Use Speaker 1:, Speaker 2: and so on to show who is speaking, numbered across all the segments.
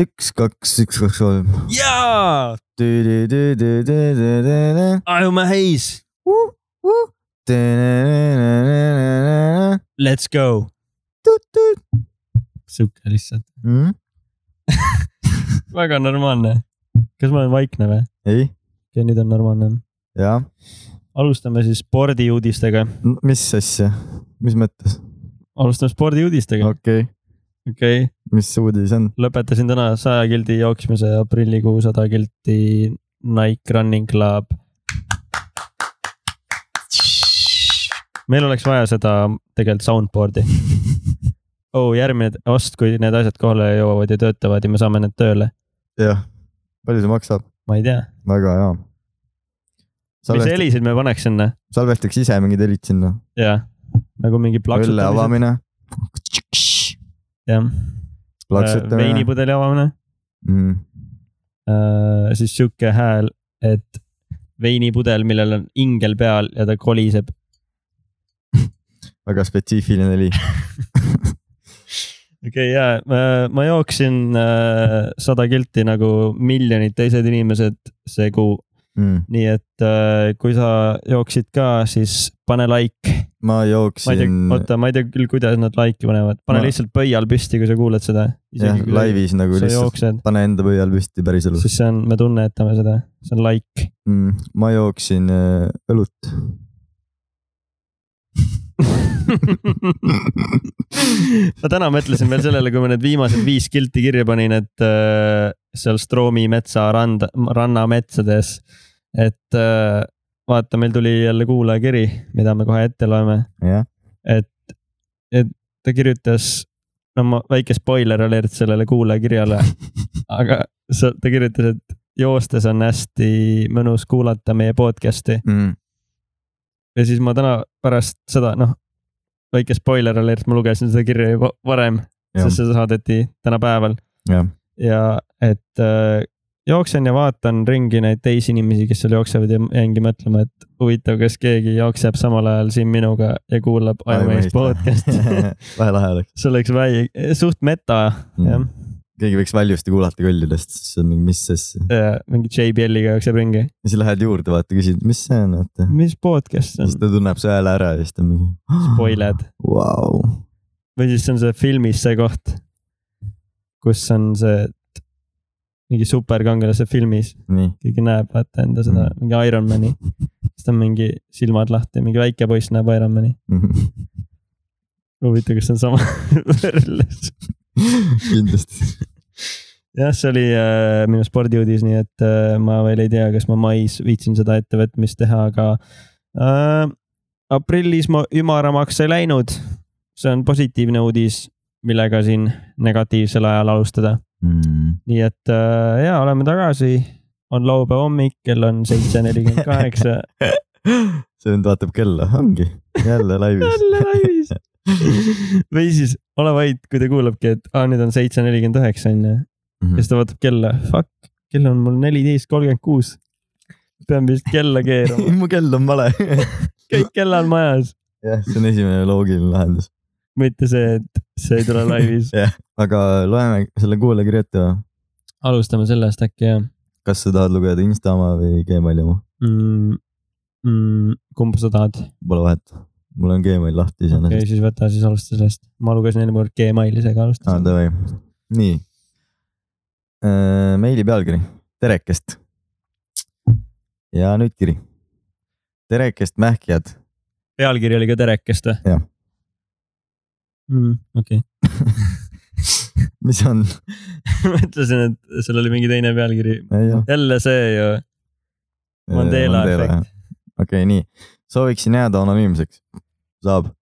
Speaker 1: üks , kaks , üks , kaks , kolm .
Speaker 2: jaa , Ajumäe heis , let's go . sihuke lihtsalt ,
Speaker 1: Hmm,
Speaker 2: väga normaalne . kas ma olen vaikne või ?
Speaker 1: ei ,
Speaker 2: okei , nüüd on normaalne .
Speaker 1: jaa ,
Speaker 2: alustame siis spordiuudistega ,
Speaker 1: mis asja , mis mõttes ,
Speaker 2: alustame spordiuudistega ,
Speaker 1: okei okay. ,
Speaker 2: okei okay. .
Speaker 1: mis uudis on ,
Speaker 2: lõpetasin täna saja kildi jooksmise aprillikuu sada kilti Nike Running Club . meil oleks vaja seda tegelikult soundboard'i . oh , järgmine ost , kui need asjad kohale jõuavad ja töötavad ja me saame need tööle ,
Speaker 1: jah , palju see maksab ,
Speaker 2: ma ei tea ,
Speaker 1: väga hea .
Speaker 2: mis
Speaker 1: Salvest,
Speaker 2: helisid me paneks sinna ,
Speaker 1: salvestaks ise mingid helid sinna ,
Speaker 2: jah , nagu mingi
Speaker 1: õlle
Speaker 2: plaksutamise ,
Speaker 1: avamine ,
Speaker 2: Äh, jah ,
Speaker 1: plaksutamine ,
Speaker 2: veinipudeli avamine
Speaker 1: mm.
Speaker 2: Äh, siis sihuke hääl , et veinipudel , millel on ingel peal ja ta koliseb .
Speaker 1: väga spetsiifiline heli ,
Speaker 2: okei okay, , jaa , ma jooksin äh, sada kilti nagu miljonid teised inimesed see kuu ,
Speaker 1: mm.
Speaker 2: nii et äh, kui sa jooksid ka , siis pane like .
Speaker 1: ma
Speaker 2: ma ei tea
Speaker 1: jooksin ,
Speaker 2: oota , ma ei tea küll , kuidas nad like'i panevad , pane
Speaker 1: Ma-
Speaker 2: ma... lihtsalt pöial püsti , kui sa kuulad seda .
Speaker 1: jah , laivis nagu
Speaker 2: sa
Speaker 1: lihtsalt
Speaker 2: jooksed ,
Speaker 1: pane enda pöial püsti päriselus
Speaker 2: siis see on , me tunnetame seda , see on like .
Speaker 1: mm, . ma jooksin äh, õlut .
Speaker 2: ma täna mõtlesin veel sellele , kui ma need viimased viis kilti kirja panin , et äh, seal Stroomi metsa rand , rannametsades . et äh, vaata , meil tuli jälle kuulajakiri , mida me kohe ette loeme ,
Speaker 1: jah ,
Speaker 2: et , et ta kirjutas . no ma , väike spoiler alert sellele kuulajakirjale , aga sa- ta kirjutas , et joostes on hästi mõnus kuulata meie podcast'i
Speaker 1: mm,
Speaker 2: ja siis ma täna pärast seda , noh , väike spoiler alert , ma lugesin seda kirja juba varem ,
Speaker 1: Jah.
Speaker 2: sest see saadeti täna päeval
Speaker 1: jah ,
Speaker 2: ja et äh, jooksen ja vaatan ringi neid teisi inimesi , kes seal jooksevad ja jäingi mõtlema , et huvitav , kas keegi jookseb samal ajal siin minuga ja kuulab Ajumees podcast'i .
Speaker 1: vähe lahe oleks ,
Speaker 2: see oleks väi- , suht meta
Speaker 1: Mm.
Speaker 2: mm.
Speaker 1: keegi võiks Väljusti kuulata kõllidest , siis on mingi , mis asja .
Speaker 2: jah , mingi JBL-iga jookseb ringi .
Speaker 1: ja siis lähed juurde , vaata , küsid , mis see on , vaata .
Speaker 2: mis podcast see
Speaker 1: siis
Speaker 2: on ?
Speaker 1: ta tunneb su hääle ära ja siis ta mingi .
Speaker 2: spoiled .
Speaker 1: Vau ,
Speaker 2: või siis see on see filmis see koht , kus on see et mingi superkangelase filmis ,
Speaker 1: nii ,
Speaker 2: keegi näeb , vaata enda seda
Speaker 1: Mm.
Speaker 2: mingi Ironman'i , siis ta on mingi silmad lahti , mingi väike poiss näeb Ironman'i . huvitav , kas see on sama võrdlus ?
Speaker 1: kindlasti .
Speaker 2: jah , see oli äh, minu spordiuudis , nii et äh, ma veel ei tea , kas ma mais viitsin seda ettevõtmist teha , aga äh, aprillis ma ümaramaks ei läinud . see on positiivne uudis , millega siin negatiivsel ajal alustada .
Speaker 1: Mm.
Speaker 2: nii et äh, ja oleme tagasi , on laupäeva hommik , kell on seitse nelikümmend kaheksa .
Speaker 1: see vend vaatab kella , ongi jälle laivis .
Speaker 2: jälle laivis . või siis ole vait , kui ta kuulabki , et aa , nüüd on seitse nelikümmend üheksa onju
Speaker 1: Mhm.
Speaker 2: ja siis ta vaatab kella , fuck , kell on mul neliteist kolmkümmend kuus . pean vist kella keerama ,
Speaker 1: mu kell on vale .
Speaker 2: kõik kellad majas ,
Speaker 1: jah , see on esimene loogiline lahendus .
Speaker 2: mitte see , et see ei tule laivis .
Speaker 1: aga loeme selle kuulajakirja ette või ?
Speaker 2: alustame sellest äkki jah
Speaker 1: kas sa tahad lugeda Insta oma või Gmaili oma ?
Speaker 2: mm, . Mm, kumba sa tahad ?
Speaker 1: Pole vahet , mul on Gmail lahti
Speaker 2: okei
Speaker 1: iseenesest
Speaker 2: okay, ,
Speaker 1: okay. .
Speaker 2: siis võta , siis alusta sellest . ma lugesin eelmine kord Gmailis , aga
Speaker 1: aa ,
Speaker 2: alusta .
Speaker 1: Ah, davai , nii . meili pealkiri , terekest . ja nüüd kiri . terekest mähkijad ,
Speaker 2: pealkiri oli ka Terekest või ?
Speaker 1: Jah.
Speaker 2: mm, . okei okay. ,
Speaker 1: mis on ,
Speaker 2: mõtlesin , et seal oli mingi teine pealkiri .
Speaker 1: ei ole .
Speaker 2: jälle see ju , Mandela efekt. .
Speaker 1: okei , nii , sooviksin jääda anonüümseks , saab .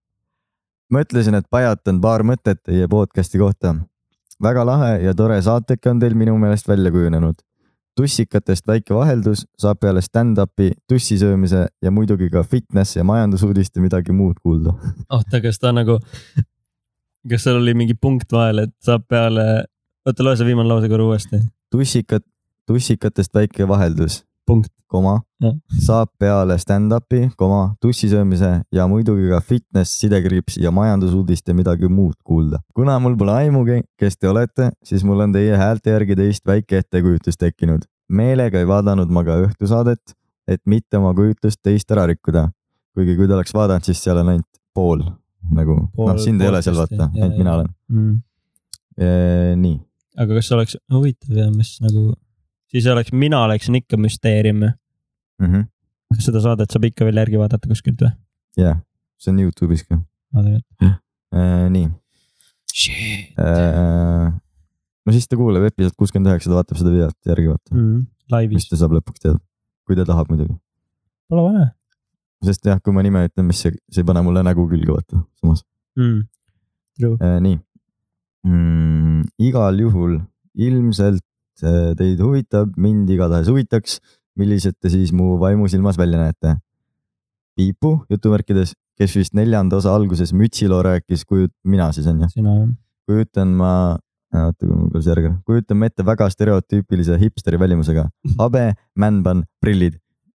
Speaker 1: mõtlesin , et pajatan paar mõtet teie podcast'i kohta . väga lahe ja tore saateke on teil minu meelest välja kujunenud . tussikatest väike vaheldus saab peale stand-up'i , tussi söömise ja muidugi ka fitness ja majandusuudiste midagi muud kuulda .
Speaker 2: oota , kas ta nagu , kas seal oli mingi punkt vahel , et saab peale , oota loe see viimane lause korra uuesti .
Speaker 1: tussikat , tussikatest väike vaheldus
Speaker 2: punkt .
Speaker 1: koma
Speaker 2: Jah. ,
Speaker 1: saab peale stand-up'i , koma , tussisöömise ja muidugi ka fitness , sidekriips ja majandusuudiste midagi muud kuulda . kuna mul pole aimugi , kes te olete , siis mul on teie häälte järgi teist väike ettekujutus tekkinud . meelega ei vaadanud ma ka õhtusaadet , et mitte oma kujutlust teist ära rikkuda . kuigi kui te oleks vaadanud , siis seal on ainult pool nagu ,
Speaker 2: Pool-
Speaker 1: noh , sind ei ole seal
Speaker 2: pooltest,
Speaker 1: vaata ,
Speaker 2: jah,
Speaker 1: ainult
Speaker 2: jah.
Speaker 1: mina olen .
Speaker 2: mm. .
Speaker 1: nii ,
Speaker 2: aga kas oleks huvitav ja mis nagu , siis oleks , mina oleksin ikka müsteerium .
Speaker 1: Mhm.
Speaker 2: kas seda saadet saab ikka veel järgi vaadata kuskilt või ?
Speaker 1: jah , see on Youtube'is ka . nii Äh, no siis ta kuulab episood kuuskümmend üheksa , ta vaatab seda videot järgi , vaata mm. ,
Speaker 2: mm, .
Speaker 1: mis
Speaker 2: laivis ,
Speaker 1: ta saab lõpuks teada , kui ta tahab muidugi .
Speaker 2: pole vaja
Speaker 1: sest jah , kui ma nime ütlen , mis see , see ei pane mulle nägu külge , vaata , samas
Speaker 2: mm. .
Speaker 1: äh, . nii mm, , igal juhul ilmselt äh, teid huvitab , mind igatahes huvitaks , millised te siis mu vaimusilmas välja näete . Piipu jutumärkides , kes vist neljanda osa alguses mütsiloo rääkis , kui mina siis on ju .
Speaker 2: sina jah ?
Speaker 1: kujutan ma , oota , kui mul see järgi , kujutame ette väga stereotüüpilise hipsteri välimusega , habe , männpann , prillid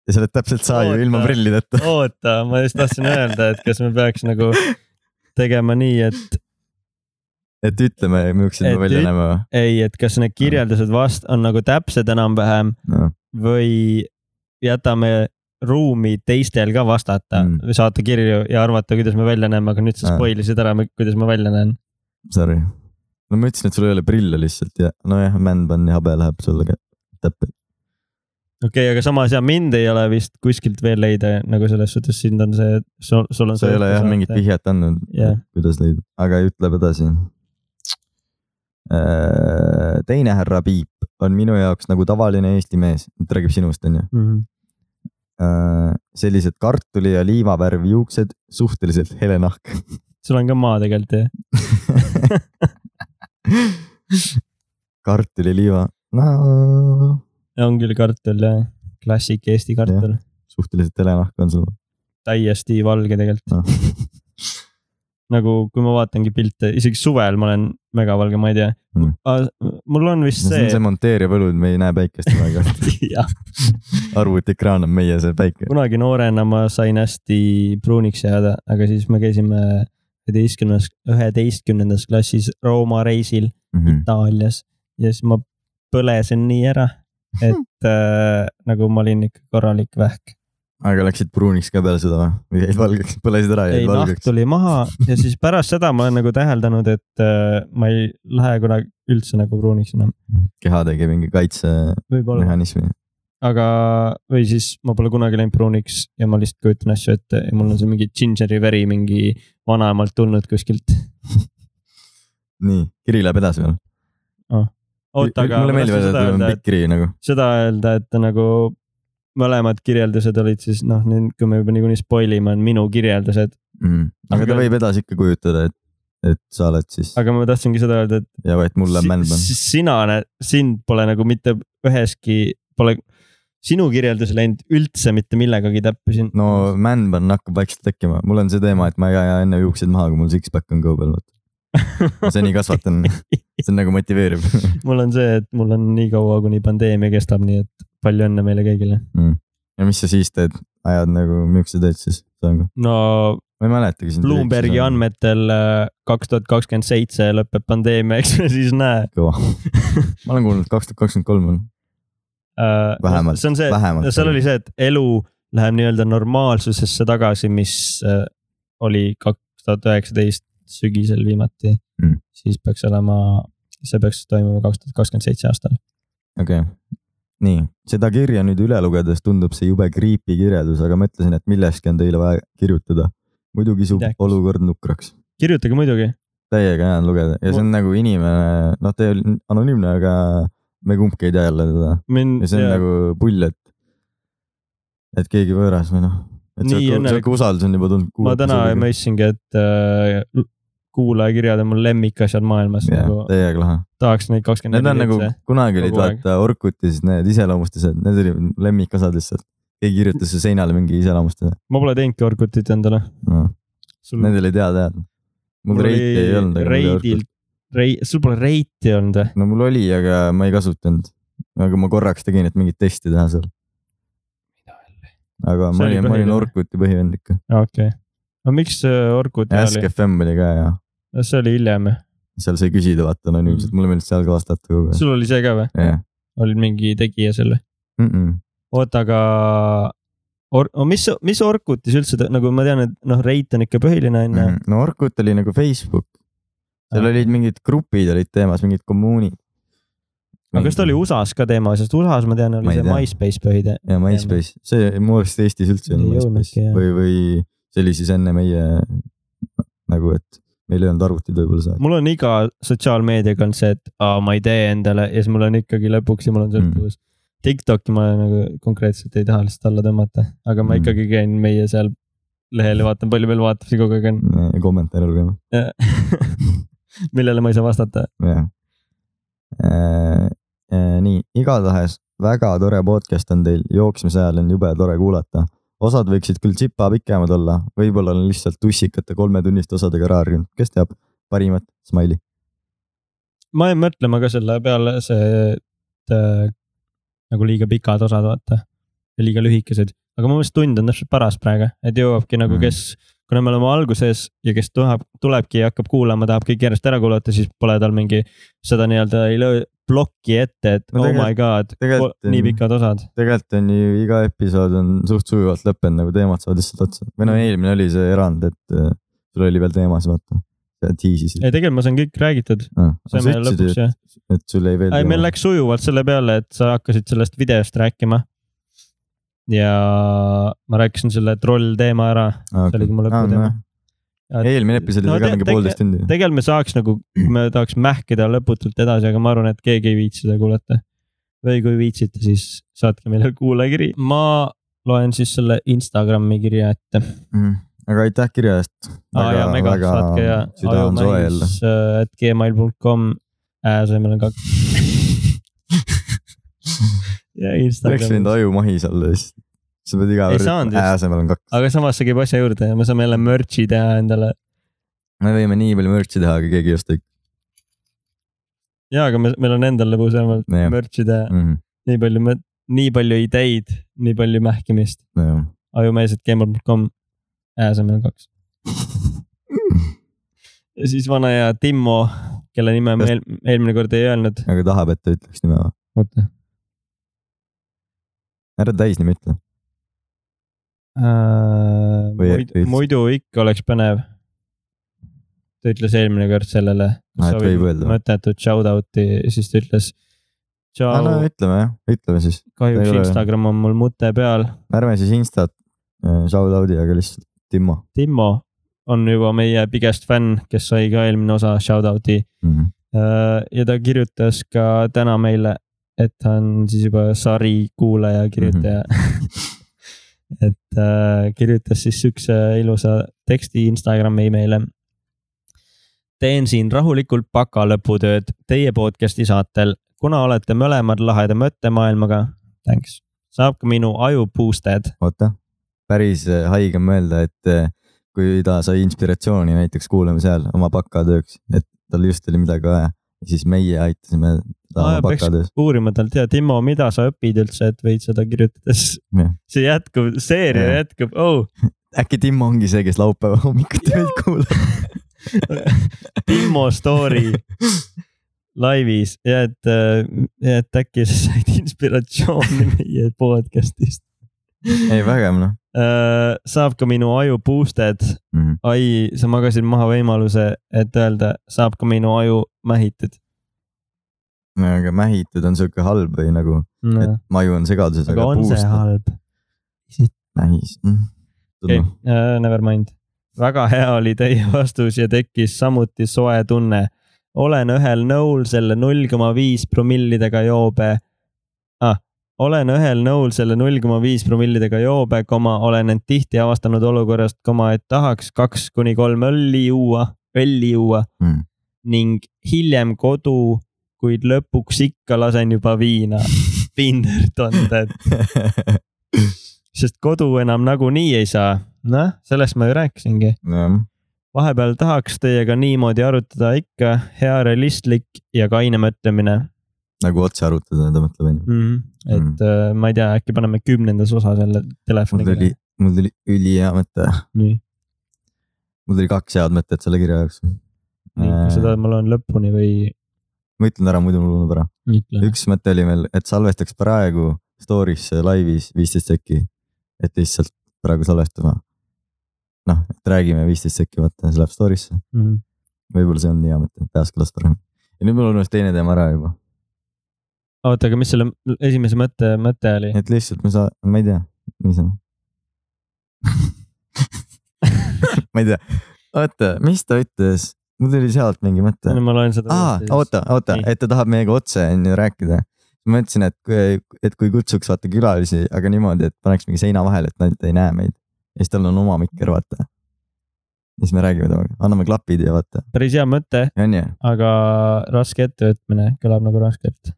Speaker 1: ja sa oled täpselt sa ju ilma
Speaker 2: Oota.
Speaker 1: prillideta .
Speaker 2: oota , ma just tahtsin öelda , et kas me peaks nagu tegema nii , et
Speaker 1: et ütleme , millised
Speaker 2: Et
Speaker 1: me välja
Speaker 2: üt-
Speaker 1: näeme
Speaker 2: ei , et kas need kirjeldused vast- on nagu täpsed enam-vähem
Speaker 1: või ?
Speaker 2: või jätame ruumi teistel ka vastata
Speaker 1: Mm.
Speaker 2: mm. , saata kirju ja arvata , kuidas me välja näeme , aga nüüd sa
Speaker 1: Ah.
Speaker 2: spoilisid ära , kuidas ma välja näen .
Speaker 1: Sorry . no ma ütlesin , et sul ei ole prille lihtsalt ja nojah , männpann ja habe läheb sulle ka täpselt .
Speaker 2: okei okay, , aga samas ja mind ei ole vist kuskilt veel leida nagu selles suhtes , sind on see , sul , sul on
Speaker 1: sa ei ole jah mingit . vihjet andnud
Speaker 2: Jah. ,
Speaker 1: kuidas leida , aga ütleb edasi . teine härra Piip on minu jaoks nagu tavaline Eesti mees , ta räägib sinust , onju .
Speaker 2: Mhm.
Speaker 1: Äh, sellised kartuli ja liivavärv juuksed , suhteliselt hele nahk .
Speaker 2: sul on ka maa tegelikult jah ,
Speaker 1: kartuli , liiva , no
Speaker 2: on küll kartul jah , klassik Eesti kartul ,
Speaker 1: suhteliselt hele nahk on sul
Speaker 2: täiesti valge tegelikult ,
Speaker 1: no. .
Speaker 2: Noh. nagu kui ma vaatangi pilte , isegi suvel ma olen megavalge , ma ei tea
Speaker 1: Mm.
Speaker 2: mm. . mul on vist
Speaker 1: see on
Speaker 2: see,
Speaker 1: see monteeriv õlud , me ei näe päikest väga .
Speaker 2: see... , jah ,
Speaker 1: arvutiekraan on meie see päike .
Speaker 2: kunagi noorena ma sain hästi pruuniks jääda , aga siis me käisime üheteistkümnes , üheteistkümnendas klassis Rooma reisil
Speaker 1: Mhm.
Speaker 2: Itaalias ja siis ma põlesin nii ära , et äh, nagu ma olin ikka korralik vähk .
Speaker 1: aga läksid pruuniks ka peale seda või? või jäid valgeks , põlesid ära ja
Speaker 2: ei ,
Speaker 1: jäid
Speaker 2: nahk
Speaker 1: valgeks ?
Speaker 2: tuli maha ja siis pärast seda ma olen nagu täheldanud , et äh, ma ei lähe kunagi üldse nagu pruuniks enam .
Speaker 1: keha tegi mingi kaitsemehhanismi .
Speaker 2: võib-olla , aga , või siis ma pole kunagi läinud pruuniks ja ma lihtsalt kujutan asju ette ja mul on see mingi džinžeri veri mingi vanaemalt tulnud kuskilt .
Speaker 1: nii , kiri läheb edasi veel .
Speaker 2: oota , aga
Speaker 1: mulle
Speaker 2: ma
Speaker 1: meeldib , et
Speaker 2: tahtsin seda
Speaker 1: on
Speaker 2: öelda , et
Speaker 1: pikk kiri nagu .
Speaker 2: seda öelda , et nagu mõlemad kirjeldused olid siis noh , nüüd kui me juba niikuinii spoil ime , on minu kirjeldused ,
Speaker 1: mm. . aga ta
Speaker 2: Aga-
Speaker 1: võib edasi ikka kujutada , et , et sa oled siis
Speaker 2: aga ma tahtsingi seda öelda , et
Speaker 1: ja et mulle on männpann .
Speaker 2: si- sina , sind pole nagu mitte üheski , pole sinu kirjeldus läinud üldse mitte millegagi täppi siin .
Speaker 1: no männpann hakkab vaikselt tekkima , mul on see teema , et ma ei aja enne juukseid maha , kui mul six-pack on kõhu peal , vaata . ma seni kasvatan , see on nagu motiveerib
Speaker 2: mul on see , et mul on nii kaua , kuni pandeemia kestab , nii et palju õnne meile kõigile .
Speaker 1: mm. . ja mis sa siis teed , ajad nagu millised tööd siis ? ma
Speaker 2: no
Speaker 1: ei mäletagi sind .
Speaker 2: Bloombergi . andmetel äh, kaks tuhat kakskümmend seitse lõpeb pandeemia , eks me siis näe .
Speaker 1: kõva , ma olen kuulnud , kaks tuhat kakskümmend kolm on Vähemalt,
Speaker 2: Äh, see on see ,
Speaker 1: vähemalt .
Speaker 2: seal oli see , et elu läheb nii-öelda normaalsusesse tagasi , mis äh, oli kaks tuhat üheksateist sügisel viimati
Speaker 1: Mm.
Speaker 2: mm. . siis peaks olema , see peaks toimuma kaks tuhat kakskümmend seitse aastal .
Speaker 1: okei okay. nii , seda kirja nüüd üle lugedes tundub see jube creepy kirjeldus , aga ma ütlesin , et millestki on teile vaja kirjutada . muidu kisub
Speaker 2: Midagi.
Speaker 1: olukord nukraks .
Speaker 2: kirjutage muidugi ,
Speaker 1: täiega hea on lugeda ja see on nagu inimene , noh , ta ei ole anonüümne , aga me kumbki ei tea jälle teda
Speaker 2: mind
Speaker 1: ja see on ja. nagu pull , et , et keegi võõras või noh , et
Speaker 2: Nii
Speaker 1: sihuke ,
Speaker 2: õnnelik-
Speaker 1: sihuke usaldus on juba tulnud .
Speaker 2: ma täna mõistsingi , et äh, l- kuulajakirjad on mul lemmikasjad maailmas yeah. ,
Speaker 1: jah
Speaker 2: nagu ,
Speaker 1: täiega lahe .
Speaker 2: tahaks neid kakskümmend
Speaker 1: Need on
Speaker 2: neli
Speaker 1: nagu
Speaker 2: seitse .
Speaker 1: kunagi olid
Speaker 2: kogu aeg.
Speaker 1: vaata Orkutis need iseloomustused , need olid lemmikosad lihtsalt . keegi kirjutas su seinale mingi iseloomustuse
Speaker 2: ma pole teinudki Orkutit endale .
Speaker 1: no. .
Speaker 2: sul
Speaker 1: Need oli teada jah . mul reiti ei olnud .
Speaker 2: reidilt , rei- , sul pole reiti olnud või ?
Speaker 1: no mul oli , aga ma ei kasutanud . aga ma korraks tegin , et mingit testi teha seal . aga
Speaker 2: See
Speaker 1: ma
Speaker 2: oli
Speaker 1: olin , ma olin
Speaker 2: põhiline.
Speaker 1: Orkuti põhivend ikka .
Speaker 2: okei okay. . aga miks äh, Orkut
Speaker 1: Ask
Speaker 2: oli ,
Speaker 1: FM oli ka ja
Speaker 2: see oli hiljem ,
Speaker 1: seal sai küsida , vaata
Speaker 2: Mm.
Speaker 1: anonüümselt , mulle meeldis seal ka vastata kogu aeg .
Speaker 2: sul oli see ka või ?
Speaker 1: jah ,
Speaker 2: olid mingi tegija seal või ? oota , aga or- , mis , mis Orkutis üldse ta- nagu ma tean , et noh , reit on ikka põhiline on ju .
Speaker 1: no Orkut oli nagu Facebook , Mhm. seal olid mingid grupid olid teemas , mingid kommuunid .
Speaker 2: aga kas ta oli ? USA-s ka teema , sest USA-s ma tean ,
Speaker 1: Ma
Speaker 2: oli
Speaker 1: ei
Speaker 2: see
Speaker 1: tea.
Speaker 2: MySpace põhide .
Speaker 1: ja MySpace , see mu arust Eestis üldse ei
Speaker 2: Ei
Speaker 1: olnud
Speaker 2: jõudnudki,
Speaker 1: MySpace
Speaker 2: jah.
Speaker 1: või , või see oli siis enne meie nagu , et meil ei olnud arvutid võib-olla see aeg .
Speaker 2: mul on iga sotsiaalmeediaga on see , et aa, ma ei tee endale ja siis mul on ikkagi lõpuks ja mul on
Speaker 1: Mhm.
Speaker 2: sõltuvus mm. . TikTok'i ma nagu konkreetselt ei taha lihtsalt alla tõmmata , aga
Speaker 1: Mm.
Speaker 2: ma mm. ikkagi käin meie seal lehel ja vaatan , palju meil vaatajaid kogu aeg on ,
Speaker 1: kommentaare lugema ,
Speaker 2: millele ma ei saa vastata .
Speaker 1: jah . nii , igatahes väga tore podcast on teil , jooksmise ajal on jube tore kuulata . osad võiksid küll tsipa pikemad olla , võib-olla on lihtsalt tussikate kolmetunniste osadega raarium , kes teab , parimat , Smiley .
Speaker 2: ma jäin mõtlema ka selle peale , see , et äh, nagu liiga pikad osad , vaata . ja liiga lühikesed , aga mu meelest tund on täpselt paras praegu , et jõuabki nagu
Speaker 1: Mm.
Speaker 2: mm. kes , kuna me oleme alguses ja kes tuleb , tulebki ja hakkab kuulama , tahab kõik järjest ära kuulata , siis pole tal mingi seda nii-öelda ei löö plokki ette , et
Speaker 1: No
Speaker 2: no, oh my god ,
Speaker 1: tegelikult on-
Speaker 2: nii pikad osad .
Speaker 1: tegelikult on ju iga episood on suht sujuvalt lõppenud , nagu teemad saavad lihtsalt otsa . või no eelmine oli see erand , et äh, sul oli veel teemas , vaata . sa tiisisid .
Speaker 2: ei , tegelikult ma saan kõik räägitud ,
Speaker 1: sa
Speaker 2: saime
Speaker 1: ütlesid ju
Speaker 2: lõpuks , jah .
Speaker 1: et sul jäi veel
Speaker 2: ei , meil . läks sujuvalt selle peale , et sa hakkasid sellest videost rääkima . ja ma rääkisin selle troll teema ära see oligi mu lõputeema. .
Speaker 1: eelmine episood
Speaker 2: No
Speaker 1: oli ka
Speaker 2: te-
Speaker 1: mingi
Speaker 2: tege-
Speaker 1: poolteist tundi .
Speaker 2: tegelikult me saaks nagu , me tahaks mähkida lõputult edasi , aga ma arvan , et keegi ei viitsi seda kuulata . või kui viitsite , siis saatke meile kuulajakiri , ma loen siis selle Instagrami kirja ette .
Speaker 1: Mhm. aga aitäh kirja eest .
Speaker 2: aa jaa , mega , saatke ja äh,
Speaker 1: süda on soe jälle .
Speaker 2: at gmail.com äh, , asemel on kaks ja
Speaker 1: oleks võinud
Speaker 2: Instagram .
Speaker 1: ajumahis olla siis . sa pead iga
Speaker 2: Ei
Speaker 1: kord
Speaker 2: saanud
Speaker 1: ää
Speaker 2: just.
Speaker 1: asemel on kaks .
Speaker 2: aga samas see käib asja juurde ja me saame jälle merch'i teha endale .
Speaker 1: me võime nii palju mürtsi teha , aga keegi ei osta ikka .
Speaker 2: jaa , aga me , meil on endal lõbus vähemalt
Speaker 1: Jah.
Speaker 2: merch'i teha ,
Speaker 1: Mhm,
Speaker 2: nii palju , nii palju ideid , nii palju mähkimist .
Speaker 1: nojah .
Speaker 2: ajumees.gmail.com , asemel kaks . ja siis vana hea Timmo , kelle nime ma
Speaker 1: Kas-
Speaker 2: eel, eelmine kord ei öelnud .
Speaker 1: aga tahab , et ta ütleks nime või ?
Speaker 2: oota
Speaker 1: ära täisnimi ütle . Või-
Speaker 2: äh, .
Speaker 1: või-
Speaker 2: muidu ikka oleks põnev . ta ütles eelmine kord sellele .
Speaker 1: Aa, Ah, et võib öelda.
Speaker 2: mõttetut shout out'i , siis ta ütles .
Speaker 1: aa , no
Speaker 2: tšau ,
Speaker 1: ütleme jah , ütleme siis . ei
Speaker 2: kahjuks
Speaker 1: ole.
Speaker 2: Instagram on mul mute peal .
Speaker 1: ärme siis Instat äh, shout out'i , aga lihtsalt Timmo
Speaker 2: Timmo on juba meie biggest fänn , kes sai ka eelmine osa shout out'i
Speaker 1: mm . -hmm.
Speaker 2: Äh, ja ta kirjutas ka täna meile , et ta on siis juba sari kuulaja , kirjutaja mm .
Speaker 1: Mhm.
Speaker 2: -hmm. et äh, kirjutas siis siukse ilusa teksti Instagrami meile . teen siin rahulikult baka lõputööd teie podcast'i saatel , kuna olete mõlemad laheda mõttemaailmaga . Thanks , saab ka minu aju boosted .
Speaker 1: oota , päris äh, haige on mõelda , et äh, kui ta sai inspiratsiooni näiteks kuulamise ajal oma bakatööks , et tal just oli midagi vaja , siis meie aitasime teda
Speaker 2: Aa,
Speaker 1: oma
Speaker 2: peaks-
Speaker 1: bakatöös .
Speaker 2: uurima talt ja Timo , mida sa õpid üldse , et võid seda kirjutades
Speaker 1: Jah. .
Speaker 2: see jätkub ,
Speaker 1: Jah.
Speaker 2: seeria jätkub , oh
Speaker 1: äkki Timmo ongi see , kes laupäeva hommikuti meid kuulab ?
Speaker 2: Timmo story laivis ja et , ja et äkki sa said inspiratsiooni meie podcast'ist .
Speaker 1: ei , vägev noh
Speaker 2: saab ka minu aju boosted ,
Speaker 1: mm . -hmm.
Speaker 2: ai , sa magasid maha võimaluse , et öelda , saab ka minu aju mähitud .
Speaker 1: aga mähitud on sihuke halb või nagu , et
Speaker 2: aga
Speaker 1: maju on segaduses , aga
Speaker 2: on see
Speaker 1: puust
Speaker 2: halb ?
Speaker 1: mähis mm. .
Speaker 2: okei , never mind . väga hea oli teie vastus ja tekkis samuti soe tunne . olen ühel nõul selle null koma viis promillidega joobe ah, . olen ühel nõul selle null koma viis promillidega joobe , koma olen end tihti avastanud olukorrast , koma et tahaks kaks kuni kolm õlli juua , õlli juua
Speaker 1: Mm.
Speaker 2: ning hiljem kodu , kuid lõpuks ikka lasen juba viina . Pindert on ta , et sest kodu enam nagunii ei saa . noh , sellest ma ju rääkisingi .
Speaker 1: jah ,
Speaker 2: vahepeal tahaks teiega niimoodi arutada ikka hea realistlik ja kaine mõtlemine .
Speaker 1: nagu otse arutada , ta mõtleb onju .
Speaker 2: mm . -hmm. et mm. ma ei tea , äkki paneme kümnendas osa selle telefoni .
Speaker 1: mul tuli , mul tuli ülihea mõte ,
Speaker 2: nii,
Speaker 1: mul tuli kaks head mõtet selle kirja jaoks .
Speaker 2: nii , kas sa
Speaker 1: ma
Speaker 2: tahad , ma loen lõpuni või
Speaker 1: ütlen ära , muidu mul ununeb ära .
Speaker 2: ütle ?
Speaker 1: üks mõte oli meil , et salvestaks praegu story'sse laivis viisteist sekki , et lihtsalt praegu salvestama . noh , et räägime viisteist sekki , vaata , see läheb story'sse ,
Speaker 2: Mhm.
Speaker 1: võib-olla see on hea mõte , peas kõlas parem . ja nüüd mul ununes teine teema ära juba ,
Speaker 2: oota , aga mis selle esimese mõtte , mõte oli ?
Speaker 1: et lihtsalt me saa- , ma ei tea , niisama . ma ei tea , oota , mis ta ütles , mul tuli sealt mingi mõte
Speaker 2: ma loen seda .
Speaker 1: aa , oota , oota ,
Speaker 2: Nii.
Speaker 1: et ta tahab meiega otse onju rääkida . ma ütlesin , et kui , et kui kutsuks vaata külalisi , aga niimoodi , et paneks mingi seina vahele , et nad ei näe meid . ja siis tal on oma mikker , vaata . ja siis me räägime temaga , anname klapid ja vaata ,
Speaker 2: päris hea mõte ,
Speaker 1: onju .
Speaker 2: aga raske ettevõtmine kõlab nagu raskelt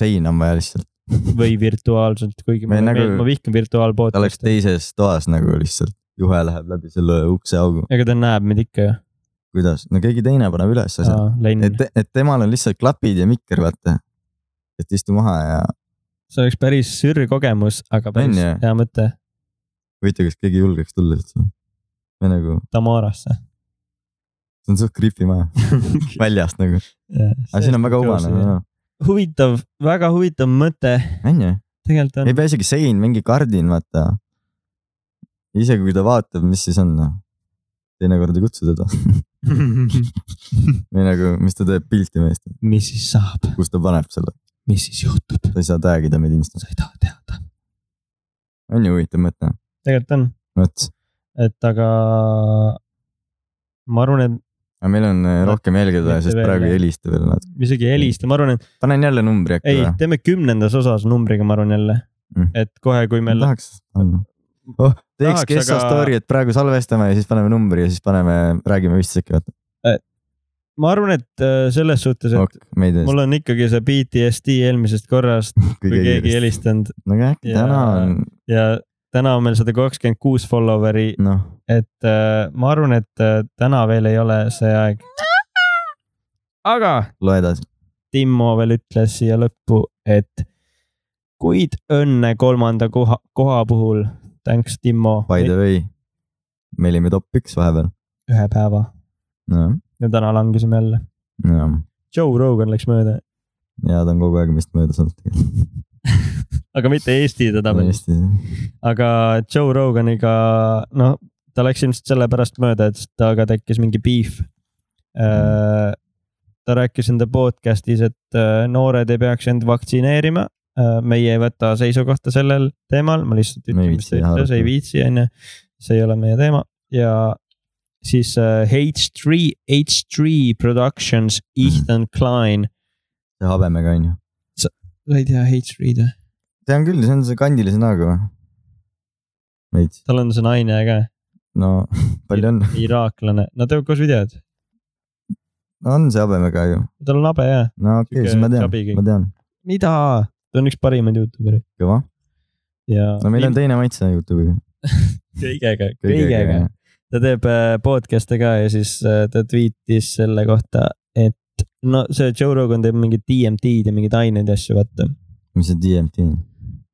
Speaker 1: sein on vaja lihtsalt .
Speaker 2: või virtuaalselt , kuigi
Speaker 1: Me
Speaker 2: mulle
Speaker 1: nagu-
Speaker 2: meeldib , ma vihkan
Speaker 1: ta oleks
Speaker 2: virtuaalpoodcast'e ,
Speaker 1: teises toas nagu lihtsalt , juhe läheb läbi selle ukseaugu ,
Speaker 2: ega ta näeb meid ikka ju .
Speaker 1: kuidas , no keegi teine paneb üles asja .
Speaker 2: Lenn ,
Speaker 1: et , et temal on lihtsalt klapid ja mikker , vaata . et istu maha ja
Speaker 2: see oleks päris sürr kogemus , aga
Speaker 1: On
Speaker 2: päris
Speaker 1: ju?
Speaker 2: hea mõte
Speaker 1: huvitav , kas keegi julgeks tulla üldse . või nagu ,
Speaker 2: Tamarasse .
Speaker 1: see on suht creepy maja , väljast nagu . aga siin on väga huvane ,.
Speaker 2: huvitav , väga huvitav mõte ,
Speaker 1: onju .
Speaker 2: tegelikult on
Speaker 1: ei . pea isegi sein , mingi kardin , vaata . isegi kui ta vaatab , mis siis on , noh . teinekord ei kutsu teda või nagu , mis ta teeb pilti meist ,
Speaker 2: mis siis saab ,
Speaker 1: kus ta paneb selle ,
Speaker 2: mis siis juhtub ,
Speaker 1: ta ei saa tag ida meid Instas .
Speaker 2: sa ei taha teada .
Speaker 1: on ju huvitav mõte ,
Speaker 2: tegelikult on ,
Speaker 1: vot .
Speaker 2: et aga ma arvan , et
Speaker 1: aga meil on eh, rohkem jälgida ,
Speaker 2: Mitte
Speaker 1: sest
Speaker 2: veel,
Speaker 1: praegu
Speaker 2: jah.
Speaker 1: ei helista veel nad .
Speaker 2: isegi helista , ma arvan , et
Speaker 1: panen jälle numbri äkki
Speaker 2: ei
Speaker 1: või ?,
Speaker 2: teeme kümnendas osas numbriga , ma arvan jälle
Speaker 1: Mm.
Speaker 2: mm. , et kohe , kui meil
Speaker 1: tahaks . Oh, teeks
Speaker 2: Tahaks,
Speaker 1: kessa
Speaker 2: aga-
Speaker 1: aga... story , et praegu salvestame ja siis paneme numbri ja siis paneme , räägime vist siuke ,
Speaker 2: ma arvan , et äh, selles suhtes , et
Speaker 1: ok , me ei tea .
Speaker 2: mul on ikkagi see PTSD eelmisest korrast , kui keegi helistanud
Speaker 1: no aga äkki
Speaker 2: Ja-
Speaker 1: täna on ,
Speaker 2: ja täna on meil sada kakskümmend kuus follower'i ,
Speaker 1: noh ,
Speaker 2: et äh, ma arvan , et äh, täna veel ei ole see aeg . aga
Speaker 1: loe edasi .
Speaker 2: Timmo veel ütles siia lõppu , et kuid õnne kolmanda koha , koha puhul . Thanks , Timmo .
Speaker 1: By the way , me olime top üks vahepeal .
Speaker 2: ühe päeva
Speaker 1: jah ,
Speaker 2: ja täna langesime jälle .
Speaker 1: jah ,
Speaker 2: Joe Rogan läks mööda ,
Speaker 1: ja ta on kogu aeg meist möödas olnud .
Speaker 2: aga mitte Eesti tabelis ,
Speaker 1: hästi ,
Speaker 2: aga Joe Roganiga , noh , ta läks ilmselt sellepärast mööda , et temaga tekkis mingi beef .
Speaker 1: Mm.
Speaker 2: ta rääkis enda podcast'is , et äh, noored ei peaks end vaktsineerima . meie ei võta seisukohta sellel teemal , ma lihtsalt
Speaker 1: Me ei
Speaker 2: ütlen , mis ta
Speaker 1: viitsi jah
Speaker 2: ütles , ei
Speaker 1: arutada.
Speaker 2: viitsi , on ju . see ei ole meie teema ja siis äh, H3 , H3 Productions ,
Speaker 1: Mhm.
Speaker 2: Ethan Klein .
Speaker 1: see habemega on ju .
Speaker 2: sa ei tea H3-d või ?
Speaker 1: see on küll , see on see kandilise näoga või ? veits ,
Speaker 2: tal on see naine ka ,
Speaker 1: no palju on ,
Speaker 2: iraaklane , nad teevad koos videod .
Speaker 1: on see habemega ju .
Speaker 2: tal on habe ja .
Speaker 1: no okei
Speaker 2: Sihuke
Speaker 1: okay, , siis ma tean
Speaker 2: chubby , kõik.
Speaker 1: ma tean ,
Speaker 2: mida ? ta on üks parimaid Youtuber'e
Speaker 1: kõva .
Speaker 2: ja .
Speaker 1: no meil on teine maitse Youtube'iga .
Speaker 2: kõigega , kõigega . ta teeb äh, podcast'e ka ja siis äh, ta tweet'is selle kohta , et no see Joe Rogan teeb mingeid DMT-d ja mingeid aineid ja asju , vaata .
Speaker 1: mis see DMT on ?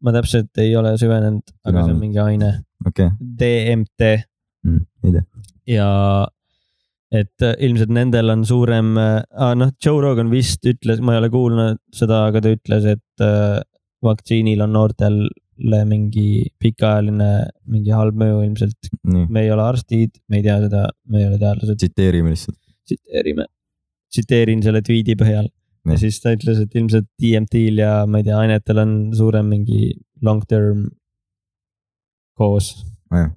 Speaker 2: ma täpselt ei ole süvenenud , aga see on
Speaker 1: Dünaamik.
Speaker 2: mingi aine ,
Speaker 1: okei ,
Speaker 2: DMT
Speaker 1: ei tea .
Speaker 2: ja et äh, ilmselt nendel on suurem äh, , noh , Joe Rogan vist ütles , ma ei ole kuulnud seda , aga ta ütles , et äh, vaktsiinil on noortele mingi pikaajaline mingi halb mõju ilmselt .
Speaker 1: nii ,
Speaker 2: me ei ole arstid , me ei tea seda , me ei ole teadlased .
Speaker 1: tsiteerime lihtsalt .
Speaker 2: tsiteerime , tsiteerin selle tweet'i põhjal . ja
Speaker 1: Nii.
Speaker 2: siis ta ütles , et ilmselt DMT-l ja ma ei tea , ainetel on suurem mingi long term koos .
Speaker 1: Nojah.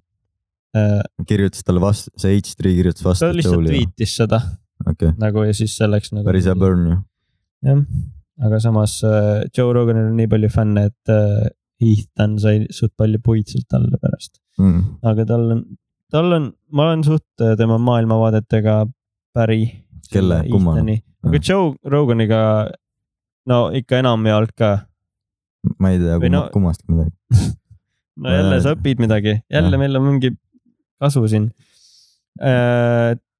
Speaker 2: ta
Speaker 1: kirjutas talle vastu , see H3 kirjutas vastu .
Speaker 2: Äh, lihtsalt . tweet'is seda
Speaker 1: okei ,
Speaker 2: nagu ja siis selleks nagu .
Speaker 1: päris hea . burn ju .
Speaker 2: jah , aga samas äh, Joe Roganil on nii palju fänne , et äh, Ethan sai suht palju puid sealt alla pärast .
Speaker 1: Mm.
Speaker 2: aga tal on , tal on , ma olen suht äh, tema maailmavaadetega päri .
Speaker 1: Kelle? Kumma?
Speaker 2: aga
Speaker 1: Jah.
Speaker 2: Joe Roganiga , no ikka enamjaolt ka .
Speaker 1: ma ei tea
Speaker 2: Või
Speaker 1: kumma, no...
Speaker 2: no-
Speaker 1: kummast midagi .
Speaker 2: no jälle
Speaker 1: Äh.
Speaker 2: sa õpid midagi , jälle
Speaker 1: Jah.
Speaker 2: meil on mingi kasu siin .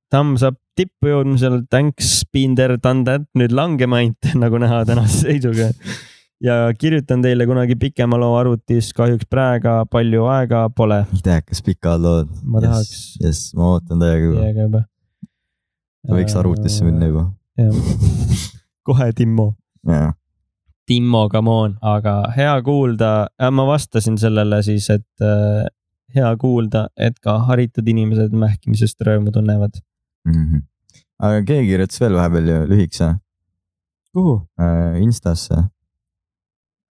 Speaker 2: Thumbs up Äh, tippu jõudmisel, thanks been there, done that, nüüd langema ainult nagu näha tänase seisuga . ja kirjutan teile kunagi pikema loo arvutis , kahjuks praegu palju aega pole ,
Speaker 1: idekas pikad lood .
Speaker 2: ma tahaks .
Speaker 1: jess , ma ootan täiega juba .
Speaker 2: teiega juba .
Speaker 1: võiks arvutisse minna . juba .
Speaker 2: kohe Timmo .
Speaker 1: jah ,
Speaker 2: Timmo , come on , aga hea kuulda , ma vastasin sellele siis , et äh, hea kuulda , et ka haritud inimesed mähkimisest rõõmu tunnevad .
Speaker 1: Mhm. aga keegi kirjutas veel vahepeal ju lühikese
Speaker 2: kuhu
Speaker 1: äh, Instasse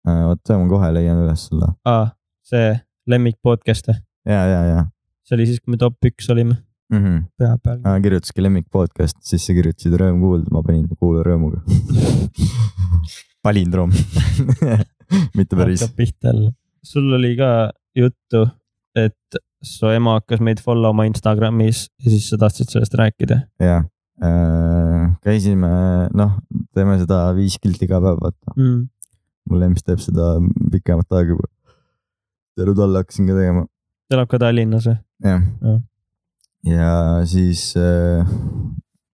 Speaker 1: äh, . oota , ma kohe leian üles sulle .
Speaker 2: ah, ? see lemmik podcast või ?
Speaker 1: ja , ja , ja
Speaker 2: see oli siis , kui me top üks olime
Speaker 1: mm . -hmm.
Speaker 2: pea peal .
Speaker 1: Äh, kirjutaski lemmik podcast , siis sa kirjutasid rõõm kuulda , ma panin kuula rõõmuga . palindroom , mitte päris .
Speaker 2: hakkab pihta jälle . sul oli ka juttu , et su ema hakkas meid follow ma Instagramis ja siis sa tahtsid sellest rääkida .
Speaker 1: jah , Äh, käisime , noh , teeme seda viis kilti iga päev , vaata .
Speaker 2: Mm.
Speaker 1: mul emps teeb seda pikemat aega juba . tänu talle hakkasin ka tegema ,
Speaker 2: ta elab ka Tallinnas või ?
Speaker 1: jah
Speaker 2: Jah. .
Speaker 1: ja siis äh,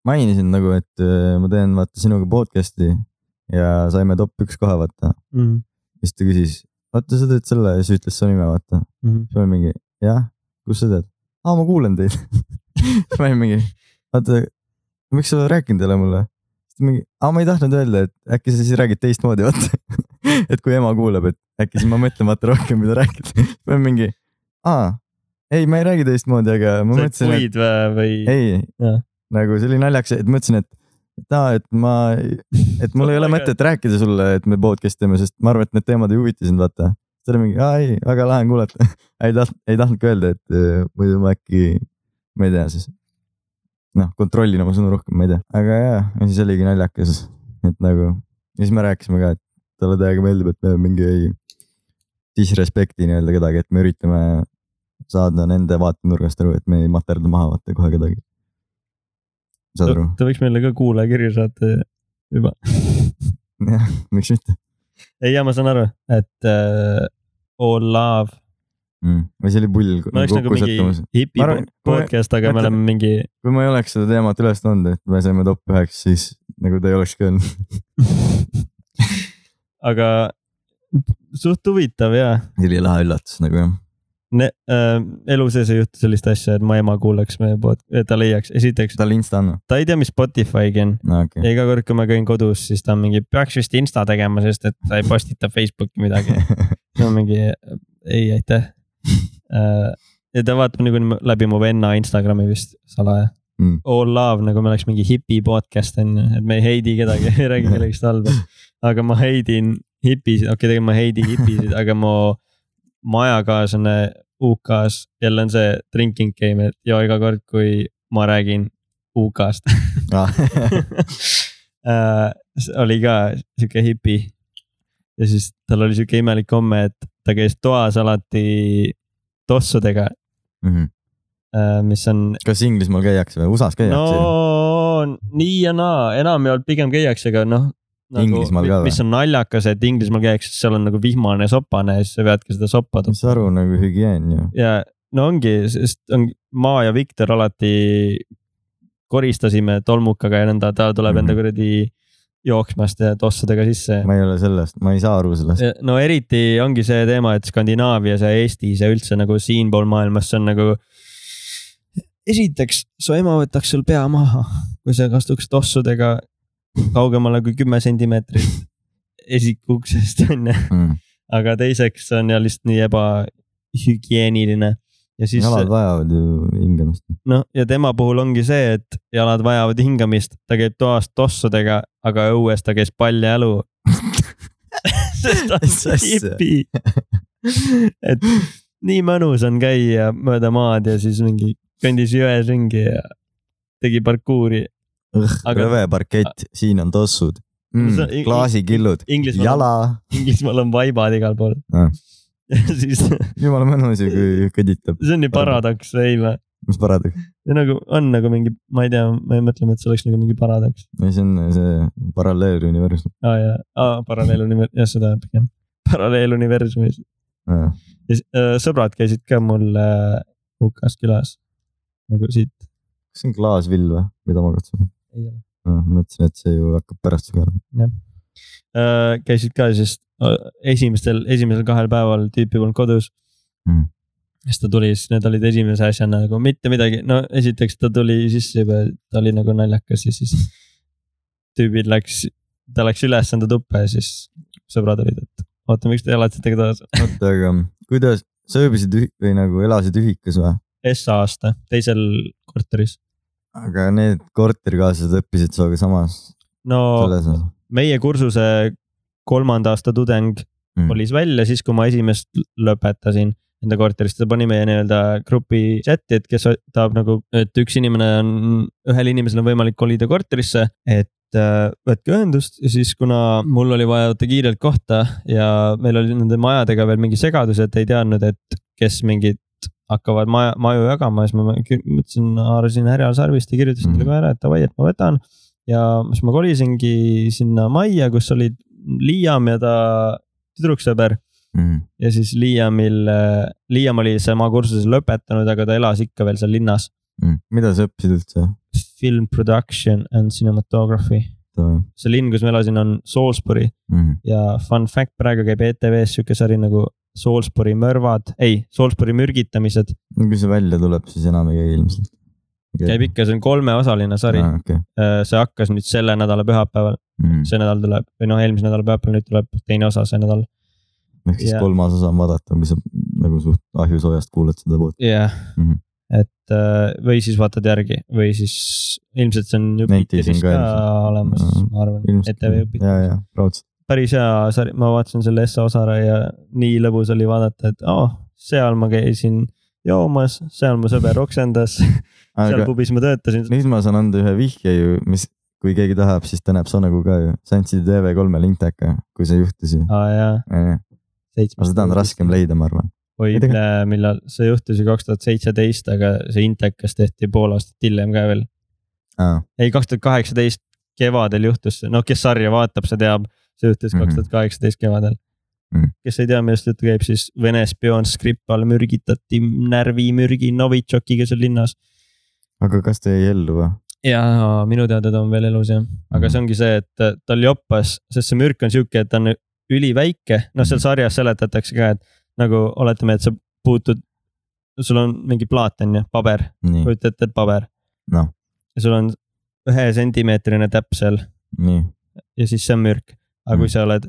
Speaker 1: mainisin nagu , et äh, ma teen vaata sinuga podcast'i ja saime top üks koha , vaata .
Speaker 2: Mm.
Speaker 1: siis ta küsis , vaata sa teed selle ja siis ütles su nime , vaata .
Speaker 2: Mm.
Speaker 1: siis ma olin mingi , jah , kus sa tead ? aa , ma kuulan teid . siis ma olin mingi , oota , miks sa rääkinud ei ole mulle ? siis ta mingi , aa , ma ei tahtnud öelda , et äkki sa siis räägid teistmoodi , vaata . et kui ema kuuleb , et äkki siis ma mõtlen vaata rohkem , mida rääkida . siis ma olin mingi , aa , ei , ma ei räägi teistmoodi , aga ma
Speaker 2: sa olid
Speaker 1: mõtlesin , et
Speaker 2: puid või , või ?
Speaker 1: ei
Speaker 2: Jah. ,
Speaker 1: nagu see oli naljakas , et mõtlesin , et et aa , et ma , et mul ei ole mõtet rääkida sulle , et me podcast teeme , sest ma arvan , et need teemad ei huvita sind , vaata . siis oli mingi , aa ei , väga lahe on kuulata . ei tahtnud , ei tahtnudki öelda , et äh, muidu ma äkki , ma ei tea siis . noh , kontrollin oma sõnu rohkem , ma ei tea , aga jaa , ja siis oligi naljakas , et nagu ja siis me rääkisime ka , et talle täiega meeldib , et me mingi ei disrespekti nii-öelda kedagi , et me üritame saada nende vaatenurgast aru , et me ei materda maha vaata kohe kedagi . saad aru ?
Speaker 2: ta võiks meile ka kuulajakirju saata juba .
Speaker 1: jah , miks mitte
Speaker 2: ei , ja ma saan aru , et uh, all love ,
Speaker 1: mm. . või see oli pull
Speaker 2: me oleks nagu
Speaker 1: kokku
Speaker 2: mingi
Speaker 1: sattumus .
Speaker 2: hipi
Speaker 1: Ma arvan-
Speaker 2: po- podcast , aga me
Speaker 1: mõtlen-
Speaker 2: oleme mingi
Speaker 1: kui ma ei oleks seda teemat üles toonud , et me saime top üheks , siis nagu ta ei olekski olnud .
Speaker 2: aga suht huvitav ja
Speaker 1: see oli lahe üllatus nagu jah .
Speaker 2: ne, äh, elu sees ei juhtu sellist asja , et mu ema kuulaks meie pod- , ta leiaks , esiteks
Speaker 1: talle insta anna .
Speaker 2: ta ei tea , mis Spotify'gi on
Speaker 1: no okei
Speaker 2: ja iga kord , kui ma käin kodus , siis ta on mingi , peaks vist insta tegema , sest et ta ei postita Facebooki midagi .
Speaker 1: okay. .
Speaker 2: ma mingi ei , aitäh . ja ta vaatab nagu niimoodi läbi mu venna Instagrami vist salaja
Speaker 1: Mm.
Speaker 2: mm. . All love nagu me oleks mingi hipi podcast on ju , et me ei heidi kedagi , ei räägi kellegist halba . aga ma heidin hipisid , okei okay, , tegelikult ma ei heidi hipisid , aga mu majakaaslane UK-s jälle on see drinking game , et joo iga kord , kui ma räägin UK-st
Speaker 1: Ah.
Speaker 2: Äh, s- oli ka sihuke hipi . ja siis tal oli sihuke imelik komme , et ta käis toas alati tossudega , mis on .
Speaker 1: Mhm. kas Inglismaal käiakse või USA-s käiakse no. ?
Speaker 2: no nii ja naa , enamjaolt pigem käiakse , aga noh nagu, .
Speaker 1: Inglismaal ka või?
Speaker 2: mis on naljakas , et Inglismaal käiakse , siis seal on nagu vihmane ja sopane ja siis sa peadki seda soppa
Speaker 1: mis aru nagu hügieen ju .
Speaker 2: ja no ongi , sest on ma ja Viktor alati koristasime tolmukaga ja nõnda , ta tuleb enda
Speaker 1: Mhm.
Speaker 2: kuradi jooksmast ja tossudega sisse .
Speaker 1: ma ei ole sellest , ma ei saa aru sellest .
Speaker 2: no eriti ongi see teema , et Skandinaavias ja Eestis ja üldse nagu siinpool maailmas , see on nagu . esiteks , su ema võtaks sul pea maha , kui sa astuks tossudega kaugemale kui kümme sentimeetrit esikuksest onju ,
Speaker 1: Mm.
Speaker 2: aga teiseks see on ja lihtsalt nii ebahügieeniline ja siis
Speaker 1: jalad vajavad ju hingamist .
Speaker 2: noh , ja tema puhul ongi see , et jalad vajavad hingamist , ta käib toas tossudega , aga õues ta käis paljajalu . sest ta
Speaker 1: Mis
Speaker 2: on
Speaker 1: asja?
Speaker 2: hipi . et nii mõnus on käia mööda maad ja siis mingi kõndis jões ringi ja tegi parkuuri . Aga-
Speaker 1: rõve parkett , siin on tossud
Speaker 2: See on
Speaker 1: mm,
Speaker 2: ing- ,
Speaker 1: klaasikillud ,
Speaker 2: Inglismaal on-
Speaker 1: jala ,
Speaker 2: Inglismaal on vaibad igal pool
Speaker 1: Ah. .
Speaker 2: ja siis , see
Speaker 1: jumala mõnus ju kui kõditab ,
Speaker 2: on ju paradoks või ei või ?
Speaker 1: mis paradoks .
Speaker 2: nagu on nagu mingi , ma ei tea , me mõtleme , et see oleks nagu mingi paradoks .
Speaker 1: see on see paralleeluniversum
Speaker 2: aa jaa , aa paralleeluniversum , jah seda pigem . paralleeluniversumis
Speaker 1: ah. .
Speaker 2: ja s- äh, sõbrad käisid ka mul äh, UK-s külas , nagu siit
Speaker 1: kas see on klaasvill või , mida ma katsun ?
Speaker 2: ei ole .
Speaker 1: mõtlesin , et see ju hakkab pärast sügelema .
Speaker 2: käisid ka siis äh, esimestel , esimesel kahel päeval tüüpi polnud kodus
Speaker 1: Mm. .
Speaker 2: siis ta tuli , siis need olid esimese asjana nagu mitte midagi , no esiteks ta tuli sisse juba , ta oli nagu naljakas ja siis tüübid läks , ta läks üles enda tuppa ja siis sõbrad olid , et oota , miks te elatate kaasa .
Speaker 1: oota , aga kuidas , sa ööbisid ühi- või nagu elasid ühikas või ?
Speaker 2: S aasta teisel korteris .
Speaker 1: aga need korterikaaslased õppisid sinuga samas
Speaker 2: no
Speaker 1: oh. selles või ?
Speaker 2: meie kursuse kolmanda aasta tudeng
Speaker 1: Mm.
Speaker 2: kolis välja siis , kui ma esimest lõpetasin enda korterist , ta pani meie nii-öelda grupi chati , et kes tahab nagu , et üks inimene on , ühel inimesel on võimalik kolida korterisse , et äh, võtke ühendust ja siis , kuna mul oli vaja võtta kiirelt kohta ja meil oli nende majadega veel mingi segadus , et ei teadnud , et kes mingid hakkavad maja , maju jagama , siis ma mõ- mõtlesin , haarasin härjal sarvist ja kirjutasin talle
Speaker 1: Mhm.
Speaker 2: kohe ära , et davai , et ma võtan . ja siis ma kolisingi sinna majja , kus olid Liam ja ta tüdruksõber
Speaker 1: Mm.
Speaker 2: ja siis Liamil , Liam oli sama kursuse lõpetanud , aga ta elas ikka veel seal linnas .
Speaker 1: Mm. mida sa õppisid üldse ?
Speaker 2: Film production and cinematography ,
Speaker 1: Mm.
Speaker 2: see linn , kus ma elasin , on Salisbury
Speaker 1: Mhm.
Speaker 2: ja fun fact , praegu käib E ETV-s sihuke sari nagu Salisbury mõrvad , ei , Salisbury mürgitamised
Speaker 1: no kui see välja tuleb , siis enam ei käi ilmselt .
Speaker 2: käib ikka , see on kolmeosaline sari ,
Speaker 1: ah, . Okay.
Speaker 2: see hakkas nüüd selle nädala pühapäeval ,
Speaker 1: Mm.
Speaker 2: see nädal tuleb või noh , eelmise nädala pühapäeval , nüüd tuleb teine osa see nädal .
Speaker 1: ehk siis
Speaker 2: ja-
Speaker 1: yeah. kolmas osa on vaadata , kui sa nagu suht ahjusoojast kuulad seda poolt .
Speaker 2: jah
Speaker 1: Mhm. ,
Speaker 2: et äh, või siis vaatad järgi või siis ilmselt see on
Speaker 1: Netis on
Speaker 2: Jupiteris
Speaker 1: ka
Speaker 2: ka
Speaker 1: ilmselt.
Speaker 2: olemas
Speaker 1: Mhm. ,
Speaker 2: ma arvan , E
Speaker 1: ilmselt .
Speaker 2: ETV
Speaker 1: ja ,
Speaker 2: Jupiteris .
Speaker 1: ja raudselt .
Speaker 2: päris hea sari , ma vaatasin selle Essa Osara ja nii lõbus oli vaadata , et aa oh, , seal ma käisin joomas , seal mu sõber oksendas , seal
Speaker 1: aga
Speaker 2: pubis ma töötasin .
Speaker 1: nüüd ma saan anda ühe vihje ju , mis , kui keegi tahab , siis ta näeb Sonagu ka ju . sa andsid TV3-e linteka , kui see juhtus ju .
Speaker 2: aa jaa ,
Speaker 1: aga
Speaker 2: seitsmes .
Speaker 1: seda on . raskem leida , ma arvan .
Speaker 2: oi äh,
Speaker 1: Ei tea. ,
Speaker 2: millal , see juhtus ju kaks tuhat seitseteist , aga see Intekas tehti pool aastat hiljem ka veel . ei , kaks tuhat kaheksateist kevadel juhtus see , noh , kes sarja vaatab , see teab , see juhtus
Speaker 1: Mhm.
Speaker 2: kaks tuhat kaheksateist kevadel
Speaker 1: Mhm. .
Speaker 2: kes ei tea , millest jutt käib , siis Vene spioon Skripal mürgitati närvimürgi Novitšokiga seal linnas .
Speaker 1: aga kas ta jäi ellu või ?
Speaker 2: ja minu teada ta on veel elus jah , aga see ongi see , et äh, ta- tal joppas , sest see mürk on sihuke , et ta on üliväike , noh , seal sarjas seletatakse ka , et nagu oletame , et sa puutud , sul on mingi plaat on ju , paber ,
Speaker 1: nii ,
Speaker 2: kujuta ette , et paber .
Speaker 1: Noh.
Speaker 2: ja sul on ühe sentimeetrine täpp seal
Speaker 1: nii ,
Speaker 2: ja siis see on mürk . aga kui
Speaker 1: Mm.
Speaker 2: sa oled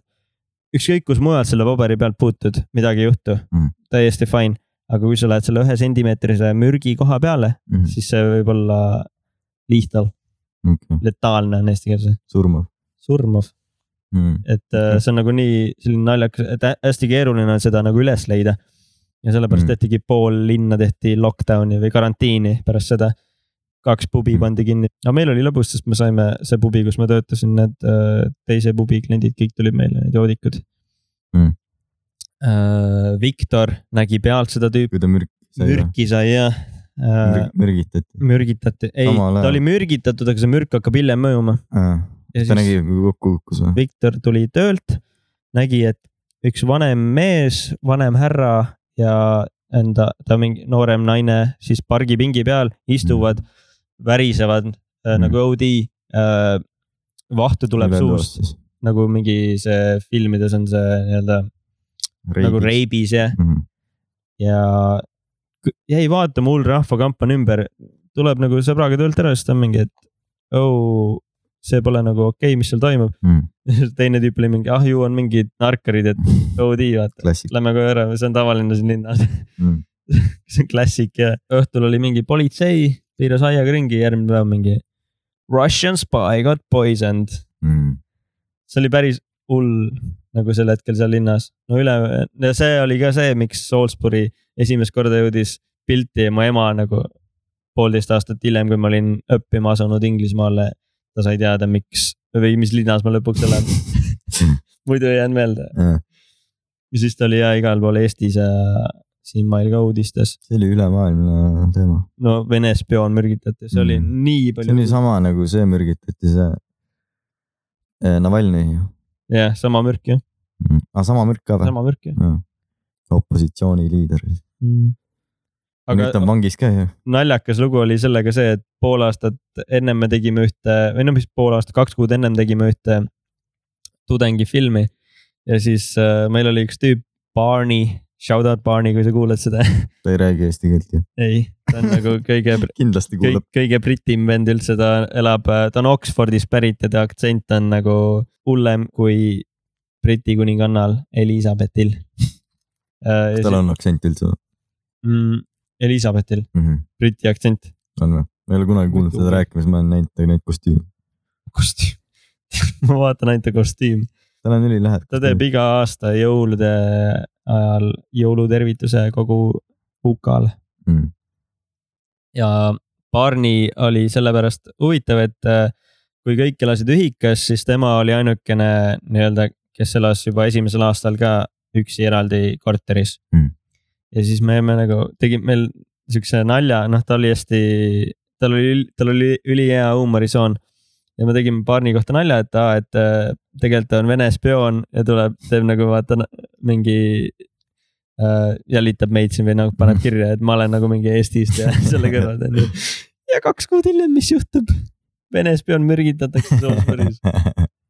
Speaker 2: ükskõik kus mujal selle paberi pealt puutud , midagi ei juhtu
Speaker 1: Mm. ,
Speaker 2: täiesti fine . aga kui sa lähed selle ühe sentimeetrise mürgi koha peale ,
Speaker 1: Mhm.
Speaker 2: siis see võib olla lihtal ,
Speaker 1: okei ,
Speaker 2: letaalne on eesti keeles ,
Speaker 1: surmav .
Speaker 2: surmav .
Speaker 1: Mhm.
Speaker 2: et äh, see on nagunii selline naljakas , et hä- hästi keeruline on seda nagu üles leida . ja sellepärast
Speaker 1: Mm.
Speaker 2: mm. tehtigi pool linna tehti lockdown'i või karantiini pärast seda . kaks pubi
Speaker 1: Mm.
Speaker 2: pandi kinni , aga meil oli lõbus , sest me saime see pubi , kus ma töötasin , need äh, teise pubi kliendid kõik tulid meile , need joodikud Äh,
Speaker 1: Mm. .
Speaker 2: Viktor nägi pealt seda tüüpi ,
Speaker 1: kui ta mürk sai või ?
Speaker 2: mürki sai ja äh,
Speaker 1: mürgitati .
Speaker 2: mürgitati , ei ,
Speaker 1: Samal
Speaker 2: ta
Speaker 1: ajal.
Speaker 2: oli mürgitatud , aga see mürk hakkab hiljem mõjuma .
Speaker 1: kas ta nägi , kui kokku kukkus või ?
Speaker 2: Viktor tuli töölt , nägi , et üks vanem mees , vanem härra ja enda , ta mingi noorem naine siis pargipingi peal istuvad , värisevad äh,
Speaker 1: Mm.
Speaker 2: nagu OD äh, . vahtu tuleb suust ,. nagu mingi see filmides on see nii-öelda nagu . reibis jah ,
Speaker 1: Mm-hmm.
Speaker 2: ja kõ- jäi vaatama , hull rahvakamp on ümber , tuleb nagu sõbraga töölt ära , siis ta on mingi , et oh, see pole nagu okei okay, , mis seal toimub .
Speaker 1: Mm-hmm.
Speaker 2: teine tüüp oli mingi , ah ju on mingid narkarid , et OD vaata ,
Speaker 1: klassik .
Speaker 2: lähme koju ära , see on tavaline siin linnas . see on klassik ja õhtul oli mingi politsei , piiras aiaga ringi , järgmine päev mingi Russian spy got poisoned .
Speaker 1: Mm-hmm.
Speaker 2: see oli päris hull nagu sel hetkel seal linnas . no üle , see oli ka see , miks Salisbury esimest korda jõudis pilti ja mu ema nagu poolteist aastat hiljem , kui ma olin õppima asunud Inglismaale , ta sai teada , miks või mis linnas ma lõpuks elan . muidu ei jäänud meelde . ja siis ta oli ja igal pool Eestis ja siinmail ka uudistes .
Speaker 1: see oli ülemaailmne teema .
Speaker 2: no Vene spioon mürgitati , see oli
Speaker 1: Mhm.
Speaker 2: nii
Speaker 1: see oli
Speaker 2: palju .
Speaker 1: sama nagu see mürgitati , see eh, Navalnõi ju .
Speaker 2: jah , sama mürk jah ,
Speaker 1: aga sama mürk ka või ?
Speaker 2: sama mürk jah
Speaker 1: opositsiooniliider .
Speaker 2: mm. . aga
Speaker 1: nüüd ta on vangis ka ju .
Speaker 2: naljakas lugu oli sellega see , et pool aastat ennem me tegime ühte või no mis pool aastat , kaks kuud ennem tegime ühte tudengifilmi . ja siis äh, meil oli üks tüüp , Barney , shout out Barney , kui sa kuuled seda .
Speaker 1: ta ei räägi eesti keelt ju .
Speaker 2: ei , ta on nagu kõige ,
Speaker 1: kindlasti
Speaker 2: kõige,
Speaker 1: kuulab .
Speaker 2: kõige britim vend üldse , ta elab , ta on Oxfordist pärit ja ta aktsent on nagu hullem kui Briti kuningannal Elizabethil .
Speaker 1: kas tal on aktsent üldse või
Speaker 2: mm, ? Elizabethil ,
Speaker 1: mm ? -hmm.
Speaker 2: Briti aktsent .
Speaker 1: on või ? ma ei ole kunagi kuulnud seda rääkimas , ma olen näinud neid kostüüme .
Speaker 2: kostüüm . ma vaatan ainult ta kostüüm ,
Speaker 1: tal on ülilähed .
Speaker 2: ta teeb . iga aasta jõulude ajal jõulutervituse kogu UK-l
Speaker 1: Mhm.
Speaker 2: ja Barney oli sellepärast huvitav , et äh, kui kõik elasid ühikas , siis tema oli ainukene nii-öelda , kes elas juba esimesel aastal ka üksi eraldi korteris
Speaker 1: Mm. .
Speaker 2: ja siis me, me nagu tegime meil siukse nalja , noh , ta oli hästi , tal oli , tal oli ülihea huumorisoon ja me tegime Barney kohta nalja , et aa , et äh, tegelikult ta on Vene spioon ja tuleb , teeb nagu vaata na- mingi äh, jälitab meid siin või nagu paneb kirja , et ma olen nagu mingi Eestist ja selle kõrval ta on ju . ja kaks kuud hiljem , mis juhtub ? Vene spioon mürgitatakse Salisbury's .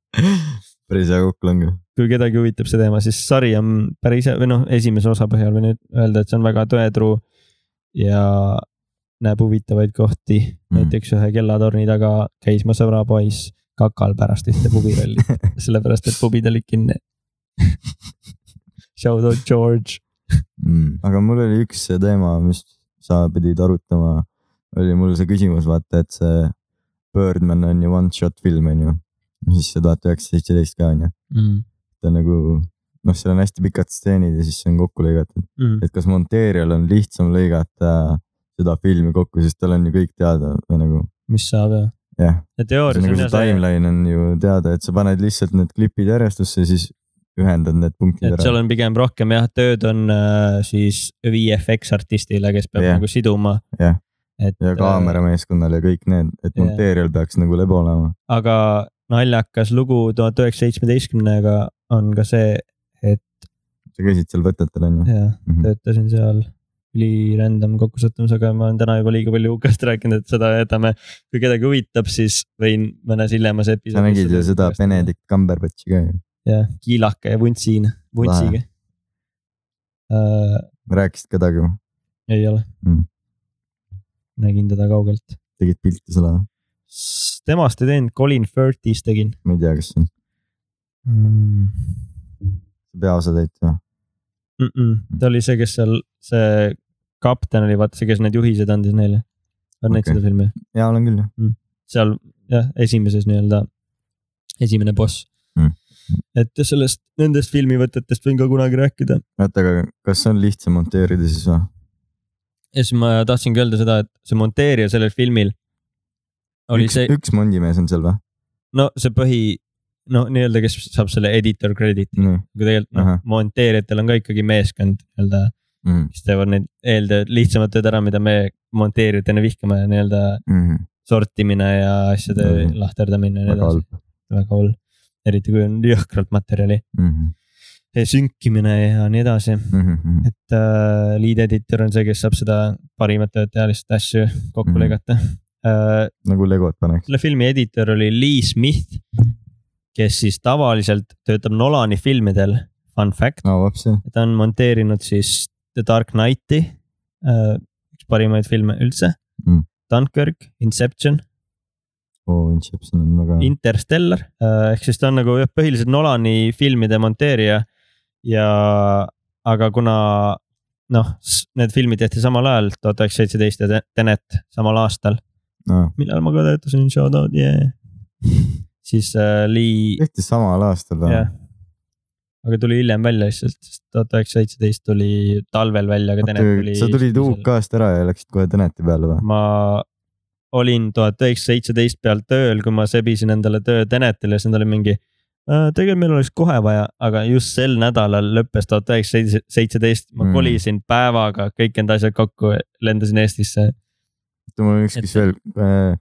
Speaker 1: päris hea kokkulange .
Speaker 2: kui kedagi huvitab see teema , siis sari on päris hea või noh , esimese osa põhjal võin öelda , et see on väga tõetruu ja näeb huvitavaid kohti mm. .
Speaker 1: Mm.
Speaker 2: näiteks ühe kellatorni taga käis mu sõbra poiss kakal pärast ühte pubiralli , sellepärast et pubid olid kinni . Shout out George .
Speaker 1: mm. . aga mul oli üks see teema , mis sa pidid arutama , oli mul see küsimus , vaata , et see Birdman on ju one shot film on ju , siis see tuhat üheksasada seitseteist ka on ju ,
Speaker 2: Mm.
Speaker 1: ta on nagu noh , seal on hästi pikad stseenid ja siis see on kokku lõigatud ,
Speaker 2: Mm.
Speaker 1: et kas monteerijal on lihtsam lõigata seda filmi kokku , sest tal on ju kõik teada või nagu
Speaker 2: mis saab jah ?
Speaker 1: jah ,
Speaker 2: ja teooria ,
Speaker 1: nagu see timeline on ju teada , et sa paned lihtsalt need klipid järjestusse ja siis ühendad need punktid
Speaker 2: et seal
Speaker 1: ära .
Speaker 2: on pigem rohkem jah , tööd on äh, siis VFX artistile , kes peab yeah.
Speaker 1: Jah.
Speaker 2: nagu siduma
Speaker 1: Jah. .
Speaker 2: et äh,
Speaker 1: ja . kaamerameeskonnal ja kõik need , et
Speaker 2: Jah.
Speaker 1: monteerijal peaks nagu lebo olema .
Speaker 2: aga naljakas lugu tuhat üheksasaja seitsmeteistkümnega on ka see , et
Speaker 1: sa käisid seal võtetel on ju ? Mhm.
Speaker 2: jah , töötasin seal üli random kokkusattumusega , ma olen täna juba liiga palju UK-st rääkinud , et seda jätame . kui kedagi huvitab , siis võin mõnes hiljemas episoodis .
Speaker 1: sa nägid ju seda Benedict Cumberbatchi ka ju ,
Speaker 2: jah , kiilake ja vuntsiin , vuntsiga . Uh,
Speaker 1: rääkisid kedagi või ?
Speaker 2: ei ole
Speaker 1: Mm.
Speaker 2: mm. . nägin teda kaugelt .
Speaker 1: tegid pilti selle või ?
Speaker 2: temast ei teinud , Colin Firth'is tegin
Speaker 1: ma ei tea , kes see on ,
Speaker 2: mm. .
Speaker 1: peaosatäitja või ?
Speaker 2: Mm -mm. ta oli see , kes seal , see kapten oli vaata see , kes need juhised andis neile . on okay. näinud
Speaker 1: Okei.
Speaker 2: seda filmi ?
Speaker 1: jaa , olen küll jah .
Speaker 2: seal jah , esimeses nii-öelda , esimene boss
Speaker 1: Mm. .
Speaker 2: et sellest , nendest filmivõtetest võin ka kunagi rääkida .
Speaker 1: oota , aga kas see on lihtsam monteerida siis või ?
Speaker 2: ja siis ma tahtsingi öelda seda , et see monteerija sellel filmil oli
Speaker 1: üks
Speaker 2: see ,,
Speaker 1: üks mondimees on seal või ?
Speaker 2: no see põhi , no nii-öelda , kes saab selle editor credit'i .
Speaker 1: nii
Speaker 2: aga tegelikult noh
Speaker 1: Ahah. ,
Speaker 2: monteerijatel on ka ikkagi meeskond nii-öelda ,
Speaker 1: mm. .
Speaker 2: kes teevad neid eeltööd , lihtsamad tööd ära , mida me monteerijatena vihkame , nii-öelda
Speaker 1: Mm -hmm.
Speaker 2: sortimine ja asjade
Speaker 1: Mhm.
Speaker 2: lahterdamine ja nii
Speaker 1: väga
Speaker 2: edasi .
Speaker 1: halb
Speaker 2: väga hull , eriti kui on jõhkralt materjali ,
Speaker 1: mm . -hmm.
Speaker 2: sünkimine ja nii edasi .
Speaker 1: Mm -hmm.
Speaker 2: et äh, lead editor on see , kes saab seda parimat tööd teha , lihtsalt asju kokku
Speaker 1: Mhm.
Speaker 2: lõigata äh, .
Speaker 1: nagu legod paneks .
Speaker 2: selle filmi editor oli Lee Smith , kes siis tavaliselt töötab Nolani filmidel , fun fact .
Speaker 1: no vops jah ,
Speaker 2: ja ta on monteerinud siis The Dark Knighti , üks parimaid filme üldse
Speaker 1: Mm.
Speaker 2: Dunkirk , Inception ,
Speaker 1: oo Inception on väga In... ,
Speaker 2: Interstellar , ehk siis ta on nagu jah, põhiliselt Nolani filmide monteerija ja aga kuna noh , need filmid tehti samal ajal , tuhat üheksasada seitseteist ja Te- Tenet samal aastal ,
Speaker 1: aa ,
Speaker 2: millal ma ka töötasin , shout out , yeah . siis äh, Lee ,
Speaker 1: tehti samal aastal või ?
Speaker 2: jah . aga tuli hiljem välja lihtsalt , sest tuhat üheksasada seitseteist tuli talvel välja , aga Tenet tuli .
Speaker 1: sa tulid . UK-st ära ja läksid kohe Teneti peale või ?
Speaker 2: ma olin tuhat üheksasada seitseteist peal tööl , kui ma sebisin endale töö Tenetile , siis nad olid mingi . tegelikult meil oleks kohe vaja , aga just sel nädalal lõppes tuhat üheksasada seitseteist , ma
Speaker 1: Mm.
Speaker 2: kolisin päevaga kõik need asjad kokku , lendasin Eestisse .
Speaker 1: mul on ükskõik
Speaker 2: Et-
Speaker 1: veel ,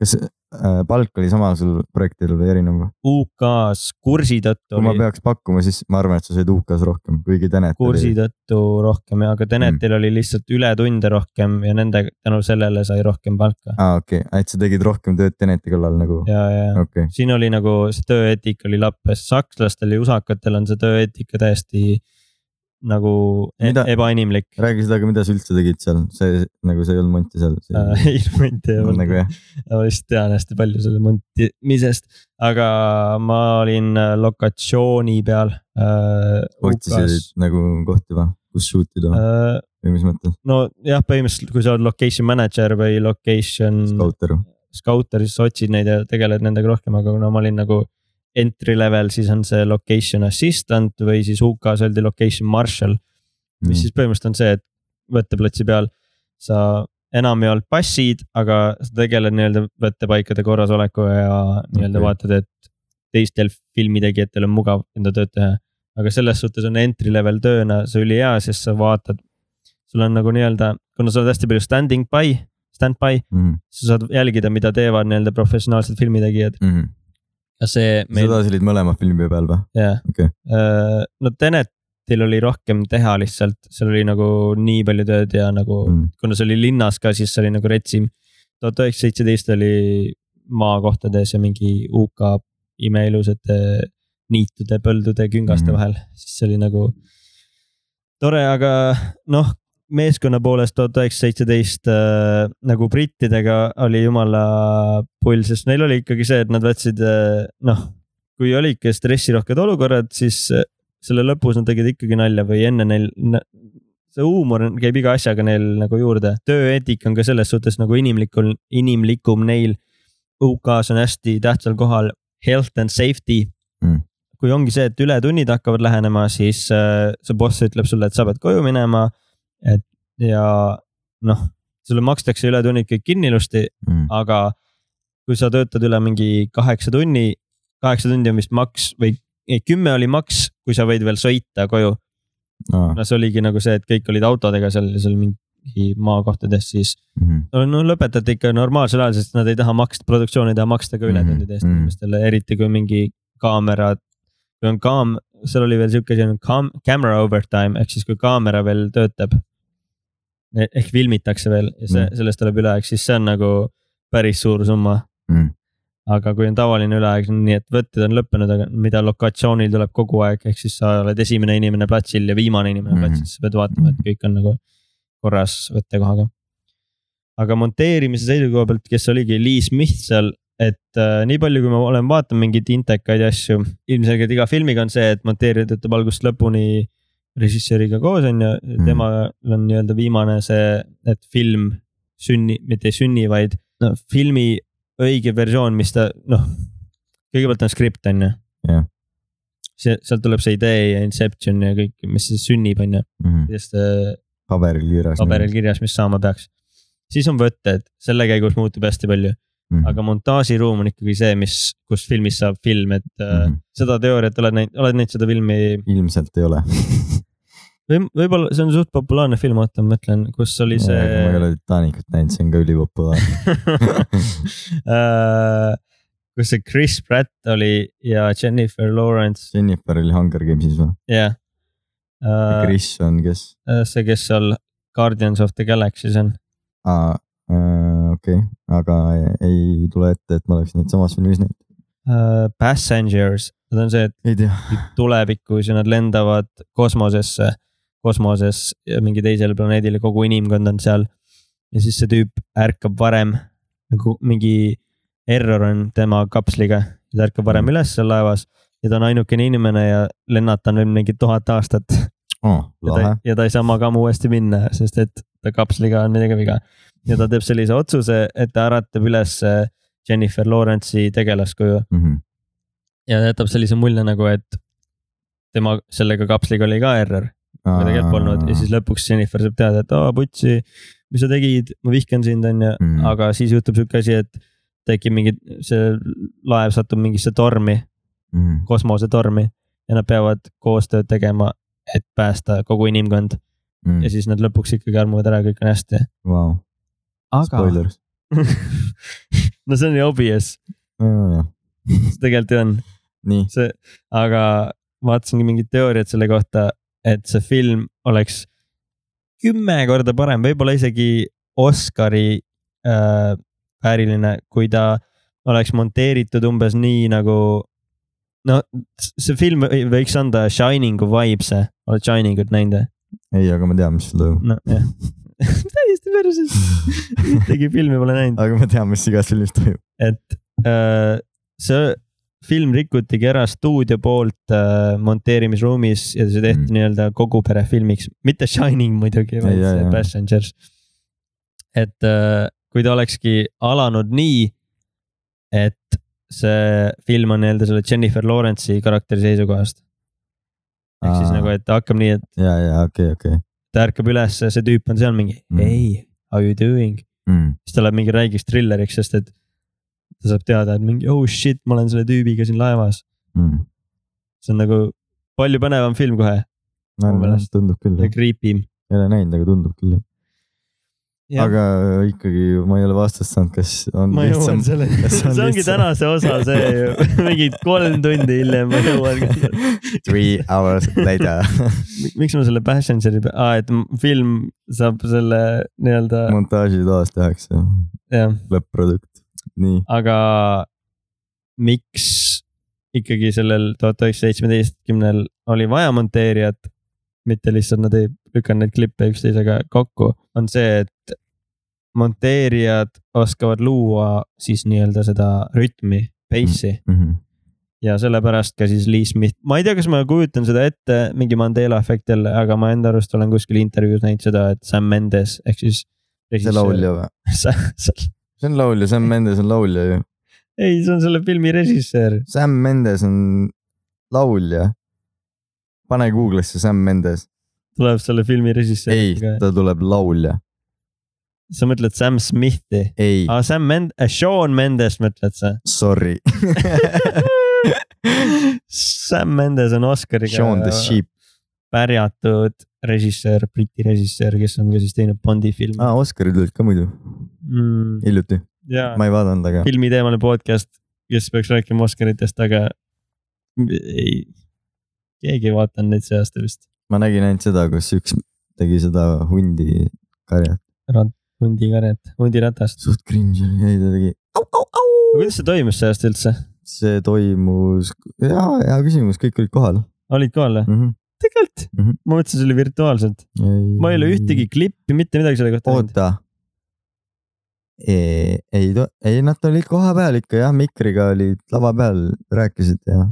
Speaker 1: kas äh, palk oli sama sul projektil või erinev ?
Speaker 2: UK-s kursi tõttu
Speaker 1: kui ma
Speaker 2: oli ,
Speaker 1: peaks pakkuma , siis ma arvan , et sa said UK-s rohkem , kuigi Tenet
Speaker 2: kursi
Speaker 1: oli .
Speaker 2: tõttu rohkem ja , aga
Speaker 1: Mm.
Speaker 2: Tenetil oli lihtsalt ületunde rohkem ja nende tänu sellele sai rohkem palka .
Speaker 1: aa , okei , et sa tegid rohkem tööd Teneti kallal nagu ,
Speaker 2: ja , ja , ja
Speaker 1: okei ,
Speaker 2: siin oli nagu see tööeetika oli lappes , sakslastel ja usakatel on see tööeetika täiesti nagu e
Speaker 1: Mida-
Speaker 2: ebainimlik .
Speaker 1: räägi seda ka , mida sa üldse tegid seal , see nagu see ei olnud monti seal .
Speaker 2: ei , ma ei tea .
Speaker 1: nagu jah ,
Speaker 2: ma lihtsalt tean hästi palju selle montimisest , aga ma olin äh, lokatsiooni peal äh, .
Speaker 1: otsisid nagu kohti või , kus shoot ida või-
Speaker 2: äh, .
Speaker 1: või mis mõttes ,
Speaker 2: nojah , põhimõtteliselt , kui sa oled location manager või location Scout.
Speaker 1: scouter või ?
Speaker 2: scouter , siis sa otsid neid ja tegeled nendega rohkem , aga kuna ma olin nagu entry level , siis on see location assistant või siis UK-s öeldi location marshal , mis mm. siis põhimõtteliselt on see , et võtteplatsi peal sa enam ei olnud passid , aga sa tegeled nii-öelda võttepaikade korrasolekuga ja
Speaker 1: Okei.
Speaker 2: nii-öelda okay. vaatad , et teistel filmitegijatel on mugav enda tööd teha . aga selles suhtes on entry level tööna see ülihea , sest sa vaatad , sul on nagu nii-öelda , kuna sa oled hästi palju standing by , stand-by ,
Speaker 1: Mm.
Speaker 2: sa saad jälgida , mida teevad nii-öelda professionaalsed filmitegijad ja see
Speaker 1: Mm.
Speaker 2: meil ,
Speaker 1: seda sa olid mõlema filmi peal või ?
Speaker 2: jah
Speaker 1: Okei. .
Speaker 2: Äh, no Tenetil oli rohkem teha lihtsalt , seal oli nagu nii palju tööd ja nagu mm. kuna see oli linnas ka , siis see oli nagu retsim . tuhat üheksasada seitseteist oli maakohtades ja mingi UK imeilusate eh, niitude , põldude , küngaste
Speaker 1: Mhm.
Speaker 2: mm. vahel , siis see oli nagu tore , aga noh , meeskonna poolest tuhat üheksasada seitseteist nagu brittidega oli jumala pull , sest neil oli ikkagi see , et nad võtsid äh, noh , kui oli ikka stressirohked olukorrad , siis äh, selle lõpus nad tegid ikkagi nalja või enne neil , see huumor on- käib iga asjaga neil nagu juurde , tööeetika on ka selles suhtes nagu inimlikul , inimlikum neil . UK-s on hästi tähtsal kohal health and safety
Speaker 1: Mm. .
Speaker 2: kui ongi see , et ületunnid hakkavad lähenema , siis äh, see boss ütleb sulle , et sa pead koju minema , et ja noh , sulle makstakse ületunnid kõik kinni ilusti ,
Speaker 1: Mm.
Speaker 2: aga kui sa töötad üle mingi kaheksa tunni , kaheksa tundi on vist maks või ei , kümme oli maks , kui sa võid veel sõita koju . no see oligi nagu see , et kõik olid autodega seal , seal mingi maakohtades , siis
Speaker 1: mhm,
Speaker 2: no, no lõpetati ikka normaalsel ajal , sest nad ei taha maksta , produktsioon ei taha maksta ka ületundide eest
Speaker 1: Mhm, mhm.
Speaker 2: inimestele , eriti kui mingi kaamera , kui on kaam , seal oli veel sihuke asi nagu kaam- , camera overtime ehk siis kui kaamera veel töötab . ehk filmitakse veel ja see ,
Speaker 1: Mhm.
Speaker 2: sellest tuleb üleaeg , siis see on nagu päris suur summa
Speaker 1: mhm,
Speaker 2: aga kui on tavaline üleaeg , nii et võtted on lõppenud , aga mida lokatsioonil tuleb kogu aeg , ehk siis sa oled esimene inimene platsil ja viimane inimene
Speaker 1: Mhm.
Speaker 2: mm. platsil , siis sa pead vaatama , et kõik on nagu korras võttekohaga . aga monteerimise seisukoha pealt , kes oligi Lee Smith seal , et äh, nii palju , kui ma olen vaadanud mingeid intekaid ja asju , ilmselgelt iga filmiga on see , et monteerija töötab algusest lõpuni režissööriga koos on ju , temal on nii-öelda viimane see , et film sünni , mitte ei sünni , vaid no filmi õige versioon , mis ta noh , kõigepealt on skript on ju .
Speaker 1: Jah.
Speaker 2: see , sealt tuleb see idee ja inception ja kõik , mis siis sünnib , on ju , kuidas ta
Speaker 1: mhm. paberil kirjas .
Speaker 2: paberil . kirjas , mis saama peaks . siis on võtted , selle käigus muutub hästi palju ,
Speaker 1: Mhm,
Speaker 2: aga montaažiruum on ikkagi see , mis , kus filmis saab film , et mm -hmm. seda teooriat oled näinud , oled näinud seda filmi
Speaker 1: ilmselt ei ole .
Speaker 2: või võib-olla see on suht populaarne film , oota ma mõtlen , kus oli
Speaker 1: ma ei
Speaker 2: see
Speaker 1: ole Titanicut näinud , see on ka ülipopulaarne .
Speaker 2: Äh, kus see Chris Pratt oli ja Jennifer Lawrence ,
Speaker 1: Jennifer oli Hunger Games'is või ?
Speaker 2: jah . Äh.
Speaker 1: Chris on kes ?
Speaker 2: see , kes seal Guardians of the Galaxy's on ,
Speaker 1: aa , okei , aga ei tule ette , et ma oleks neid samas filmis näinud .
Speaker 2: Äh, Passengers , nad on see , et
Speaker 1: ei tea .
Speaker 2: tulevikus ja nad lendavad kosmosesse , kosmoses ja mingi teisele planeedile , kogu inimkond on seal . ja siis see tüüp ärkab varem nagu mingi error on tema kapsliga , ta ärkab varem üles seal laevas ja ta on ainukene inimene ja lennata on veel mingi tuhat aastat ja ta,
Speaker 1: lahe .
Speaker 2: ja ta ei saa magama uuesti minna , sest et ta kapsliga on midagi viga . ja ta teeb sellise otsuse , et ta äratab üles äh, Jennifer Lawrence'i tegelaskuju
Speaker 1: Mhm.
Speaker 2: ja jätab sellise mulje nagu , et tema sellega kapsliga oli ka error , aga tegelikult polnud ja siis lõpuks Jennifer saab teada , et aa putsi , mis sa tegid , ma vihkan sind , onju .
Speaker 1: Mhm.
Speaker 2: aga siis juhtub sihuke asi , et tekib mingi , see laev satub mingisse tormi ,
Speaker 1: lõpuks .
Speaker 2: kosmosetormi ja nad peavad koostööd tegema , et päästa kogu inimkond
Speaker 1: mhm.
Speaker 2: ja siis nad lõpuks ikkagi armuvad ära , kõik on hästi .
Speaker 1: Vau ,
Speaker 2: aga
Speaker 1: spoilers .
Speaker 2: no see on ju obvious , tegelikult ju on
Speaker 1: nii ,
Speaker 2: see , aga vaatasingi mingit teooriat selle kohta , et see film oleks kümme korda parem , võib-olla isegi Oscari äh, vääriline , kui ta oleks monteeritud umbes nii nagu . no s- see film või- võiks anda Shiningu vibes'e , oled Shiningut näinud või ?
Speaker 1: ei , aga ma tean , mis sul toimub .
Speaker 2: nojah , täiesti päriselt , ühtegi filmi pole näinud .
Speaker 1: aga ma tean , mis igas filmis toimub .
Speaker 2: et äh, see film rikutigi ära stuudio poolt äh, monteerimisruumis ja see tehti
Speaker 1: Mm.
Speaker 2: mm. nii-öelda kogu pere filmiks , mitte Shining muidugi , vaid
Speaker 1: jaa,
Speaker 2: see
Speaker 1: jaa.
Speaker 2: Passengers . et äh, kui ta olekski alanud nii , et see film on nii-öelda selle Jennifer Lawrence'i karakteri seisukohast . ehk siis
Speaker 1: Aa.
Speaker 2: nagu , et hakkab nii , et
Speaker 1: ja , ja okei , okei .
Speaker 2: ta ärkab üles , see tüüp on seal mingi
Speaker 1: Mm.
Speaker 2: mm. hey , how you doing ,
Speaker 1: Mhm,
Speaker 2: siis ta läheb mingi räigeks trilleriks , sest et ta saab teada , et mingi oh shit , ma olen selle tüübiga siin laevas .
Speaker 1: mhm.
Speaker 2: see on nagu palju põnevam film kohe Mu meelest.
Speaker 1: tundub küll ,
Speaker 2: ja creepy im .
Speaker 1: ei ole näinud , aga tundub küll . aga ikkagi ma ei ole vastust saanud , kas on
Speaker 2: ma jõuan
Speaker 1: lihtsam .
Speaker 2: selle ,
Speaker 1: kas
Speaker 2: see
Speaker 1: on
Speaker 2: ongi
Speaker 1: lihtsam?
Speaker 2: tänase osa see ju , mingi kolm tundi hiljem ma jõuan .
Speaker 1: Three hours later .
Speaker 2: miks ma selle Passengeri , aa , et m- film saab selle nii-öelda ,
Speaker 1: montaažitoas tehakse
Speaker 2: jah ,
Speaker 1: lõpp-produkt . nii ,
Speaker 2: aga miks ikkagi sellel tuhat üheksasada seitsmeteistkümnel oli vaja monteerijat , mitte lihtsalt nad ei lükanud neid klippe üksteisega kokku , on see , et monteerijad oskavad luua siis nii-öelda seda rütmi , pace'i
Speaker 1: Mm.
Speaker 2: ja sellepärast ka siis Lee Smith , ma ei tea , kas ma kujutan seda ette mingi Mandela efekt jälle , aga ma enda arust olen kuskil intervjuus näinud seda , et Sam Mendes ehk siis . äh,
Speaker 1: see laulja või ? see on laulja , Sam Mendes on laulja ju .
Speaker 2: ei , see on selle filmi režissöör ,
Speaker 1: Sam Mendes on laulja . pane Google'isse Sam Mendes .
Speaker 2: tuleb selle filmi
Speaker 1: ei
Speaker 2: režissöör .,
Speaker 1: ta tuleb laulja .
Speaker 2: sa mõtled Sam Smithi ?
Speaker 1: ei ,
Speaker 2: aa , Sam Mend- , Sean Mendes mõtled sa ?
Speaker 1: sorry .
Speaker 2: Sam Mendes on
Speaker 1: Sean the
Speaker 2: Oscariga
Speaker 1: Sheep .
Speaker 2: pärjatud režissöör , Briti režissöör , kes on ka siis teinud Bondi filme
Speaker 1: aa , Oscarid olid ka muidu ,
Speaker 2: mm, .
Speaker 1: hiljuti .
Speaker 2: jaa ,
Speaker 1: ma ei vaadanud , aga
Speaker 2: filmiteemaline podcast , kes peaks rääkima Oscaritest , aga ei , keegi ei vaadanud neid see aasta vist .
Speaker 1: ma nägin ainult seda , kus üks tegi seda hundi karjat .
Speaker 2: hundikarjat , hundiratast .
Speaker 1: suht cringe oli , ei ta tegi au , au , au .
Speaker 2: kuidas see toimus see aasta üldse ?
Speaker 1: see toimus , jaa , hea küsimus , kõik olid kohal
Speaker 2: olid kohal või ?
Speaker 1: mm . -hmm.
Speaker 2: tegelikult
Speaker 1: Mhm.
Speaker 2: ma mõtlesin , see oli virtuaalselt .
Speaker 1: Ei...
Speaker 2: ma ei ole ühtegi klippi , mitte midagi selle kohta .
Speaker 1: oota . ei , ei , ei nad olid kohapeal ikka jah , mikriga olid lava peal , rääkisid ja .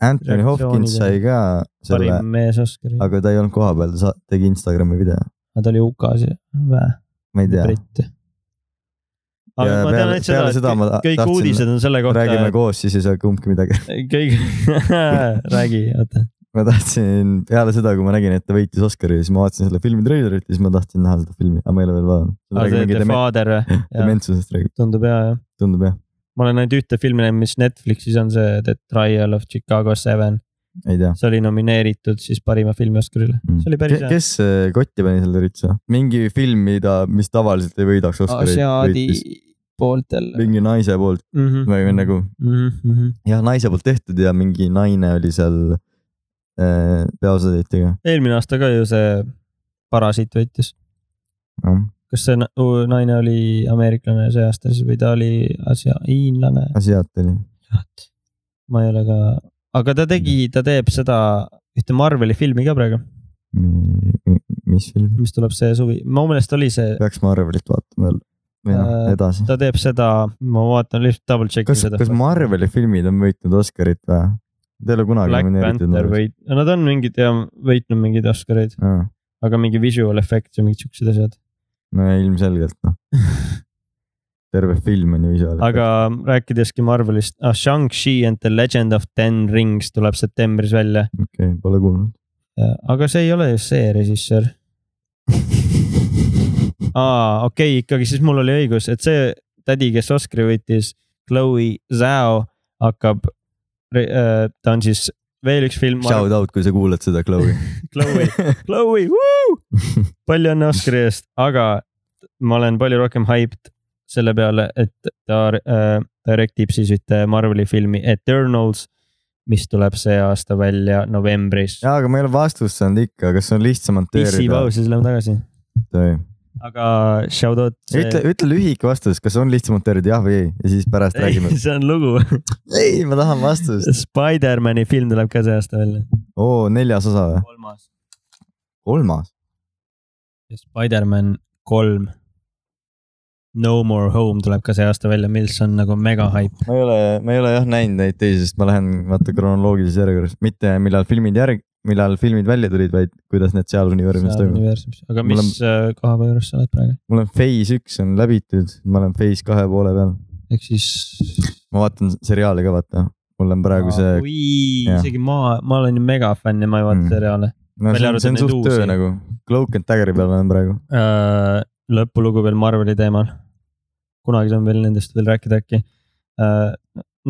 Speaker 1: Anthony Hopkins sai ka selle ,
Speaker 2: parim mees Oscari aga... .
Speaker 1: aga ta ei olnud kohapeal , ta sa- tegi Instagrami video ,
Speaker 2: ta oli UK-s ju , vä ?
Speaker 1: ma ei tea .
Speaker 2: britt . aga
Speaker 1: Ja
Speaker 2: ma
Speaker 1: peale-
Speaker 2: tean ainult seda ,
Speaker 1: peale
Speaker 2: et
Speaker 1: seda ma
Speaker 2: kõik- kõik
Speaker 1: tahtsin-
Speaker 2: uudised on selle kohta ,
Speaker 1: räägime koos , siis ei saa kumbki midagi .
Speaker 2: et kõik räägi , oota .
Speaker 1: ma tahtsin peale seda , kui ma nägin , et ta võitis Oscari , siis ma vaatasin selle filmi treilerit ja siis ma tahtsin näha seda filmi , aga ma ei ole veel
Speaker 2: aa , Ah, see The
Speaker 1: vaadanud .
Speaker 2: Father või ?
Speaker 1: dementsusest räägib ,
Speaker 2: tundub hea jah .
Speaker 1: tundub jah ,
Speaker 2: ma olen ainult ühte filmi näinud , mis Netflixis on see The Trial of Chicago Seven .
Speaker 1: ei tea
Speaker 2: see oli nomineeritud siis parima filmi Oscarile .
Speaker 1: mm. .
Speaker 2: see oli päris hea .
Speaker 1: kes äh, kotti pani selle ritsa ? mingi film , mida , mis tavaliselt ei võidaks Oscarit ,
Speaker 2: Asiaadi
Speaker 1: võitis
Speaker 2: pooltel .
Speaker 1: mingi naise poolt
Speaker 2: Mhm.
Speaker 1: või või nagu jah , naise poolt tehtud ja mingi naine oli seal äh, peaosatäitjaga
Speaker 2: eelmine aasta ka ju see Parasiit võitis .
Speaker 1: no. .
Speaker 2: kas see na- u- naine oli ameeriklane see aasta siis või ta oli asia- , hiinlane ?
Speaker 1: Asiat oli ,
Speaker 2: ma ei ole ka , aga ta tegi , ta teeb seda ühte Marveli filmi ka praegu ,
Speaker 1: mis film ?
Speaker 2: mis tuleb see suvi , mu meelest oli see ,
Speaker 1: peaks Marvelit vaatama jälle või noh ,
Speaker 2: Äh,
Speaker 1: edasi .
Speaker 2: ta teeb seda , ma vaatan lihtsalt double check'i
Speaker 1: kas ,
Speaker 2: seda .
Speaker 1: kas Marveli filmid on võitnud Oscarit või ? Nad ei ole kunagi
Speaker 2: Black Panther ? võit- , nad on mingid ja võitnud mingeid Oscareid ,
Speaker 1: no
Speaker 2: aga mingi visual effects ja mingid siuksed asjad .
Speaker 1: ja ilmselgelt noh , terve film on ju visuaalne .
Speaker 2: aga rääkideski Marvelist ah, , Shang-Chi and the Legend of Ten Rings tuleb septembris välja ,
Speaker 1: okei okay, , pole kuulnud .
Speaker 2: Äh, aga see ei ole ju see režissöör . aa , okei okay, , ikkagi siis mul oli õigus , et see tädi , kes Oscari võitis , Chloe Zhao hakkab , ta on siis veel üks film .
Speaker 1: Shout out , kui sa kuulad seda , Chloe .
Speaker 2: Chloe , Chloe , palju õnne Oscari eest , aga ma olen palju rohkem hyped selle peale , et ta äh, direktib siis ühte Marveli filmi Eternals , mis tuleb see aasta välja novembris .
Speaker 1: jaa , aga ma ei ole vastust saanud ikka , kas on lihtsam
Speaker 2: pissi
Speaker 1: monteerida ?
Speaker 2: pausi , siis lähme tagasi , aga shout out .
Speaker 1: ütle , ütle lühike vastus , kas on lihtsam monteerida jah või ei ja siis pärast räägime .
Speaker 2: see on lugu .
Speaker 1: ei , ma tahan vastust .
Speaker 2: Spider-man'i film tuleb ka see aasta välja .
Speaker 1: oo , neljas osa või ?
Speaker 2: kolmas .
Speaker 1: kolmas ?
Speaker 2: Spider-man kolm . No more home tuleb ka see aasta välja , mis on nagu mega hype .
Speaker 1: ma ei ole , ma ei ole jah näinud neid teisi , sest ma lähen vaata kronoloogilises järjekorras , mitte millal filmid järg , millal filmid välja tulid , vaid kuidas need seal universumis toimuvad .
Speaker 2: aga
Speaker 1: Mul on-
Speaker 2: mis on... koha peal juures sa oled praegu ?
Speaker 1: mul on Phase üks on läbitud , ma olen Phase kahe poole peal .
Speaker 2: ehk siis .
Speaker 1: ma vaatan seriaali ka vaata , mul on praegu see .
Speaker 2: oi ,
Speaker 1: jah.
Speaker 2: isegi ma , ma olen ju mega fänn ja ma ei vaata
Speaker 1: Mm.
Speaker 2: mm.
Speaker 1: no see
Speaker 2: seriaale välja
Speaker 1: on,
Speaker 2: arvatud
Speaker 1: see on
Speaker 2: neid
Speaker 1: suht töö
Speaker 2: uusi.
Speaker 1: nagu , Cloak and Daggeri peal olen praegu .
Speaker 2: uh, . lõpulugu veel Marveli teemal . kunagi saame veel nendest veel rääkida äkki uh, .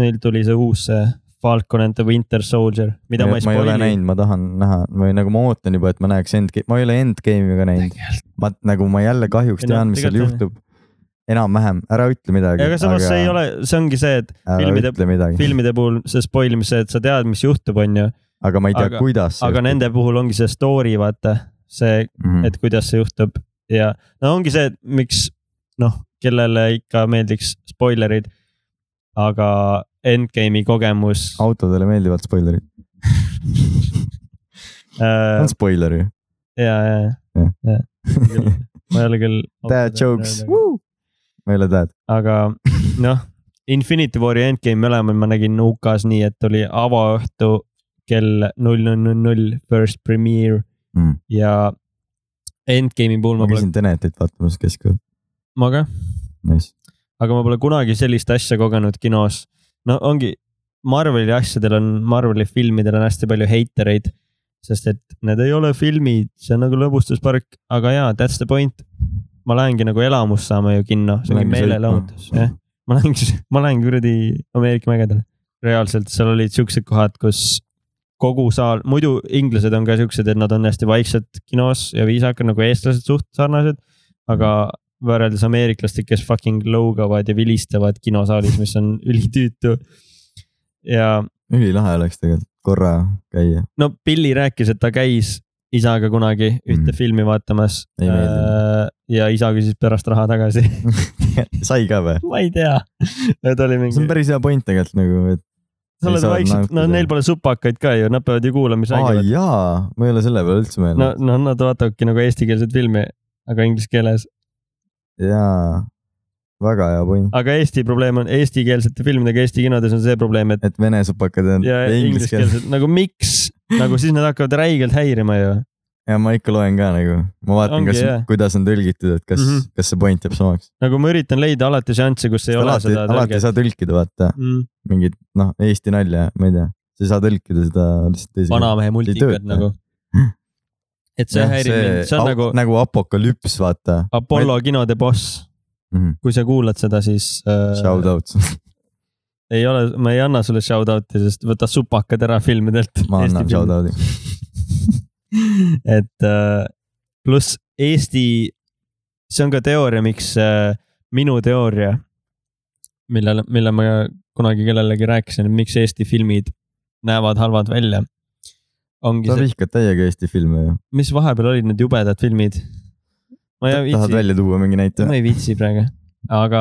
Speaker 2: Neil tuli see uus see Falcon and the Winter Soldier , mida ma ei
Speaker 1: ma ei ole
Speaker 2: spoil'i .
Speaker 1: näinud , ma tahan näha või nagu ma ootan juba , et ma näeks endgame'i , ma ei ole endgame'i ka näinud . ma nagu ma jälle kahjuks
Speaker 2: Ei no,
Speaker 1: tean , mis seal
Speaker 2: tegelikult on-
Speaker 1: juhtub . enam-vähem , ära ütle midagi .
Speaker 2: aga samas see ei ole , see ongi see , et
Speaker 1: ära
Speaker 2: filmide-
Speaker 1: ütle midagi ,
Speaker 2: filmide puhul see spoil imise , et sa tead , mis juhtub , on ju ,
Speaker 1: aga ma ei tea ,
Speaker 2: aga-
Speaker 1: kuidas .
Speaker 2: aga nende puhul ongi see story , vaata , see ,
Speaker 1: Mhm.
Speaker 2: et kuidas see juhtub ja no ongi see , et miks noh , kellele ikka meeldiks spoilerid , aga endgame'i kogemus
Speaker 1: autodele meeldivad spoilerid ,
Speaker 2: äh,
Speaker 1: on spoiler ju .
Speaker 2: ja , ja , ja , ma ei ole küll .
Speaker 1: Dad jokes , ma ei ole dad .
Speaker 2: aga noh , Infinity War'i endgame'i mõlemal ma nägin UK-s nii , et oli avaõhtu kell null null null null first premiere
Speaker 1: Mm.
Speaker 2: ja endgame'i puhul
Speaker 1: ma
Speaker 2: ma pole ,
Speaker 1: käisin Tenetit vaatamas keskööl ,
Speaker 2: ma ka ,
Speaker 1: nice .
Speaker 2: aga ma pole kunagi sellist asja kogenud kinos . no ongi , Marveli asjadel on , Marveli filmidel on hästi palju heitereid , sest et need ei ole filmid , see on nagu lõbustuspark , aga jaa , that's the point . ma lähengi nagu elamust saama ju kinno , see ongi
Speaker 1: Lähengi sõitma.
Speaker 2: meelelahutus , jah . ma lähengi , ma lähen kuradi Ameerika mägedele . reaalselt seal olid siuksed kohad , kus kogu saal , muidu inglased on ka siuksed , et nad on hästi vaiksed kinos ja viisakad nagu eestlased suht sarnased . aga võrreldes ameeriklastega , kes fucking lõugavad ja vilistavad kinosaalis , mis on ülitüütu . ja
Speaker 1: Mhm. ülilahe oleks tegelikult korra käia ,
Speaker 2: no Billy rääkis , et ta käis isaga kunagi ühte
Speaker 1: Mm.
Speaker 2: mm. filmi vaatamas äh,
Speaker 1: Ei . meeldinud.
Speaker 2: ja isa küsis pärast raha tagasi .
Speaker 1: sai ka või ?
Speaker 2: ma ei tea , ta oli
Speaker 1: see
Speaker 2: mingi
Speaker 1: on , päris hea point tegelikult nagu , et .
Speaker 2: sa oled vaikselt , no neil . pole supakaid ka ju , nad peavad ju kuulama , mis
Speaker 1: aa
Speaker 2: räägivad .
Speaker 1: jaa , ma ei ole selle peale üldse
Speaker 2: no ,
Speaker 1: mõelnud .
Speaker 2: no nad vaatavadki nagu eestikeelset filmi , aga inglise keeles .
Speaker 1: jaa , väga hea point ,
Speaker 2: aga Eesti probleem on eestikeelsete filmidega Eesti kinodes on see probleem , et
Speaker 1: et vene supakad on
Speaker 2: ja
Speaker 1: inglise keeles .
Speaker 2: ingliskeelsed nagu miks , nagu siis nad hakkavad räigelt häirima ju .
Speaker 1: ja ma ikka loen ka nagu , ma vaatan ,
Speaker 2: Ongi,
Speaker 1: kas
Speaker 2: jah. ,
Speaker 1: kuidas on tõlgitud , et kas mm ,
Speaker 2: Mhm.
Speaker 1: -hmm. kas see point jääb samaks .
Speaker 2: nagu ma üritan leida alati seansse , kus ei ole
Speaker 1: alati ,
Speaker 2: seda
Speaker 1: alati ei
Speaker 2: tõlget .
Speaker 1: saa tõlkida , vaata
Speaker 2: Mm,
Speaker 1: mingit noh , eesti nalja , ma ei tea , sa ei saa tõlkida seda lihtsalt teise .
Speaker 2: vanamehe multikad
Speaker 1: tööta.
Speaker 2: nagu . et see häirib mind , see on nagu
Speaker 1: nagu apokalüps , vaata
Speaker 2: Apollo kinode boss .
Speaker 1: mm . -hmm.
Speaker 2: kui sa kuulad seda , siis
Speaker 1: Shout
Speaker 2: äh,
Speaker 1: out ,
Speaker 2: ei ole , ma ei anna sulle shout out'i , sest võta supakad ära filmidelt .
Speaker 1: ma annan shout out'i .
Speaker 2: et äh, pluss Eesti , see on ka teooria , miks äh, minu teooria , millele , mille ma kunagi kellelegi rääkisin , et miks Eesti filmid näevad halvad välja . ongi
Speaker 1: sa
Speaker 2: see ,
Speaker 1: vihkad täiega Eesti filme ju ,
Speaker 2: mis vahepeal olid need jubedad filmid ? ma ei
Speaker 1: tahad
Speaker 2: viitsi ,
Speaker 1: välja tuua mingi näite
Speaker 2: ma ? ei viitsi praegu , aga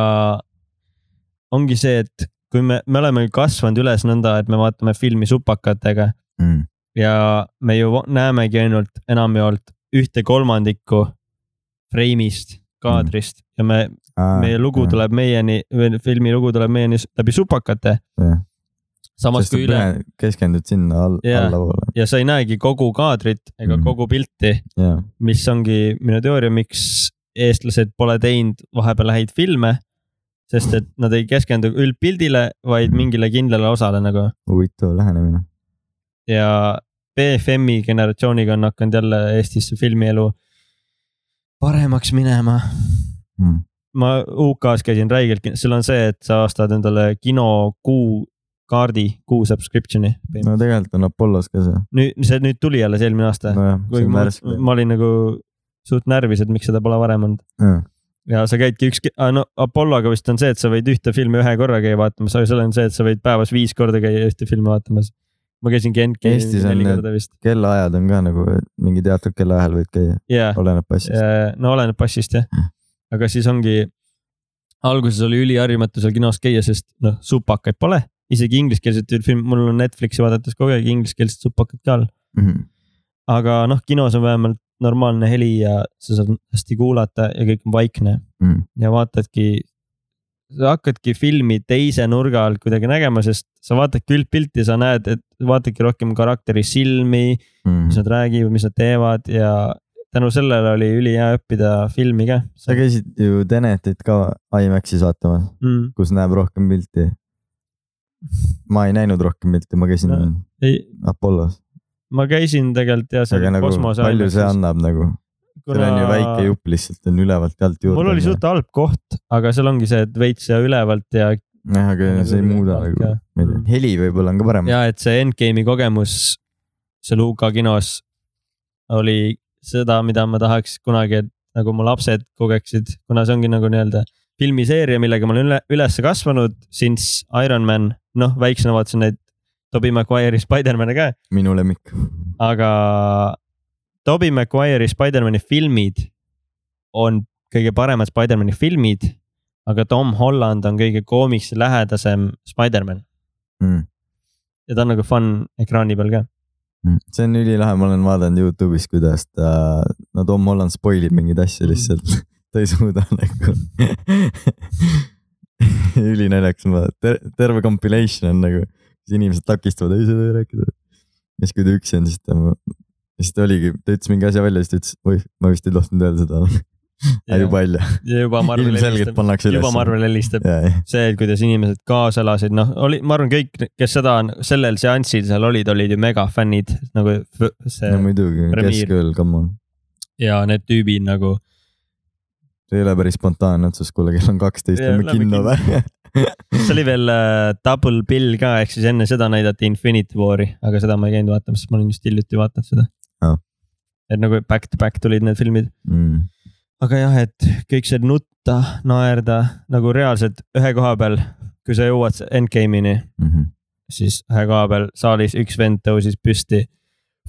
Speaker 2: ongi see , et kui me , me oleme kasvanud üles nõnda , et me vaatame filmi supakatega
Speaker 1: Mm.
Speaker 2: ja me ju va- näemegi ainult enamjaolt ühte kolmandikku freimist ,
Speaker 1: Mm.
Speaker 2: kaadrist ja me ,
Speaker 1: Ah,
Speaker 2: meie lugu . tuleb meieni , filmi lugu tuleb meieni s- läbi supakate .
Speaker 1: Jah.
Speaker 2: samas
Speaker 1: sest
Speaker 2: kui
Speaker 1: et
Speaker 2: üle
Speaker 1: üle- keskendud sinna all ,
Speaker 2: Jaa.
Speaker 1: allapoole ,
Speaker 2: ja sa ei näegi kogu kaadrit ega
Speaker 1: Mhm.
Speaker 2: kogu pilti ,
Speaker 1: jaa .
Speaker 2: mis ongi minu teooria , miks eestlased pole teinud vahepeal häid filme . sest et nad ei keskendu üldpildile , vaid mingile kindlale osale nagu
Speaker 1: huvitav lähenemine .
Speaker 2: ja BFM-i generatsiooniga on hakanud jälle Eestis see filmielu paremaks minema .
Speaker 1: Mm.
Speaker 2: ma UK-s käisin räigelt , seal on see , et sa ostad endale kino kuu kaardi , kuu subscription'i .
Speaker 1: no tegelikult on Apollos ka see ,
Speaker 2: nüüd , see nüüd tuli alles eelmine aasta .
Speaker 1: nojah , see
Speaker 2: kuigi
Speaker 1: on
Speaker 2: ma,
Speaker 1: värske .
Speaker 2: ma olin nagu suht närvis , et miks seda pole varem olnud . ja sa käidki üks , no Apolloga vist on see , et sa võid ühte filmi ühe korra käia vaatamas , aga seal on see , et sa võid päevas viis korda käia ühte filmi vaatamas . ma käisingi Endgame'i
Speaker 1: Eestis on
Speaker 2: neli
Speaker 1: need-
Speaker 2: korda vist ,
Speaker 1: kellaajad on ka nagu et mingi teatud kellaajal võid käia ,
Speaker 2: jaa .
Speaker 1: oleneb passist . Mm.
Speaker 2: no oleneb passist jah , aga siis ongi , alguses oli üliharjumatu seal kinos käia , sest noh , supakaid pole , isegi ingliskeelsetel film , mul on Netflixi vaadates kogu aeg ingliskeelsed supakad ka all .
Speaker 1: Mhm.
Speaker 2: aga noh , kinos on vähemalt normaalne heli ja sa saad hästi kuulata ja kõik on vaikne
Speaker 1: Mm.
Speaker 2: ja vaatadki . sa hakkadki filmi teise nurga alt kuidagi nägema , sest sa vaatadki üldpilti , sa näed , et vaatadki rohkem karakteri silmi ,
Speaker 1: Mhm.
Speaker 2: mis nad räägivad , mis nad teevad ja tänu sellele oli ülihea õppida filmi ka
Speaker 1: sa käisid ju Tenetit ka IMAX-is vaatamas ,
Speaker 2: mm. .
Speaker 1: kus näeb rohkem pilti . ma ei näinud rohkem pilti , ma käisin
Speaker 2: No.
Speaker 1: no.
Speaker 2: ei ,
Speaker 1: Apollos ,
Speaker 2: ma käisin tegelikult ja seal
Speaker 1: aga nagu
Speaker 2: kosmose
Speaker 1: palju see annab nagu , seal on ju väike jupp lihtsalt on ülevalt alt juurde .
Speaker 2: mul oli suht halb koht , aga seal ongi see , et veits ja ülevalt ja
Speaker 1: jah , aga see ei muuda nagu
Speaker 2: Ülevalt, jah. ,
Speaker 1: ma ei tea , heli võib-olla on ka parem .
Speaker 2: ja et see endgame'i kogemus seal UK kinos oli seda , mida ma tahaks kunagi , et nagu mu lapsed kogeksid , kuna see ongi nagu nii-öelda filmiseeria , millega ma olen üle , üles kasvanud , since Iron Man , noh , väiksena vaatasin neid Tobey Maguire'i Spider-man'e ka ,
Speaker 1: minu lemmik . Hmm.
Speaker 2: aga Tobey Maguire'i Spider-man'i filmid on kõige paremad Spider-man'i filmid , aga Tom Holland on kõige koomikse lähedasem Spider-man ja ta on nagu fun ekraani peal ka . Mm.
Speaker 1: see on ülilahe , ma olen vaadanud Youtube'is , kuidas ta , no Tom Holland spoil ib mingeid asju
Speaker 2: Mm.
Speaker 1: lihtsalt , ta ei suuda nagu ülinaljakas on vaadata Ter , terve compilation on nagu , siis inimesed takistavad , ei seda ei rääkida . ja siis , kui ta üksi on , siis ta , siis ta oligi , ta ütles mingi asja välja , siis ta ütles , oih , ma vist ei tohtinud öelda seda , aga juba välja ,
Speaker 2: ja juba Marvel
Speaker 1: ilmselgelt
Speaker 2: helistab ,
Speaker 1: pannakse
Speaker 2: juba Marvel helistab .
Speaker 1: üles .
Speaker 2: see , kuidas inimesed kaasa elasid , noh , oli , ma arvan , kõik , kes seda , sellel seansil seal olid , olid ju megafännid nagu f- see
Speaker 1: no muidugi ,
Speaker 2: Premiere.
Speaker 1: keskööl , come on ,
Speaker 2: ja need tüübid nagu .
Speaker 1: see ei ole päris spontaanne otsus , kuule , kell on kaksteist ,
Speaker 2: Jaa,
Speaker 1: lähme
Speaker 2: lähme
Speaker 1: kinno või ?
Speaker 2: see oli veel äh, Double Bill ka , ehk siis enne seda näidati Infinity War'i , aga seda ma ei käinud vaatamas , sest ma olin just hiljuti vaadanud seda
Speaker 1: Aa. .
Speaker 2: et nagu back to back tulid need filmid .
Speaker 1: Mm.
Speaker 2: aga jah , et kõik see nutta , naerda nagu reaalselt ühe koha peal , kui sa jõuad endgame'ini siis ühe koha peal saalis üks vend tõusis püsti .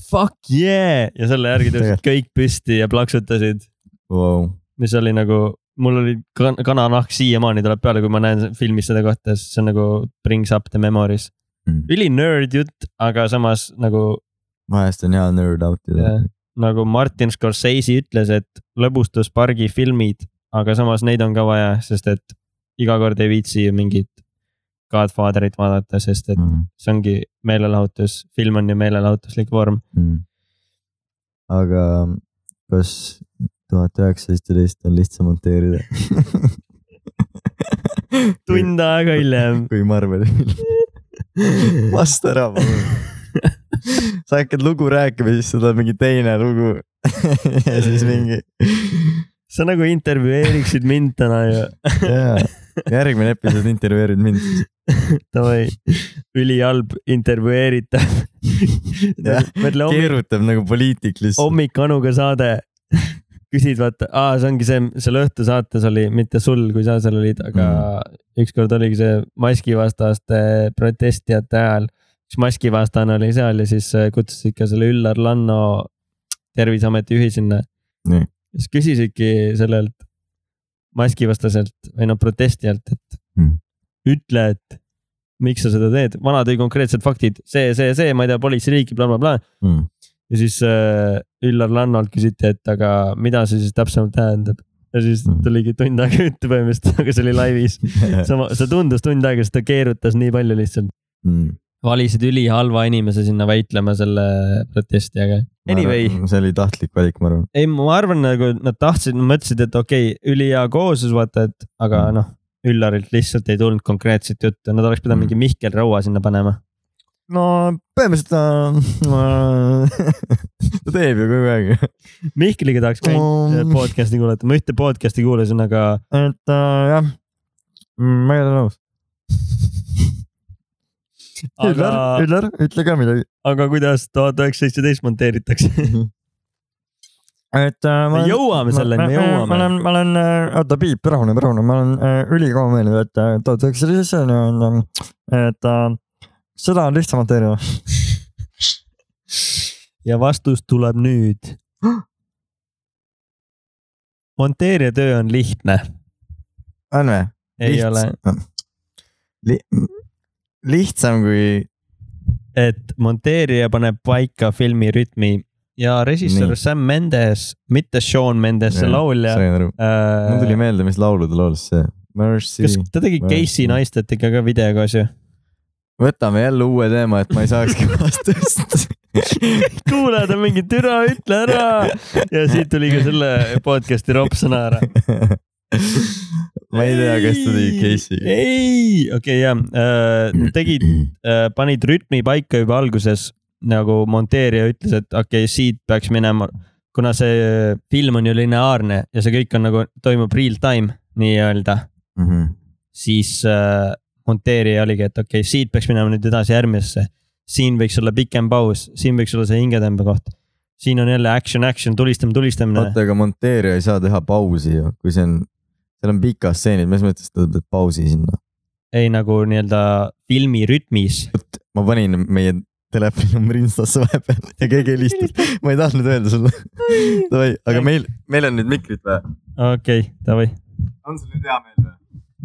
Speaker 2: Fuck yeah ja selle järgi tõusid kõik püsti ja plaksutasid ,
Speaker 1: Vau ,
Speaker 2: mis oli nagu , mul oli kan kananahk siiamaani tuleb peale , kui ma näen filmis seda kohta , sest see on nagu brings up the memories . üli nerd jutt , aga samas nagu ,
Speaker 1: vahest on hea nerd out ida
Speaker 2: Jah. . nagu Martin Scorsese ütles , et lõbustuspargi filmid , aga samas neid on ka vaja , sest et iga kord ei viitsi ju mingit Godfatherit vaadata , sest et
Speaker 1: Mm-hmm.
Speaker 2: see ongi meelelahutus , film on ju meelelahutuslik vorm .
Speaker 1: Mm-hmm. aga mm, kas tuhat üheksateist ja teist on lihtsam monteerida ?
Speaker 2: tund aega hiljem .
Speaker 1: kui Marveli film . vasta ära palun . sa hakkad lugu rääkima , siis sul tuleb mingi teine lugu . ja siis mingi ,
Speaker 2: sa nagu intervjueeriksid mind täna ju .
Speaker 1: jaa . järgmine episood intervjueerid mind .
Speaker 2: Davai , ülihalb intervjueeritav . mõtle hommik ,
Speaker 1: keerutab nagu poliitik lihtsalt .
Speaker 2: hommik Anuga saade . küsid vaata , aa , see ongi see , seal õhtusaates oli , mitte sul , kui sa seal olid , aga mm. ükskord oligi see maskivastaste protestijate ajal . üks maskivastane oli seal ja siis äh, kutsusid ka selle Üllar Lanno terviseameti juhi sinna .
Speaker 1: Nii.
Speaker 2: siis küsisidki sellelt maskivastaselt või noh , protestijalt , et
Speaker 1: Mm.
Speaker 2: ütle , et miks sa seda teed , vana tõi konkreetsed faktid , see , see , see , ma ei tea , politseiriiki bla, , blablabla .
Speaker 1: Mm.
Speaker 2: ja siis äh, Üllar Lannolt küsiti , et aga mida see siis täpsemalt tähendab . ja siis
Speaker 1: Mm.
Speaker 2: tuligi tund aega juttu põhimõtteliselt , aga see oli laivis . sama , see tundus tund aega , sest ta keerutas nii palju lihtsalt .
Speaker 1: Mm.
Speaker 2: valisid ülihalva inimese sinna väitlema selle protestijaga . Anyway ,
Speaker 1: see oli tahtlik valik , ma arvan .
Speaker 2: ei , ma arvan , nagu nad tahtsid , mõtlesid , et okei okay, , ülihea kooslus , vaata , et aga
Speaker 1: Mm.
Speaker 2: noh , Üllarilt lihtsalt ei tulnud konkreetset juttu , nad oleks pidanud
Speaker 1: Mm.
Speaker 2: mingi Mihkel Raua sinna panema .
Speaker 1: no põhimõtteliselt ta , ta teeb ju kogu aeg .
Speaker 2: Mihkliga tahaks ka
Speaker 1: Mm.
Speaker 2: mm. podcast'i kuulata , ma ühte podcast'i kuulasin , aga
Speaker 1: et äh, jah , ma ei ole nõus .
Speaker 2: aga ,
Speaker 1: Üllar , ütle ka midagi .
Speaker 2: aga kuidas tuhat üheksasada seitseteist monteeritakse ?
Speaker 1: et äh,
Speaker 2: me jõuame selleni , me
Speaker 1: ma
Speaker 2: jõuame .
Speaker 1: olen , ma olen , oota piip , rahune , rahune , ma olen äh, ülikohameelne , et äh, tuhat üheksasada seitsekümmend on , et äh, seda on lihtsam monteerida .
Speaker 2: ja vastus tuleb nüüd . monteerija töö on lihtne ,
Speaker 1: on või ?
Speaker 2: ei Lihtsam. ole ,.
Speaker 1: lihtsam kui ,
Speaker 2: et monteerija paneb paika filmi rütmi ja režissöör
Speaker 1: Nii.
Speaker 2: Sam Mendes , mitte Sean Mendes , see
Speaker 1: Jah,
Speaker 2: laulja .
Speaker 1: sain aru . mul tuli meelde , mis laulu ta laulis , see Mercy
Speaker 2: Äh. kas . ta tegi
Speaker 1: Ma-
Speaker 2: Casey Neistat'iga ka video koos ju ?
Speaker 1: võtame jälle uue teema , et ma ei saakski vastust .
Speaker 2: kuule , ta mingi türa , ütle ära . ja siit tuli ka selle podcast'i roppsõna ära .
Speaker 1: ma ei tea , kas ta tegi case'i .
Speaker 2: ei , okei jah , tegid , panid rütmi paika juba alguses nagu monteerija ütles , et okei okay, , siit peaks minema , kuna see film on ju lineaarne ja see kõik on nagu toimub real time nii-öelda ,
Speaker 1: Mhm.
Speaker 2: siis äh, monteerija oligi , et okei okay, , siit peaks minema nüüd edasi järgmisesse . siin võiks olla pikem paus , siin võiks olla see hingetõmbekoht . siin on jälle action , action , tulistamine , tulistamine .
Speaker 1: oota , aga monteerija ei saa teha pausi ju , kui see on , seal on pikad stseenid , mis mõttes ta teeb pausi sinna ?
Speaker 2: ei nagu nii-öelda filmi rütmis .
Speaker 1: ma panin meie telefoninumbri instasse vahepeal ja keegi helistas , ma ei tahtnud öelda sulle . Davai , aga meil , meil on nüüd mikrid või ?
Speaker 2: okei okay, , davai
Speaker 1: on sul nüüd hea meel või ?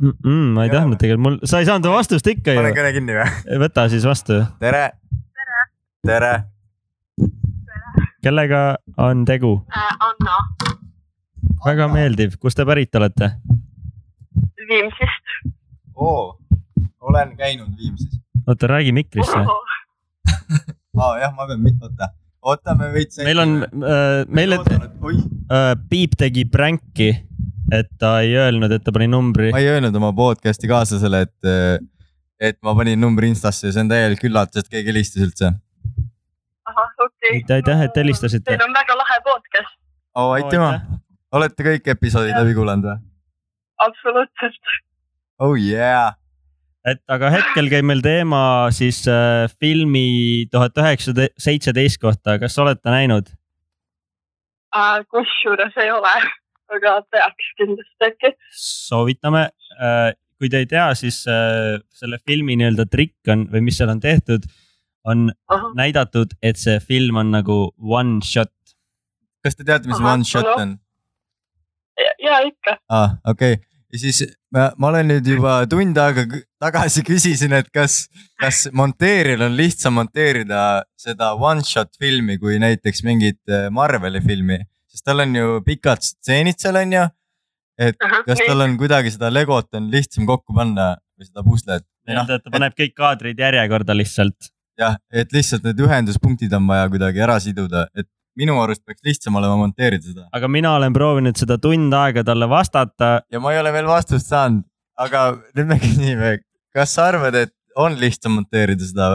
Speaker 2: mm . -mm, ma ei
Speaker 1: Ei ole
Speaker 2: tahtnud tegelikult , mul , sa ei saanud vastust ikka ju .
Speaker 1: kõne kinni või ?
Speaker 2: võta siis vastu .
Speaker 1: tere . tere .
Speaker 2: kellega on tegu ?
Speaker 3: äh, Anna
Speaker 2: väga meeldiv , kust te pärit olete ?
Speaker 3: Viimsist .
Speaker 1: oo , olen käinud Viimsis .
Speaker 2: oota , räägi mikrisse .
Speaker 1: aa jah , ma pean , oota , oota me veits .
Speaker 2: meil on äh, , meil on
Speaker 1: oih ,
Speaker 2: äh, , Piip tegi pränki , et ta ei öelnud , et ta pani numbri .
Speaker 1: ma ei öelnud oma podcast'i kaaslasele , et , et ma panin numbri instasse ja see on täielik üllatus , et keegi helistas üldse .
Speaker 3: ahah , okei
Speaker 2: Aitäh, aitäh, et helistasite.
Speaker 3: Teil on väga lahe podcast ,
Speaker 1: oo , aitüma .. olete kõik episoodid läbi kuulanud või ?
Speaker 3: absoluutselt .
Speaker 1: oh yeah .
Speaker 2: et aga hetkel käib meil teema siis äh, filmi tuhat üheksasada seitseteist kohta , kas olete näinud ?
Speaker 3: Äh, kusjuures ei ole , aga peaks kindlasti äkki .
Speaker 2: soovitame äh, . kui te ei tea , siis äh, selle filmi nii-öelda trikk on või mis seal on tehtud , on näidatud , et see film on nagu one shot .
Speaker 1: kas te teate , mis
Speaker 3: Ahah,
Speaker 1: one shot
Speaker 3: hallo?
Speaker 1: on ?
Speaker 3: ja ikka ,
Speaker 1: aa , okei . ja siis ma, ma olen nüüd juba tund aega kü- tagasi küsisin , et kas , kas monteerijal on lihtsam monteerida seda one shot filmi kui näiteks mingit eh, Marveli filmi , sest tal on ju pikad stseenid seal on ju . et
Speaker 3: Ahah,
Speaker 1: kas
Speaker 3: nii.
Speaker 1: tal on kuidagi seda legot on lihtsam kokku panna või seda puslet ?
Speaker 2: nii-öelda , et ta paneb kõik kaadrid järjekorda lihtsalt .
Speaker 1: jah , et lihtsalt need ühenduspunktid on vaja kuidagi ära siduda , et minu arust peaks lihtsam olema monteerida seda
Speaker 2: aga mina olen proovinud seda tund aega talle vastata .
Speaker 1: ja ma ei ole veel vastust saanud , aga nüüd me küsime , kas sa arvad , et on lihtsam monteerida seda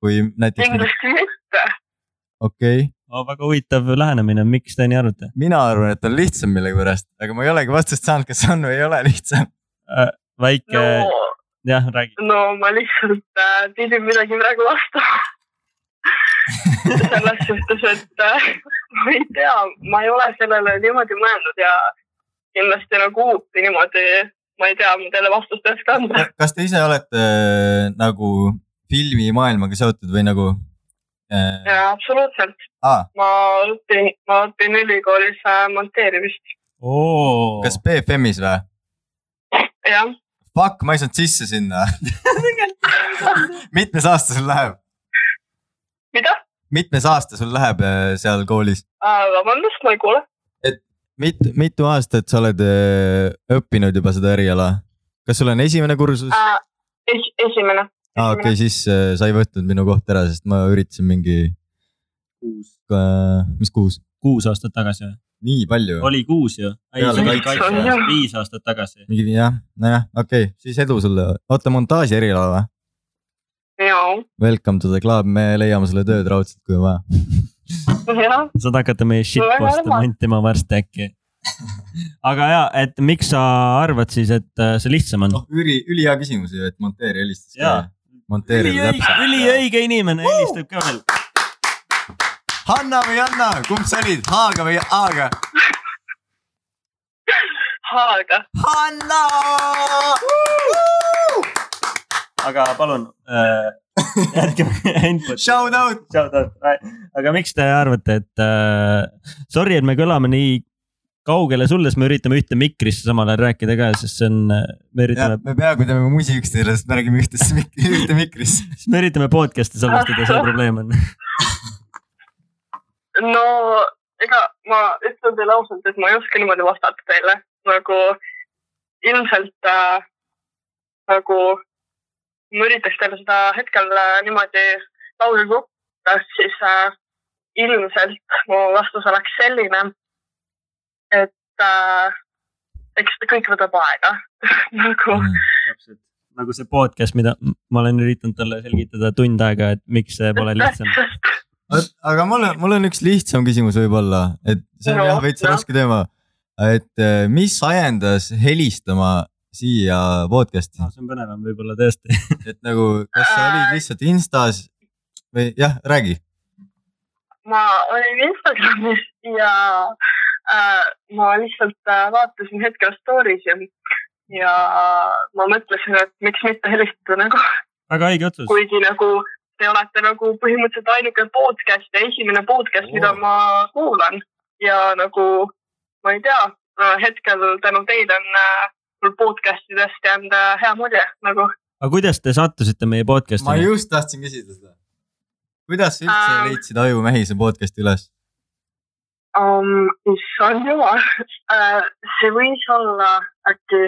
Speaker 1: kui näiteks mingi ,
Speaker 3: kindlasti mitte .
Speaker 1: okei okay. ,
Speaker 2: väga huvitav lähenemine , miks te nii arvate ?
Speaker 1: mina arvan , et on lihtsam millegipärast , aga ma ei olegi vastust saanud , kas on või ei ole lihtsam .
Speaker 2: väike
Speaker 3: no ,
Speaker 2: no. , jah , räägi .
Speaker 3: no ma lihtsalt äh, pidin midagi praegu vastama . selles suhtes , et äh, ma ei tea , ma ei ole sellele niimoodi mõelnud ja kindlasti nagu uut niimoodi , ma ei tea , ma teile vastust ei oska anda .
Speaker 1: kas te ise olete äh, nagu filmimaailmaga seotud või nagu äh, ?
Speaker 3: jaa , absoluutselt .
Speaker 1: Ah,
Speaker 3: ma õpin , ma õpin ülikoolis äh, monteerimist ,
Speaker 1: kas BFM-is või ?
Speaker 3: jah .
Speaker 1: Fuck , ma ei saanud sisse sinna . mitmes aasta sul läheb ,
Speaker 3: mida ?
Speaker 1: mitmes aasta sul läheb äh, seal koolis ?
Speaker 3: vabandust , ma ei kuule .
Speaker 1: mit- , mitu aastat sa oled öö, õppinud juba seda eriala ? kas sul on esimene kursus ?
Speaker 3: Äh, Es, esimene .
Speaker 1: aa , okei , siis öö, sa ei võtnud minu kohta ära , sest ma üritasin mingi . kuus . mis kuus ?
Speaker 2: kuus aastat tagasi või ?
Speaker 1: nii palju ?
Speaker 2: oli kuus ju ? ei ,
Speaker 1: Peale
Speaker 2: see oli
Speaker 1: kaitse-
Speaker 2: kaitse
Speaker 3: Jah. ,
Speaker 2: viis aastat tagasi .
Speaker 1: mingi jah , nojah , okei okay. , siis edu sulle . oota , montaaži eriala või ?
Speaker 3: jaa ,
Speaker 1: Welcome to the club , me leiame sulle tööd raudselt , kui on
Speaker 2: Oh.
Speaker 1: vaja .
Speaker 3: jah .
Speaker 2: saad hakata meie shitpost'e
Speaker 3: armas.
Speaker 2: mantima varsti äkki . aga ja , et miks sa arvad siis , et äh, see lihtsam on
Speaker 1: noh ,? üli , ülihea küsimus ju , et monteerija helistas
Speaker 2: Jaa. .
Speaker 1: monteerija
Speaker 2: üliõige ,
Speaker 1: täpselt .
Speaker 2: üliõige inimene helistab ka veel .
Speaker 1: Hanna või Anna , kumb sa olid , H-ga või A-ga ?
Speaker 3: H-ga .
Speaker 1: Hanna !
Speaker 2: aga palun äh, , järgi input .
Speaker 1: Shout out !
Speaker 2: shout out , aga miks te arvate , et äh, sorry , et me kõlame nii kaugele sulle , sest me üritame ühte mikrisse samal ajal rääkida ka , sest see on ,
Speaker 1: jah
Speaker 2: me üritame ,,
Speaker 1: me peaaegu teeme musi üksteisele , sest me räägime ühtesse mik- , ühte mikrisse .
Speaker 2: me üritame podcast'i salvestada , see probleem on .
Speaker 3: no ega ma ütlen teile ausalt , et ma ei oska niimoodi vastata teile nagu ilmselt äh, nagu ma üritaks teile seda hetkel äh, niimoodi lause kokku , siis äh, ilmselt mu vastus oleks selline , et äh, eks ta kõik võtab aega nagu
Speaker 2: täpselt , nagu see podcast , mida ma olen üritanud talle selgitada tund aega , et miks see pole lihtsam .
Speaker 1: aga mul on , mul on üks lihtsam küsimus võib-olla , et see on
Speaker 3: No,
Speaker 1: jah veits
Speaker 3: jah.
Speaker 1: raske teema . et eh, mis ajendas helistama siia podcast'i ,
Speaker 2: Ah, see on põnevam võib-olla tõesti .
Speaker 1: et nagu , kas sa
Speaker 3: Äh.
Speaker 1: olid lihtsalt Instas või jah , räägi .
Speaker 3: ma olin Instagramis ja äh, ma lihtsalt äh, vaatasin hetkel story si ja ma mõtlesin , et miks mitte helistada nagu ,
Speaker 2: väga õige otsus .
Speaker 3: kuigi nagu te olete nagu põhimõtteliselt ainuke podcast ja esimene podcast
Speaker 1: Oo.
Speaker 3: oh. , mida ma kuulan ja nagu ma ei tea , hetkel tänu teile on äh, mul podcast idest jäänud äh, hea mulje nagu .
Speaker 2: aga kuidas te sattusite meie
Speaker 1: ma
Speaker 2: podcast'i ?
Speaker 1: just tahtsin küsida seda . kuidas sa üldse
Speaker 3: Ähm.
Speaker 1: leidsid Aju Mehise podcast'i üles ?
Speaker 3: um, . issand jumal uh, , see võis olla äkki ,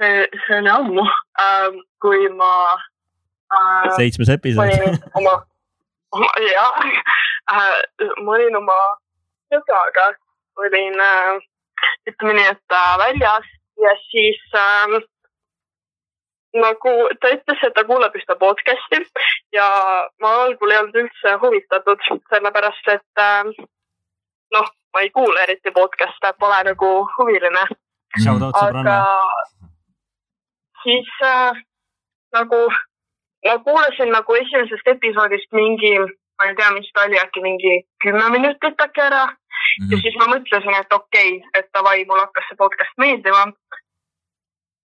Speaker 3: see , see oli ammu uh, , kui ma uh,
Speaker 2: seitsmes episood .
Speaker 3: olin oma , oma , jah uh, , ma olin oma sõbraga , olin uh, , ütleme nii , et uh, väljas ja siis uh, nagu ta ütles , et ta kuulab ühte podcast'i ja ma algul ei olnud üldse huvitatud , sellepärast et äh, noh , ma ei kuule eriti podcast'e , pole nagu huviline ,
Speaker 1: Mhm.
Speaker 2: Shout out
Speaker 3: aga
Speaker 2: sõbranna .
Speaker 3: siis äh, nagu ma kuulasin nagu esimesest episoodist mingi , ma ei tea , mis ta oli , äkki mingi kümme minutit äkki ära
Speaker 1: Mhm.
Speaker 3: ja siis ma mõtlesin , et okei okay, , et davai , mulle hakkas see podcast meeldima .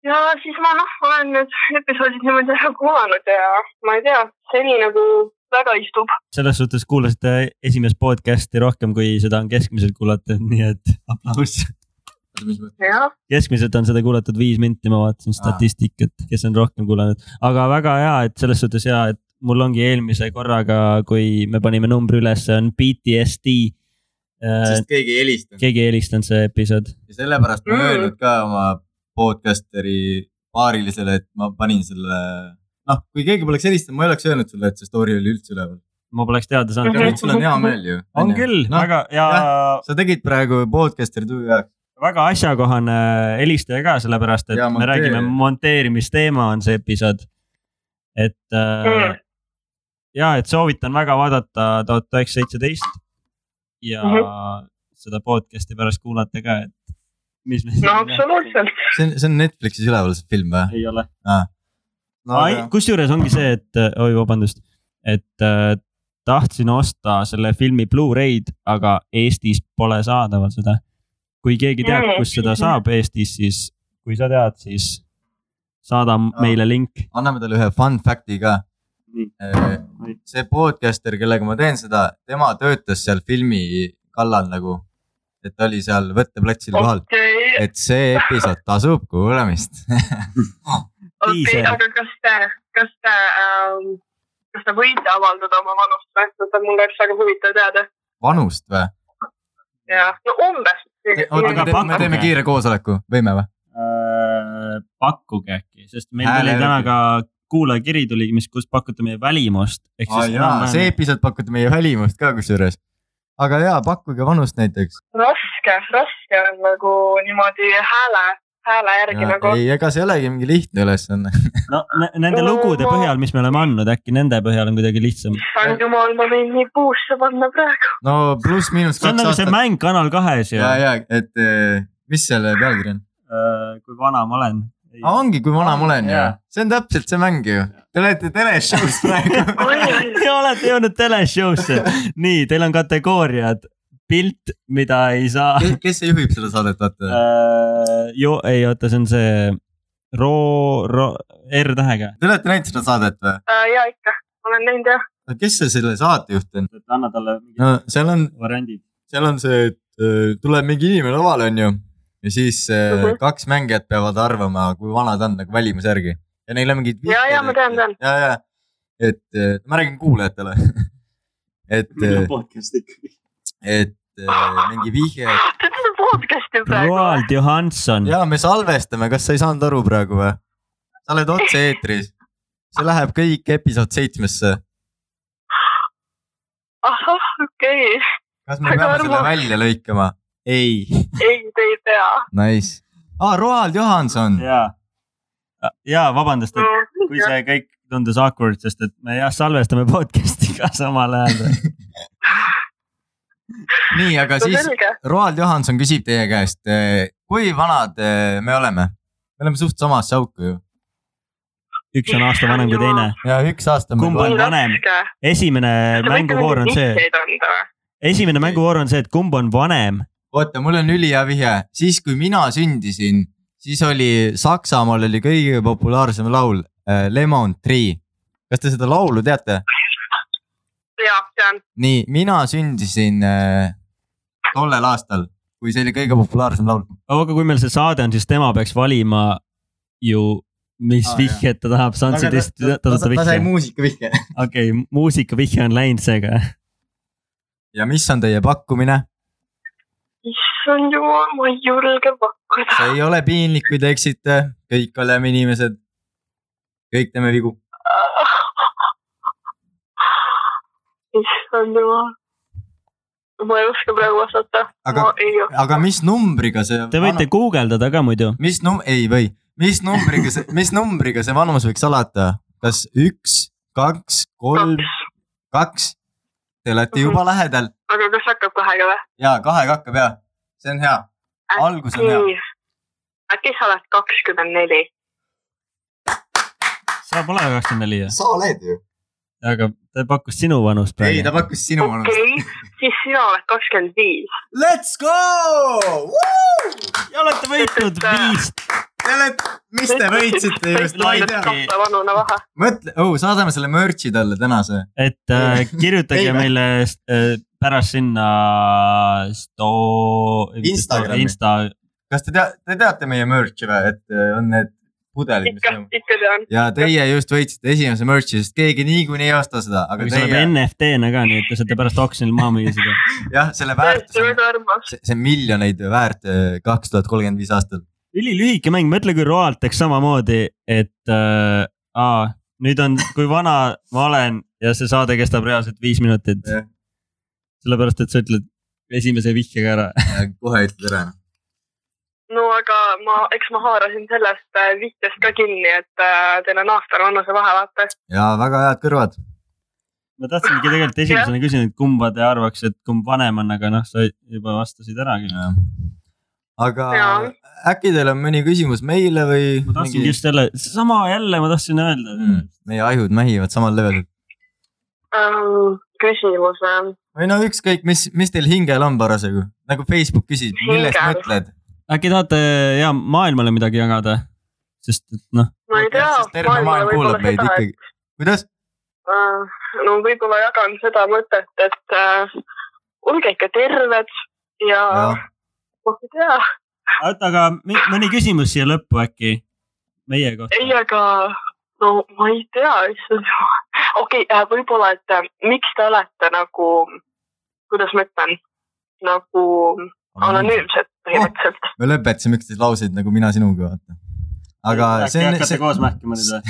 Speaker 3: ja siis ma noh , olen need episoodid niimoodi ära kuulanud ja ma ei tea , seni nagu väga istub .
Speaker 2: selles suhtes kuulasite esimest podcast'i rohkem , kui seda on keskmiselt kuulatud , nii et aplauss .
Speaker 3: jah ,
Speaker 2: keskmiselt on seda kuulatud viis minti , ma vaatasin statistikat , kes on rohkem kuulanud , aga väga hea , et selles suhtes hea , et mul ongi eelmise korraga , kui me panime numbri üles , see on BTSD .
Speaker 1: sest keegi ei helistanud
Speaker 2: Äh, keegi ei helistanud see episood ,
Speaker 1: ja sellepärast ma ei
Speaker 3: Mm.
Speaker 1: öelnud ka oma podcasteri paarilisele , et ma panin selle , noh , kui keegi poleks helistanud , ma ei oleks öelnud sulle , et see story oli üldse üleval .
Speaker 2: ma poleks teada saanud
Speaker 1: aga
Speaker 2: ka
Speaker 1: nüüd . sul on hea meel ju .
Speaker 2: Mhm. on küll no, ,
Speaker 1: noh ,
Speaker 2: väga ja
Speaker 1: sa tegid praegu podcasteri töö jaoks .
Speaker 2: väga asjakohane helistaja ka , sellepärast et
Speaker 1: Ja
Speaker 2: ja, me
Speaker 1: monteerija.
Speaker 2: räägime monteerimisteema on see episood . et äh,
Speaker 3: Mm.
Speaker 2: ja , et soovitan väga vaadata tuhat üheksasada seitseteist ja mm -hmm. seda podcast'i pärast kuulata ka , et mis me .
Speaker 3: no . absoluutselt .
Speaker 1: see on , see on Netflixis üleval see film või ?
Speaker 2: ei ole
Speaker 1: no
Speaker 2: Ai-
Speaker 1: aga ,
Speaker 2: kusjuures ongi see , et oi , vabandust , et äh, tahtsin osta selle filmi Blu-ray'd , aga Eestis pole saadaval seda . kui keegi teab , kus seda saab Eestis , siis kui sa tead , siis saada m-
Speaker 1: Aa.
Speaker 2: meile link .
Speaker 1: anname talle ühe fun fact'i ka Äh,
Speaker 2: Nii. .
Speaker 1: see podcaster , kellega ma teen seda , tema töötas seal filmi kallal nagu , et ta oli seal võtteplatsil
Speaker 2: Oh.
Speaker 1: kohal ,
Speaker 3: okei ,
Speaker 1: et see episood tasub kuulamist
Speaker 3: okei ,
Speaker 2: Teaser.
Speaker 3: aga kas te , kas te ähm, , kas te võite avaldada oma vanust või ? seda mul oleks väga huvitav teada
Speaker 1: vanust või ?
Speaker 3: ja no umbes .
Speaker 1: oota ,
Speaker 2: Aga
Speaker 1: me teeme , me
Speaker 2: pakkuge.
Speaker 1: teeme kiire koosoleku , võime või ? Äh,
Speaker 2: pakkuge äkki , sest meil
Speaker 1: Hääle
Speaker 2: tuli
Speaker 1: järgi.
Speaker 2: täna ka kuulajakiri tuli , mis , kus pakute meie välimust . ehk siis
Speaker 1: see
Speaker 2: enam-vähem
Speaker 1: episood pakute meie välimust ka kusjuures . aga jaa , pakkuge vanust näiteks .
Speaker 3: raske , raske on nagu niimoodi hääle , hääle järgi nagu
Speaker 1: ei , ega see ei olegi mingi lihtne ülesanne .
Speaker 2: no, ne- nende lugude põhjal , mis me oleme andnud , äkki nende põhjal on kuidagi lihtsam .
Speaker 3: issand jumal , ma võin nii puusse panna praegu .
Speaker 1: no pluss-miinus
Speaker 2: see on
Speaker 1: kaks
Speaker 2: nagu see
Speaker 1: aastat .
Speaker 2: mäng Kanal kahes ju
Speaker 1: ja , ja , et eh, mis selle pealkiri on ?
Speaker 2: Äh, kui vana ma olen ,
Speaker 1: ongi , kui vana ma olen ju
Speaker 4: Jaa. ,
Speaker 1: see on täpselt see mäng ju , te olete teleshow's praegu .
Speaker 3: oi-oi ,
Speaker 2: Te olete jõudnud teleshow'sse , nii , teil on kategooriad , pilt , mida ei saa
Speaker 1: kes see juhib seda saadet , vaata ?
Speaker 2: äh, . ju- , ei oota , see on see ro- , ro- , R tähega .
Speaker 1: Te olete näinud seda saadet või ?
Speaker 3: Äh, ja ikka , olen näinud jah .
Speaker 1: kes see selle saatejuht on ?
Speaker 2: anna talle mingid
Speaker 1: no seal on ,
Speaker 2: variandid .
Speaker 1: seal on see , et öö, tuleb mingi inimene lavale , onju . ja siis öö,
Speaker 3: Mhm.
Speaker 1: kaks mängijat peavad arvama , kui vana ta on nagu valimise järgi ja neil on mingid .
Speaker 3: Jaa, jaa, ma tean, tean.
Speaker 1: ja , ja , et öö, ma räägin kuulajatele . et ,
Speaker 2: podcast ikkagi .
Speaker 1: et öö, mingi vihje ,
Speaker 3: Ah, Te teete podcast'i praegu ?
Speaker 2: Roald Johanson .
Speaker 1: ja me salvestame , kas sa ei saanud aru praegu või ? sa oled otse-eetris , see läheb kõik episood seitsmesse .
Speaker 3: ahah , okei okay. ,
Speaker 1: kas me
Speaker 3: Aga
Speaker 1: peame
Speaker 3: Arvo-
Speaker 1: selle välja lõikama ? ei ,
Speaker 3: ei , te ei tea
Speaker 1: nice . aa , Roald Johanson ,
Speaker 2: ja , ja Ah, vabandust , et kui
Speaker 3: no, .
Speaker 2: see kõik tundus awkward , sest et me jah salvestame podcast'i ka samal ajal .
Speaker 1: nii , aga
Speaker 3: no
Speaker 1: siis
Speaker 3: selge ,
Speaker 1: Roald Johanson küsib teie käest , kui vanad eh, me oleme ? me oleme suht samasse auku ju .
Speaker 2: üks on aasta vanem kui teine .
Speaker 1: ja üks aasta .
Speaker 2: Kumb on vanem?
Speaker 3: raske .
Speaker 2: esimene mänguvoor on see , esimene mänguvoor on see , et kumb on vanem .
Speaker 1: oota , mul on ülihea vihje , siis kui mina sündisin , siis oli Saksamaal oli kõige populaarsem laul eh, Lemon Tree . kas te seda laulu teate ?
Speaker 3: jah , tean ,
Speaker 1: nii , mina sündisin eh, tollel aastal , kui see oli kõige populaarsem laul .
Speaker 2: aga kui meil see saade on , siis tema peaks valima ju , mis
Speaker 1: Aa,
Speaker 2: ah, vihjet ta tahab , Sunsetist ta, ta, ta, ta
Speaker 1: ta sai
Speaker 2: vihje .
Speaker 1: muusika vihje .
Speaker 2: okei okay, , muusika vihje on läinud seega .
Speaker 1: ja mis on teie pakkumine ?
Speaker 3: issand jumal , ma ei julge pakkuda .
Speaker 1: see ei ole piinlik , kui te eksite , kõik oleme inimesed . kõik teeme vigu .
Speaker 3: issand jumal , ma ei oska praegu vastata ,
Speaker 1: Aga-
Speaker 3: ma ei oska .
Speaker 1: aga mis numbriga see ?
Speaker 2: Te võite guugeldada ka muidu .
Speaker 1: mis num- , ei või , mis numbriga see , mis numbriga see vanus võiks alata ? kas üks , kaks , kolm ,
Speaker 3: kaks ,
Speaker 1: kaks ? Te olete juba lähedal
Speaker 3: aga kas hakkab kahega või ?
Speaker 1: ja kahega hakkab ja see on hea , Algus on hea. .
Speaker 3: äkki sa oled kakskümmend neli ?
Speaker 2: sa pole kakskümmend neli ju ,
Speaker 1: sa oled ju .
Speaker 2: aga ta pakkus sinu vanust
Speaker 1: ei , ta
Speaker 2: praegu .
Speaker 1: pakkus sinu vanust .
Speaker 3: okei , siis sina oled kakskümmend viis .
Speaker 1: Let's go !
Speaker 2: ja olete võitnud viis ,
Speaker 1: Te olete , mis te võitsite just , ma ei tea .
Speaker 3: kahte vanune vahe .
Speaker 1: mõtle , oh , saadame selle merch'i talle tänase .
Speaker 2: et äh, kirjutage
Speaker 1: Ei, vä?
Speaker 2: meile äh, pärast sinna sto- .
Speaker 1: Instagrami.
Speaker 2: Insta ,
Speaker 1: kas te tea- , te teate meie merch'i või , et eh, on need pudelid , mis
Speaker 3: ikka
Speaker 1: on ,?
Speaker 3: ikka tean .
Speaker 1: ja teie just võitsite esimese merch'i , sest keegi niikuinii ei osta seda , aga
Speaker 2: mis tuleb
Speaker 1: teie ,
Speaker 2: NFT-na ka , nii et te saate pärast oksjonil maha müüa seda .
Speaker 1: jah , selle väärtus
Speaker 3: tõesti
Speaker 1: on ,
Speaker 3: väga armas .
Speaker 1: see see on miljoneid väärt eh, kaks tuhat kolmkümmend viis aastal .
Speaker 2: ülilühike mäng , mõtle , kui Roald teeks samamoodi , et äh, aa, nüüd on , kui vana ma olen ja see saade kestab reaalselt viis minutit
Speaker 1: Jah. .
Speaker 2: sellepärast , et sa ütled esimese vihjega ära .
Speaker 1: kohe ütled ära .
Speaker 3: no aga ma , eks ma haarasin sellest äh, vihjest ka kinni , et äh, teil on aastane vanusevahe , vaata .
Speaker 1: ja väga head kõrvad .
Speaker 2: ma tahtsingi tegelikult esimesena küsida , et kumba te arvaks , et kumb vanem on , aga noh , sa juba vastasid ära küll .
Speaker 1: aga
Speaker 3: Jaa.
Speaker 1: äkki teil on mõni küsimus meile või ?
Speaker 2: ma tahtsin just jälle , sama jälle ma tahtsin öelda mm. .
Speaker 1: meie ajud mähivad samal levelil
Speaker 3: küsimus või ?
Speaker 1: või no ükskõik , mis , mis teil hingel on parasjagu , nagu Facebook küsib , millest
Speaker 3: Hingel.
Speaker 1: mõtled ?
Speaker 2: äkki tahate ja maailmale midagi jagada ? sest et noh ,
Speaker 3: ma ei tea .
Speaker 1: terve maailm kuulab meid ikkagi . kuidas ?
Speaker 3: Äh, no võib-olla jagan seda mõtet , et äh, olge ikka terved ja, ja.
Speaker 1: jah ,
Speaker 3: ma ei tea ,
Speaker 2: oota , aga mi- mõni küsimus siia lõppu äkki meie kohta
Speaker 3: ei , aga no ma ei tea , issand jumal . okei okay, , võib-olla , et äh, miks te olete nagu , kuidas ma ütlen , nagu anonüümsed põhimõtteliselt .
Speaker 1: me lõpetasime üksteise lauseid nagu mina sinuga , vaata . aga see on , see
Speaker 2: koos mähkima nüüd või ?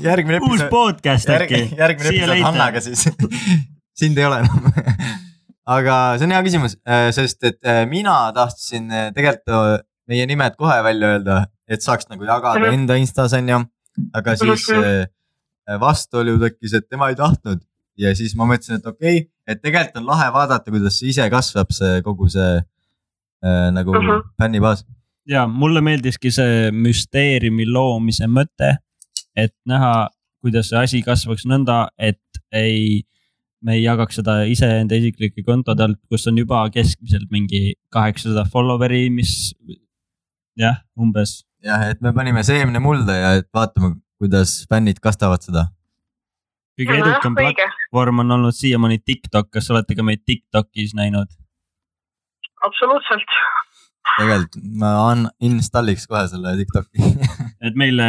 Speaker 1: järgmine
Speaker 2: uus
Speaker 1: episood ,
Speaker 2: podcast äkki
Speaker 1: järgi, . järgmine episood Hannaga . siis . sind ei ole enam . aga see on hea küsimus , sest et äh, mina tahtsin äh, tegelikult äh, meie nimed kohe välja öelda , et saaks nagu jagada
Speaker 3: Mhm.
Speaker 1: enda Instas onju . aga siis
Speaker 3: Mhm.
Speaker 1: äh, vastuolu tekkis , et tema ei tahtnud ja siis ma mõtlesin , et okei okay, , et tegelikult on lahe vaadata , kuidas see ise kasvab , see kogu see äh, nagu
Speaker 3: Mhm.
Speaker 1: fännibaas .
Speaker 2: ja mulle meeldiski see müsteeriumi loomise mõte, et näha , kuidas see asi kasvaks nõnda , et ei , me ei jagaks seda iseenda isiklike kontode alt , kus on juba keskmiselt mingi kaheksasada follower'i , mis jah , umbes
Speaker 1: jah , et me panime seemne mulda ja et vaatame , kuidas fännid kastavad seda . Oh,
Speaker 2: kõige edukam platvorm on olnud siiamaani Tiktok , kas olete ka meid Tiktokis näinud ?
Speaker 3: absoluutselt .
Speaker 1: tegelikult ma an- , installiks kohe selle Tiktoki .
Speaker 2: et meile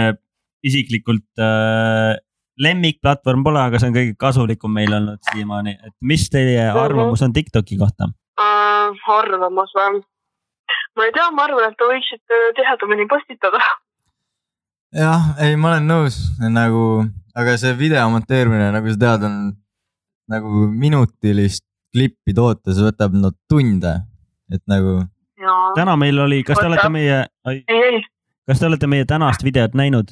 Speaker 2: isiklikult äh, lemmikplatvorm pole , aga see on kõige kasulikum meil olnud siiamaani , et mis teie arvamus on Tiktoki kohta ?
Speaker 3: Äh, arvamus või ? ma ei tea , ma arvan , et te võiksite tihedamini postitada .
Speaker 1: jah , ei , ma olen nõus nagu , aga see video monteerimine , nagu sa tead , on nagu minutilist klippi toota , see võtab no tunde , et nagu
Speaker 3: jaa ,
Speaker 2: täna meil oli , kas te
Speaker 3: Oota.
Speaker 2: olete meie ,
Speaker 3: ei , ei ,
Speaker 2: kas te olete meie tänast videot näinud ?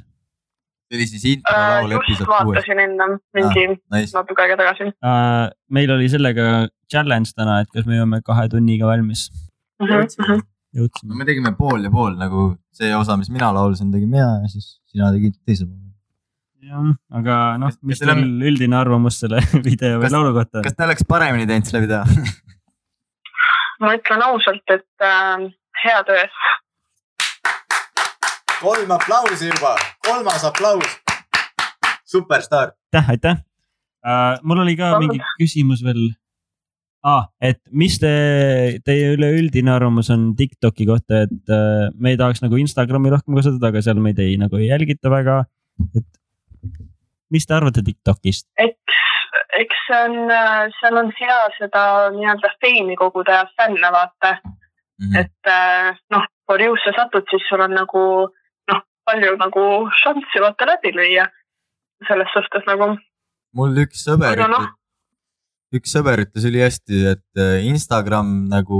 Speaker 1: see oli siis introlaul
Speaker 3: Äh, just
Speaker 1: episood kuues , Ah.
Speaker 3: vaatasin ennem mingi
Speaker 1: nice ,
Speaker 3: natuke aega tagasi
Speaker 2: Äh, meil oli sellega challenge täna , et kas me jõuame kahe tunniga valmis .
Speaker 3: Mhm, mhm. .
Speaker 2: jõudsime .
Speaker 1: me tegime pool ja pool nagu see osa , mis mina laulsin , tegin mina ja siis sina tegid teise poole .
Speaker 2: jah , aga noh
Speaker 1: Kas- ,
Speaker 2: mis
Speaker 1: kas teil on-
Speaker 2: teil üldine arvamus selle video või
Speaker 1: Kas-
Speaker 2: laulu kohta on ?
Speaker 1: kas te oleks paremini teinud selle video ?
Speaker 3: ma ütlen ausalt , et äh, hea töö .
Speaker 1: kolm aplausi juba , kolmas aplaus . superstaar .
Speaker 2: aitäh , aitäh uh, . mul oli ka
Speaker 3: Palun.
Speaker 2: mingi küsimus veel ah, . et mis te , teie üleüldine arvamus on Tiktoki kohta , et uh, me ei tahaks nagu Instagrami rohkem kasutada , aga seal meid ei nagu ei jälgita väga . et mis te arvate Tiktokist ?
Speaker 3: eks , eks see on , seal on hea seda nii-öelda feimi koguda ja fänne vaata ,
Speaker 1: Mhm.
Speaker 3: et äh, noh , kui riusse satud , siis sul on nagu noh , palju nagu šanssi vaata läbi lüüa . selles suhtes nagu
Speaker 1: mul üks sõber
Speaker 3: Aga noh. ,
Speaker 1: üks sõber ütles ülihästi , et äh, Instagram nagu ,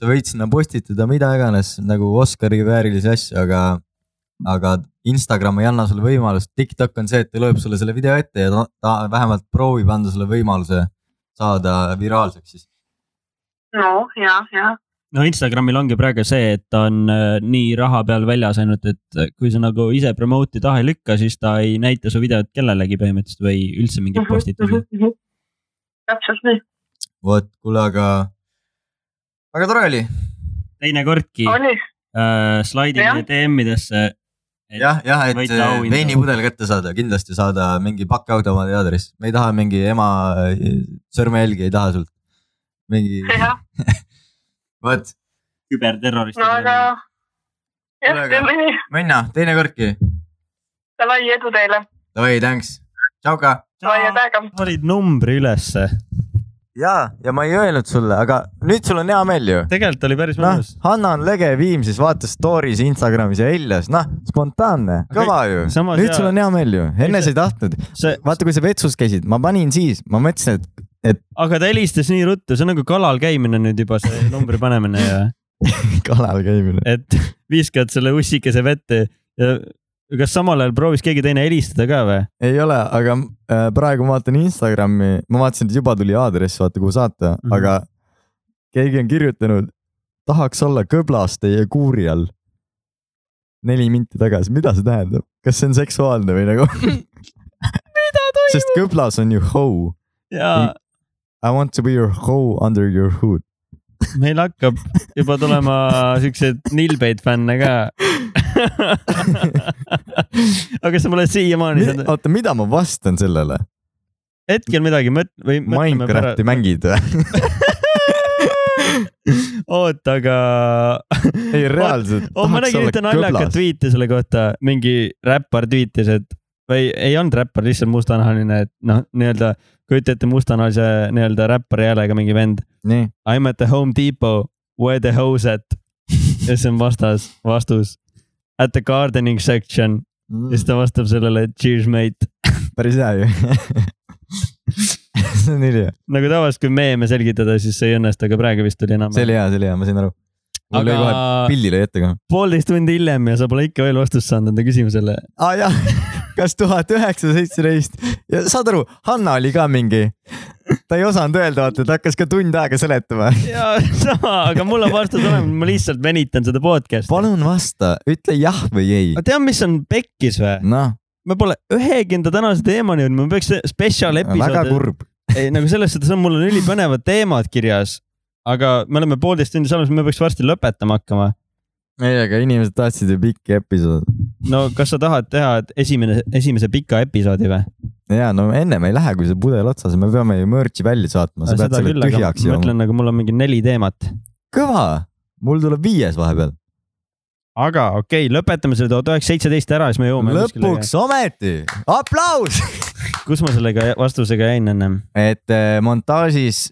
Speaker 1: sa võid sinna postitada mida iganes nagu Oscari väärilisi asju , aga , aga Instagram ei anna sulle võimalust . TikTok on see , et ta lööb sulle selle video ette ja ta, ta vähemalt proovib anda sulle võimaluse saada viraalseks siis .
Speaker 3: no ja , ja
Speaker 2: no Instagramil ongi praegu see , et ta on uh, nii raha peal väljas ainult , et äh, kui sa nagu ise promote'i taha ei lükka , siis ta ei näita su videot kellelegi põhimõtteliselt või üldse mingeid postitusi .
Speaker 3: -hmm. täpselt nii ,
Speaker 1: vot , kuule , aga väga tore oli .
Speaker 2: teinekordki
Speaker 3: oli ,
Speaker 2: äh,
Speaker 3: Jah.
Speaker 2: slaidime DM-idesse .
Speaker 1: jah , jah , et
Speaker 2: Võite
Speaker 1: äh,
Speaker 2: auhinda.
Speaker 1: veinipudel kätte saada , kindlasti saada mingi pakiautomaadi aadress , me ei taha mingi ema äh, sõrmejälgi ei taha sult . mingi ,
Speaker 3: jah ,
Speaker 1: vot ,
Speaker 2: küberterroristid
Speaker 3: no aga jah ,
Speaker 1: Kuule, aga-
Speaker 3: teeme nii ,
Speaker 1: minna teinekordki ,
Speaker 3: davai , edu teile ,
Speaker 1: davai , thanks , tšauka .
Speaker 3: davai , head aega .
Speaker 2: panid numbri ülesse ,
Speaker 1: ja , ja ma ei öelnud sulle , aga nüüd sul on hea meel ju .
Speaker 2: tegelikult oli päris
Speaker 1: noh
Speaker 2: mõnus ,
Speaker 1: Hanna on lege Viimsis , vaatas story's Instagramis ja Heljas , noh , spontaanne , kõva ju .
Speaker 2: samas
Speaker 1: nüüd
Speaker 2: jaa.
Speaker 1: sul on hea meel ju , enne sa ei tahtnud .
Speaker 2: see ,
Speaker 1: vaata , kui sa vetsus käisid , ma panin siis , ma mõtlesin , et
Speaker 2: aga ta helistas nii ruttu , see on nagu kalal käimine nüüd juba see numbri panemine ja ,
Speaker 1: kalal käimine .
Speaker 2: et viskad selle ussikese vette ja kas samal ajal proovis keegi teine helistada ka või ?
Speaker 1: ei ole , aga äh, praegu ma vaatan Instagrami , ma vaatasin , et juba tuli aadress , vaata kuhu saata mm ,
Speaker 2: Mhm.
Speaker 1: -hmm. aga keegi on kirjutanud , tahaks olla kõblas teie kuuri all . neli minti tagasi , mida see tähendab , kas see on seksuaalne või nagu ? sest kõblas on ju hoe ,
Speaker 2: ja
Speaker 1: I want to be your hoe under your hood .
Speaker 2: meil hakkab juba tulema siukseid nilbeid fänne ka aga sa pole siiamaani saanud ,
Speaker 1: oota , mida ma vastan sellele ?
Speaker 2: hetkel midagi mõt- või mõtleme
Speaker 1: Minecrafti mängid või ?
Speaker 2: oota , aga
Speaker 1: ei reaalselt .
Speaker 2: oh, . ma nägin ühte naljakat tweet'i selle kohta , mingi räppar tweet'is , et või ei olnud räppar , lihtsalt mustanahaline , et noh , nii-öelda kujuta ette mustanahalise nii-öelda räppari häälega mingi vend .
Speaker 1: nii ,
Speaker 2: I m at the home depot , where the hoes at ? ja siis on vastas , vastus . At the gardening section ja siis ta vastab sellele cheers mate .
Speaker 1: päris hea ju . see on ülihea ,
Speaker 2: nagu tavaliselt , kui meeme selgitada , siis see ei õnnestu , aga praegu vist oli enam .
Speaker 1: see oli hea , see oli hea , ma sain aru . mul aga...
Speaker 2: aga
Speaker 1: lõi kohe , pildi lõi ette kohe .
Speaker 2: poolteist tundi hiljem ja sa pole ikka veel vastust saanud enda küsimusele .
Speaker 1: aa ah, jah , kas tuhat üheksasada seitseteist ja saad aru , Hanna oli ka mingi . ta ei osanud öelda , vaata , ta hakkas ka tund aega seletama .
Speaker 2: ja sama , aga mul on vastus olemas , ma lihtsalt venitan seda podcast'i .
Speaker 1: palun vasta , ütle jah või ei .
Speaker 2: aga tead , mis on pekkis või ?
Speaker 1: noh ,
Speaker 2: me pole ühegi enda tänase teemani jõudnud , me peaks spetsial
Speaker 1: väga
Speaker 2: episoodi ,
Speaker 1: kurb .
Speaker 2: ei nagu selles suhtes on , mul on ülipõnevad teemad kirjas , aga me oleme poolteist tundi saanud , me peaks varsti lõpetama hakkama .
Speaker 1: ei , aga inimesed tahtsid ju pikki episoode .
Speaker 2: no kas sa tahad teha et esimene , esimese pika episoodi või ?
Speaker 1: ja no ennem ei lähe , kui see pudel otsas , me peame ju merch'i välja saatma , sa pead selle
Speaker 2: ma
Speaker 1: tühjaks jooma .
Speaker 2: mõtlen , nagu mul on mingi neli teemat .
Speaker 1: kõva , mul tuleb viies vahepeal .
Speaker 2: aga okei okay, , lõpetame selle tuhat üheksasada seitseteist ära , siis me jõuame .
Speaker 1: lõpuks . ometi , aplaus .
Speaker 2: kus ma sellega vastusega jäin ennem ?
Speaker 1: et eh, montaažis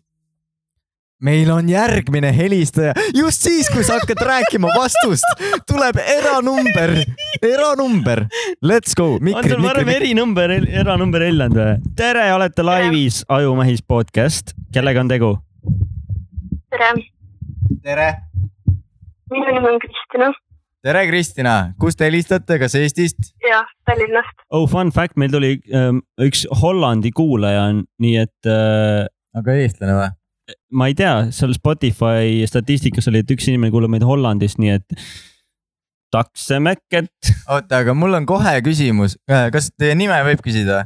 Speaker 1: meil on järgmine helistaja , just siis , kui sa hakkad rääkima vastust , tuleb eranumber , eranumber , let's go ,
Speaker 2: on
Speaker 1: mikri ,
Speaker 2: sul varem
Speaker 1: mikri ,
Speaker 2: erinumber , eranumber Elland või ? tere , olete laivis Ajumähis podcast , kellega on tegu ?
Speaker 3: tere ,
Speaker 1: tere ,
Speaker 3: minu nimi on Kristina
Speaker 1: tere , Kristina , kust te helistate , kas Eestist ?
Speaker 3: ja Tallinnast .
Speaker 2: oh , fun fact , meil tuli ähm, üks Hollandi kuulaja on , nii et äh,
Speaker 1: aga eestlane või ?
Speaker 2: ma ei tea , seal Spotify statistikas oli , et üks inimene kuulab meid Hollandist , nii et taksemäkket .
Speaker 1: oota , aga mul on kohe küsimus , kas teie nime võib küsida ?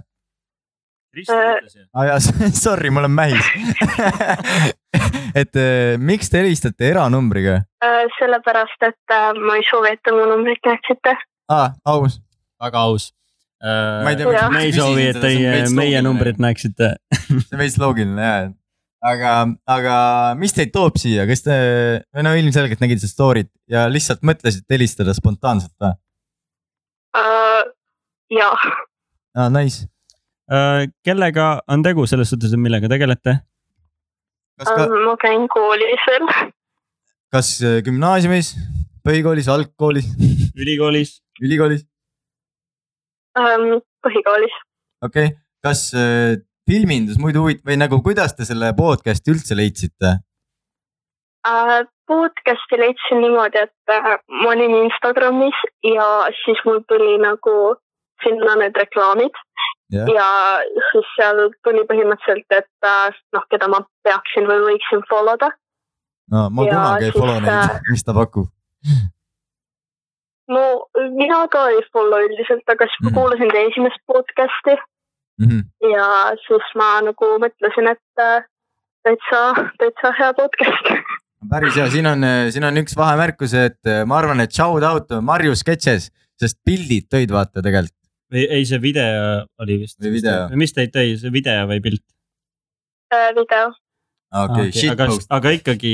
Speaker 1: aa jaa , sorry , ma olen mähis . et eh, miks te helistate eranumbriga ?
Speaker 3: Äh, sellepärast , et äh, ma ei soovi , et te mu numbrit näeksite .
Speaker 1: aa , Ah, aus .
Speaker 2: väga aus .
Speaker 1: ma ei tea ,
Speaker 3: Jah.
Speaker 1: miks
Speaker 2: me ei soovi , et teie , meie numbrit näeksite .
Speaker 1: see on veits loogiline jah , aga , aga mis teid toob siia , kas te , või no ilmselgelt nägid seda story't ja lihtsalt mõtlesite helistada spontaanselt või ?
Speaker 3: Äh, ja
Speaker 1: aa , Ah, nice .
Speaker 2: Äh, kellega on tegu selles suhtes , et millega tegelete ?
Speaker 1: kas ka ,
Speaker 3: ähm, ma käin koolis veel .
Speaker 1: kas äh, gümnaasiumis , põhikoolis , algkoolis ,
Speaker 2: ülikoolis ?
Speaker 1: ülikoolis ,
Speaker 3: ähm, põhikoolis .
Speaker 1: okei okay. , kas äh, filmindus muidu huvit- või nagu , kuidas te selle podcast'i üldse leidsite ?
Speaker 3: Äh, podcast'i leidsin niimoodi , et äh, ma olin Instagramis ja siis mul tuli nagu sinna need reklaamid
Speaker 1: Jah.
Speaker 3: ja siis seal tuli põhimõtteliselt , et äh, noh , keda ma peaksin või võiksin follow da .
Speaker 1: no ma ja,
Speaker 3: Jaa,
Speaker 1: kunagi ei
Speaker 3: siis,
Speaker 1: follow neid
Speaker 3: äh, ,
Speaker 1: mis ta pakub .
Speaker 3: no mina ka ei follow üldiselt , aga siis ma
Speaker 1: Mhm.
Speaker 3: kuulasin teie esimest podcast'i ja siis ma nagu mõtlesin , et äh, täitsa , täitsa hea podcast .
Speaker 1: päris hea , siin on , siin on üks vahemärkus , et äh, ma arvan , et shout out Marju sketšes , sest pildid tõid vaata tegelikult .
Speaker 2: või ei , see video oli vist .
Speaker 1: Või video.
Speaker 2: mis teid tõi , see video või pilt ?
Speaker 3: video ,
Speaker 1: Ah,
Speaker 2: Ah,
Speaker 1: okei ,
Speaker 2: aga
Speaker 1: shitpost ,,
Speaker 2: aga ikkagi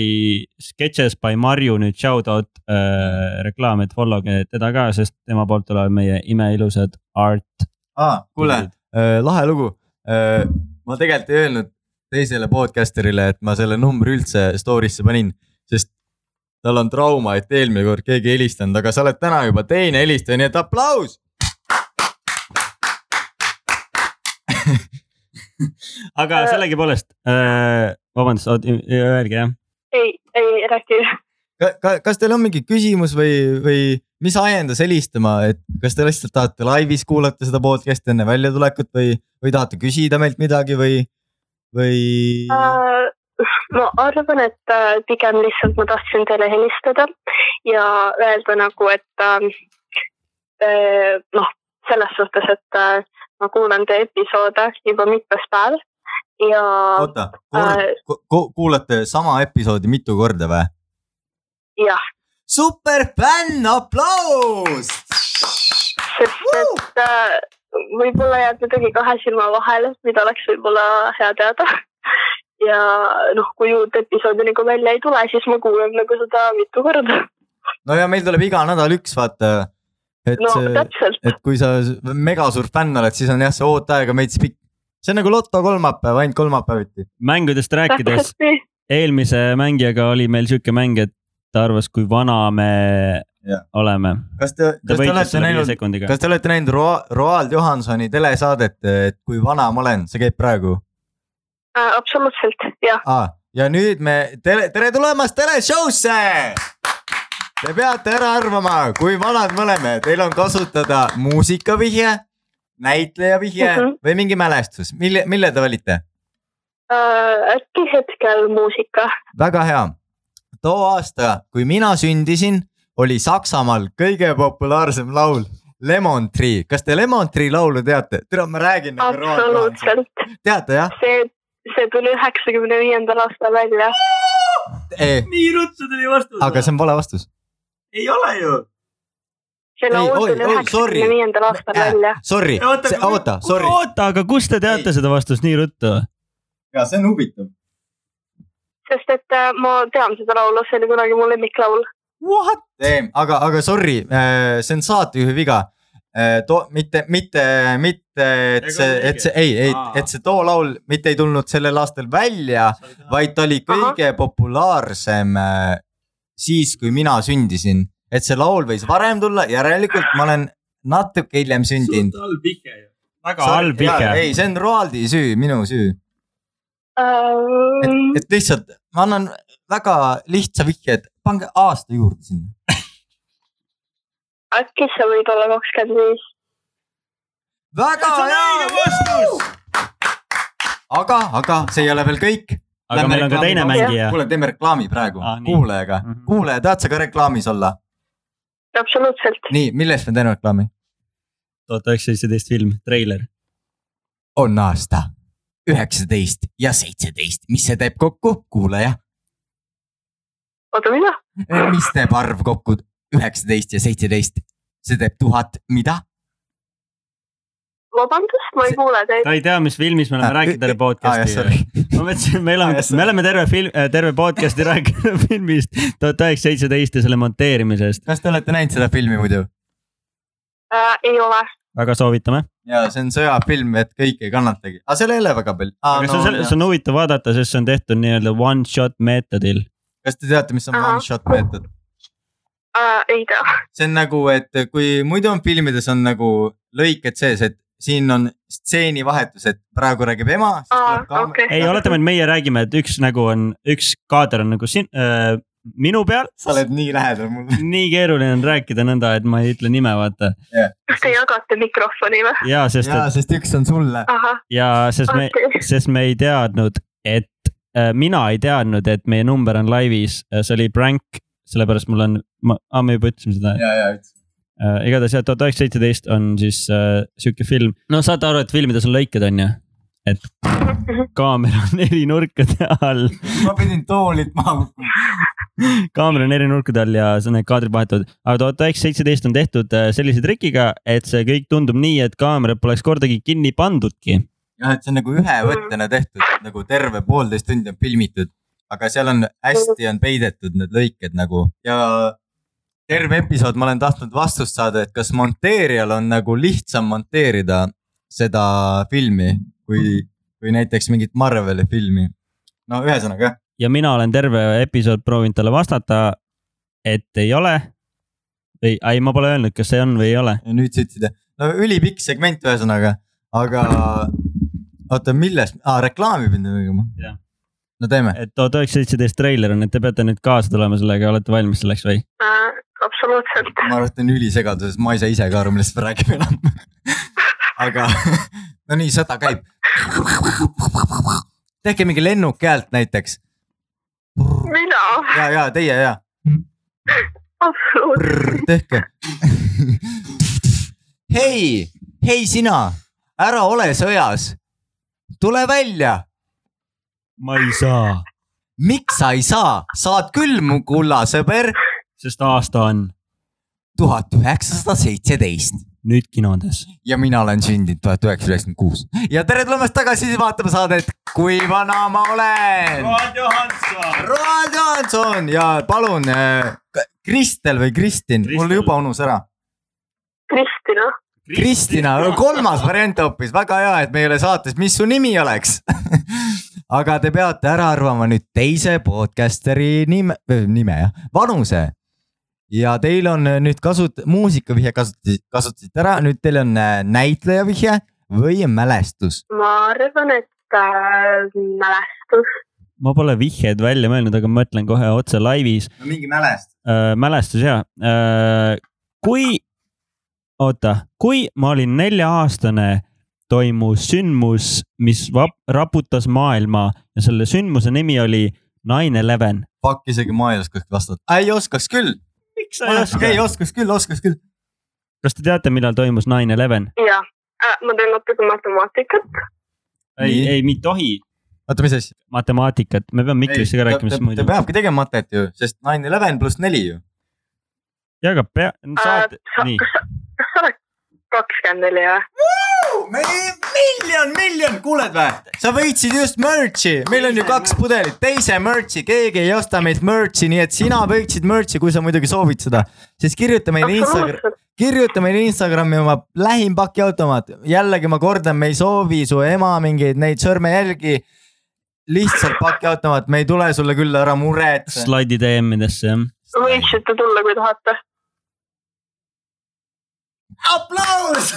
Speaker 2: Sketches by Marju nüüd shout out äh, reklaam , et follow ge teda ka , sest tema poolt tulevad meie imeilusad art .
Speaker 1: aa , Ah, kuule ,. lahe lugu . ma tegelikult ei öelnud teisele podcaster'ile , et ma selle numbri üldse story'sse panin , sest tal on trauma , et eelmine kord keegi ei helistanud , aga sa oled täna juba teine helistaja , nii et aplaus .
Speaker 2: aga
Speaker 3: Äh.
Speaker 2: sellegipoolest äh, , vabandust , öelge jah .
Speaker 3: ei , ei räägi .
Speaker 1: kas teil on mingi küsimus või , või mis ajendas helistama , et kas te lihtsalt tahate laivis kuulata seda podcast'i enne väljatulekut või , või tahate küsida meilt midagi või , või ?
Speaker 3: Äh, ma arvan , et äh, pigem lihtsalt ma tahtsin teile helistada ja öelda nagu , et äh, äh, noh , selles suhtes , et äh, ma kuulan teie episoode juba mitmes päev ja
Speaker 1: oota , kuulate sama episoodi mitu korda või ?
Speaker 3: jah ,
Speaker 1: superfänn , aplaus .
Speaker 3: sest et äh, võib-olla jääb midagi kahe silma vahele , mida oleks võib-olla hea teada ja noh , kui uut episoodi nagu välja ei tule , siis ma kuulan nagu seda mitu korda .
Speaker 1: no ja meil tuleb iga nädal üks , vaata . et
Speaker 3: no
Speaker 1: no, ,
Speaker 3: täpselt ,
Speaker 1: et kui sa s- mega suur fänn oled , siis on jah , see ooteaega meits pikk . see on nagu loto kolmapäev , ainult kolmapäeviti .
Speaker 2: mängudest rääkides
Speaker 3: täpselt , nii .
Speaker 2: eelmise mängijaga oli meil sihuke mäng , et ta arvas , kui vana me
Speaker 1: Jah.
Speaker 2: oleme .
Speaker 1: kas te ,
Speaker 2: ta
Speaker 1: kas te
Speaker 2: võitis
Speaker 1: olete
Speaker 2: selle viie
Speaker 1: näinud ,
Speaker 2: sekundiga .
Speaker 1: kas te olete näinud Roa- Roald Johansoni telesaadet , et kui vana ma olen , see käib praegu
Speaker 3: Äh, absoluutselt , jah ,
Speaker 1: ah, . ja nüüd me , tere , tere tulemast teleshow'sse . Te peate ära arvama , kui vanad me oleme , teil on kasutada muusikavihje , näitleja vihje mm
Speaker 3: Mhm.
Speaker 1: -hmm. või mingi mälestus , mille , mille te valite ?
Speaker 3: äh, . äkki hetkel muusika .
Speaker 1: väga hea . too aasta , kui mina sündisin , oli Saksamaal kõige populaarsem laul Lemon Tree . kas te Lemon Tree laulu teate ? tere , ma räägin .
Speaker 3: absoluutselt ,
Speaker 1: teate jah ?
Speaker 3: see , see tuli üheksakümne viiendal aastal välja .
Speaker 4: nii ruttu tuli vastus .
Speaker 1: Eh, aga see on vale vastus .
Speaker 4: ei ole ju .
Speaker 3: see
Speaker 1: Ei,
Speaker 3: laul
Speaker 1: oi,
Speaker 3: tuli
Speaker 1: oi, sorry. Äh.
Speaker 3: üheksakümne viiendal aastal välja .
Speaker 1: Sorry ,
Speaker 4: Oota, kui-
Speaker 1: oota , sorry .
Speaker 2: oota , aga kust te teate seda vastust nii ruttu ?
Speaker 1: ja see on huvitav .
Speaker 3: sest et äh, ma tean seda laulu , see oli kunagi mu lemmiklaul .
Speaker 4: What ?
Speaker 1: aga , aga sorry , see on saatejuhi viga . To- , mitte , mitte , mitte , et
Speaker 4: Ega
Speaker 1: see ,
Speaker 4: õige.
Speaker 1: et see ei , ei ,
Speaker 4: Aa.
Speaker 1: et see too laul mitte ei tulnud sellel aastal välja , vaid ta oli kõige Aha. populaarsem äh, siis , kui mina sündisin . et see laul võis varem tulla , järelikult ma olen natuke hiljem sündinud .
Speaker 4: suht halb vike ju .
Speaker 2: väga halb vike .
Speaker 1: ei , see on Roaldi süü , minu süü .
Speaker 3: Äh,
Speaker 1: et ,
Speaker 3: et
Speaker 1: et lihtsalt ma annan väga lihtsa vihje , et pange aasta juurde sinna .
Speaker 3: äkki sa võid olla kakskümmend viis .
Speaker 1: väga
Speaker 4: See on õige
Speaker 1: hea . aga , aga see ei ole veel kõik .
Speaker 2: aga meil on ka teine mängija .
Speaker 1: kuule , teeme reklaami praegu
Speaker 2: Aa, nii.
Speaker 1: kuulajaga
Speaker 2: Mhm. .
Speaker 1: kuulaja , tahad sa ka reklaamis olla ?
Speaker 3: absoluutselt .
Speaker 1: nii , millest me teeme reklaami ?
Speaker 2: tuhat üheksasada seitseteist film , treiler .
Speaker 1: on aasta üheksateist ja seitseteist , mis see teeb kokku , kuulaja ?
Speaker 3: oota , mida ?
Speaker 1: mis teeb arv kokku üheksateist ja seitseteist ? see teeb tuhat , mida ?
Speaker 3: vabandust , ma ei
Speaker 1: See-
Speaker 3: kuule teid .
Speaker 2: ta ei tea , mis filmis me oleme
Speaker 1: Ah,
Speaker 2: rääkinud
Speaker 1: ü-
Speaker 2: talle
Speaker 1: ü-
Speaker 2: podcast'i
Speaker 1: aa, jah, .
Speaker 2: ma mõtlesin , meil on
Speaker 1: Ah, jah, , sorry.
Speaker 2: me oleme terve film , terve podcast'i rääkinud filmist tuhat üheksasada seitseteist ja selle monteerimisest .
Speaker 1: kas te olete näinud seda filmi muidu ?
Speaker 3: Äh, ei ole .
Speaker 2: väga soovitame .
Speaker 1: ja see on sõjafilm , et kõik ei kannatagi , aga seal ei ole väga palju .
Speaker 2: aga see on selle , see on huvitav vaadata , sest see on tehtud nii-öelda one shot meetodil .
Speaker 1: kas te teate , mis on
Speaker 3: Ahah.
Speaker 1: one shot meetod ?
Speaker 3: Äh, ei tea .
Speaker 1: see on nagu , et kui muidu on filmides on nagu lõiked sees , et siin on stseenivahetus , et praegu räägib ema .
Speaker 3: Aa, okei.
Speaker 2: ei , oletame , et meie räägime , et üks nägu on , üks kaader on nagu sin- , minu peal .
Speaker 1: sa oled nii lähedal mulle .
Speaker 2: nii keeruline on rääkida nõnda , et ma ei ütle nime , vaata .
Speaker 3: kas te jagate mikrofoni või ?
Speaker 2: ja sest ,
Speaker 1: jaa , sest üks on sulle .
Speaker 3: ahah ,
Speaker 2: ja sest me ,
Speaker 3: okei okay. .
Speaker 2: sest me ei teadnud , et äh, mina ei teadnud , et meie number on laivis , see oli prank , sellepärast mul on , ma , aa , me juba ütlesime seda .
Speaker 1: ja , ja ,
Speaker 2: Äh, igatahes jah , tuhat üheksasada seitseteist on siis äh, sihuke film , no saate aru , et filmides on lõiked , on ju , et kaamera on eri nurkade all ,
Speaker 1: ma pidin toolilt maha kukkuma .
Speaker 2: kaamera on eri nurkade all ja see on need kaadrid vahetuvad . aga tuhat üheksasada seitseteist on tehtud äh, sellise trikiga , et see kõik tundub nii , et kaamerat poleks kordagi kinni pandudki .
Speaker 1: jah , et see on nagu ühe võttena tehtud , nagu terve poolteist tundi on filmitud , aga seal on hästi on peidetud need lõiked nagu ja terve episood ma olen tahtnud vastust saada , et kas monteerijal on nagu lihtsam monteerida seda filmi kui , kui näiteks mingit Marveli filmi . no ühesõnaga jah ,
Speaker 2: ja mina olen terve episood proovinud talle vastata , et ei ole . ei , ei , ma pole öelnud , kas see on või ei ole .
Speaker 1: nüüd sa ütlesid , no ülipikk segment ühesõnaga , aga oota , millest ah, , reklaami pidime tegema
Speaker 2: Jah. ?
Speaker 1: no teeme ,
Speaker 2: et tuhat üheksasada seitseteist treiler on , et te peate nüüd kaasa tulema sellega , olete valmis selleks või ?
Speaker 3: Äh, absoluutselt .
Speaker 1: ma arvan , et on ülisegaduses , ma ei saa ise ka aru , millest me räägime enam . aga no nii , sõda käib . tehke mingi lennuki häält näiteks
Speaker 3: mina ,
Speaker 1: ja , ja teie ja ,
Speaker 3: absoluutselt .
Speaker 1: tehke . hei , hei sina , ära ole sõjas . tule välja ,
Speaker 2: ma ei saa ,
Speaker 1: miks sa ei saa , saad küll mu kulla sõber ,
Speaker 2: sest aasta on
Speaker 1: tuhat üheksasada seitseteist
Speaker 2: nüüd kinodes .
Speaker 1: ja mina olen sündinud tuhat üheksasada üheksakümmend kuus ja tere tulemast tagasi vaatama saadet Kui vana ma olen .
Speaker 4: Johanson .
Speaker 1: Roald Johanson ja palun äh, K- Kristel või Kristin , mul
Speaker 4: Kristel.
Speaker 1: juba unus ära .
Speaker 3: Kristina ,
Speaker 1: Kristina , kolmas variant hoopis , väga hea , et me ei ole saates , mis su nimi oleks ? aga te peate ära arvama nüüd teise podcasteri nime , nime jah , vanuse . ja teil on äh, nüüd kasut- , muusikavihje kasutasite , kasutasite ära , nüüd teil on äh, näitleja vihje või mälestus .
Speaker 3: ma arvan , et äh, mälestus .
Speaker 2: ma pole vihjeid välja mõelnud , aga ma ütlen kohe otse laivis
Speaker 1: no mingi mälestus .
Speaker 2: äh, . mälestus ja äh, kui , oota , kui ma olin nelja-aastane toimus sündmus , mis vap- raputas maailma ja selle sündmuse nimi oli nine eleven .
Speaker 1: Fuck , isegi ma ei oskaks vastata . ei oskaks küll ,
Speaker 2: miks
Speaker 1: ma ei oska , ei oskaks küll , oskaks küll .
Speaker 2: kas te teate , millal toimus nine eleven ?
Speaker 3: jah , Äh, ma teen natuke matemaatikat .
Speaker 2: ei
Speaker 1: Nii. ,
Speaker 2: ei , me ei tohi
Speaker 1: oota , mis asja ?
Speaker 2: matemaatikat , me peame Miklisse ka rääkima , sest muidu
Speaker 1: ta . peabki tegema matet ju , sest nine eleven pluss neli ju .
Speaker 2: ja ka pea , saad , nii ,
Speaker 3: kas Äh, sa , kas sa oled kakskümmend neli või ?
Speaker 1: miljon , miljon , kuuled või ? sa võitsid just merch'i , meil on ju kaks pudelit , teise merch'i , keegi ei osta meilt merch'i , nii et sina võitsid merch'i , kui sa muidugi soovid seda . siis kirjuta meile Instagram ,
Speaker 3: absoluutselt ,
Speaker 1: kirjuta meile Instagrami oma lähim pakiautomaat , jällegi ma kordan , me ei soovi su ema mingeid neid sõrmejälgi . lihtsalt pakiautomaat , me ei tule sulle külla , ära muretse .
Speaker 2: slaidi DM-idesse jah .
Speaker 3: võiksite tulla , kui tahate .
Speaker 1: aplaus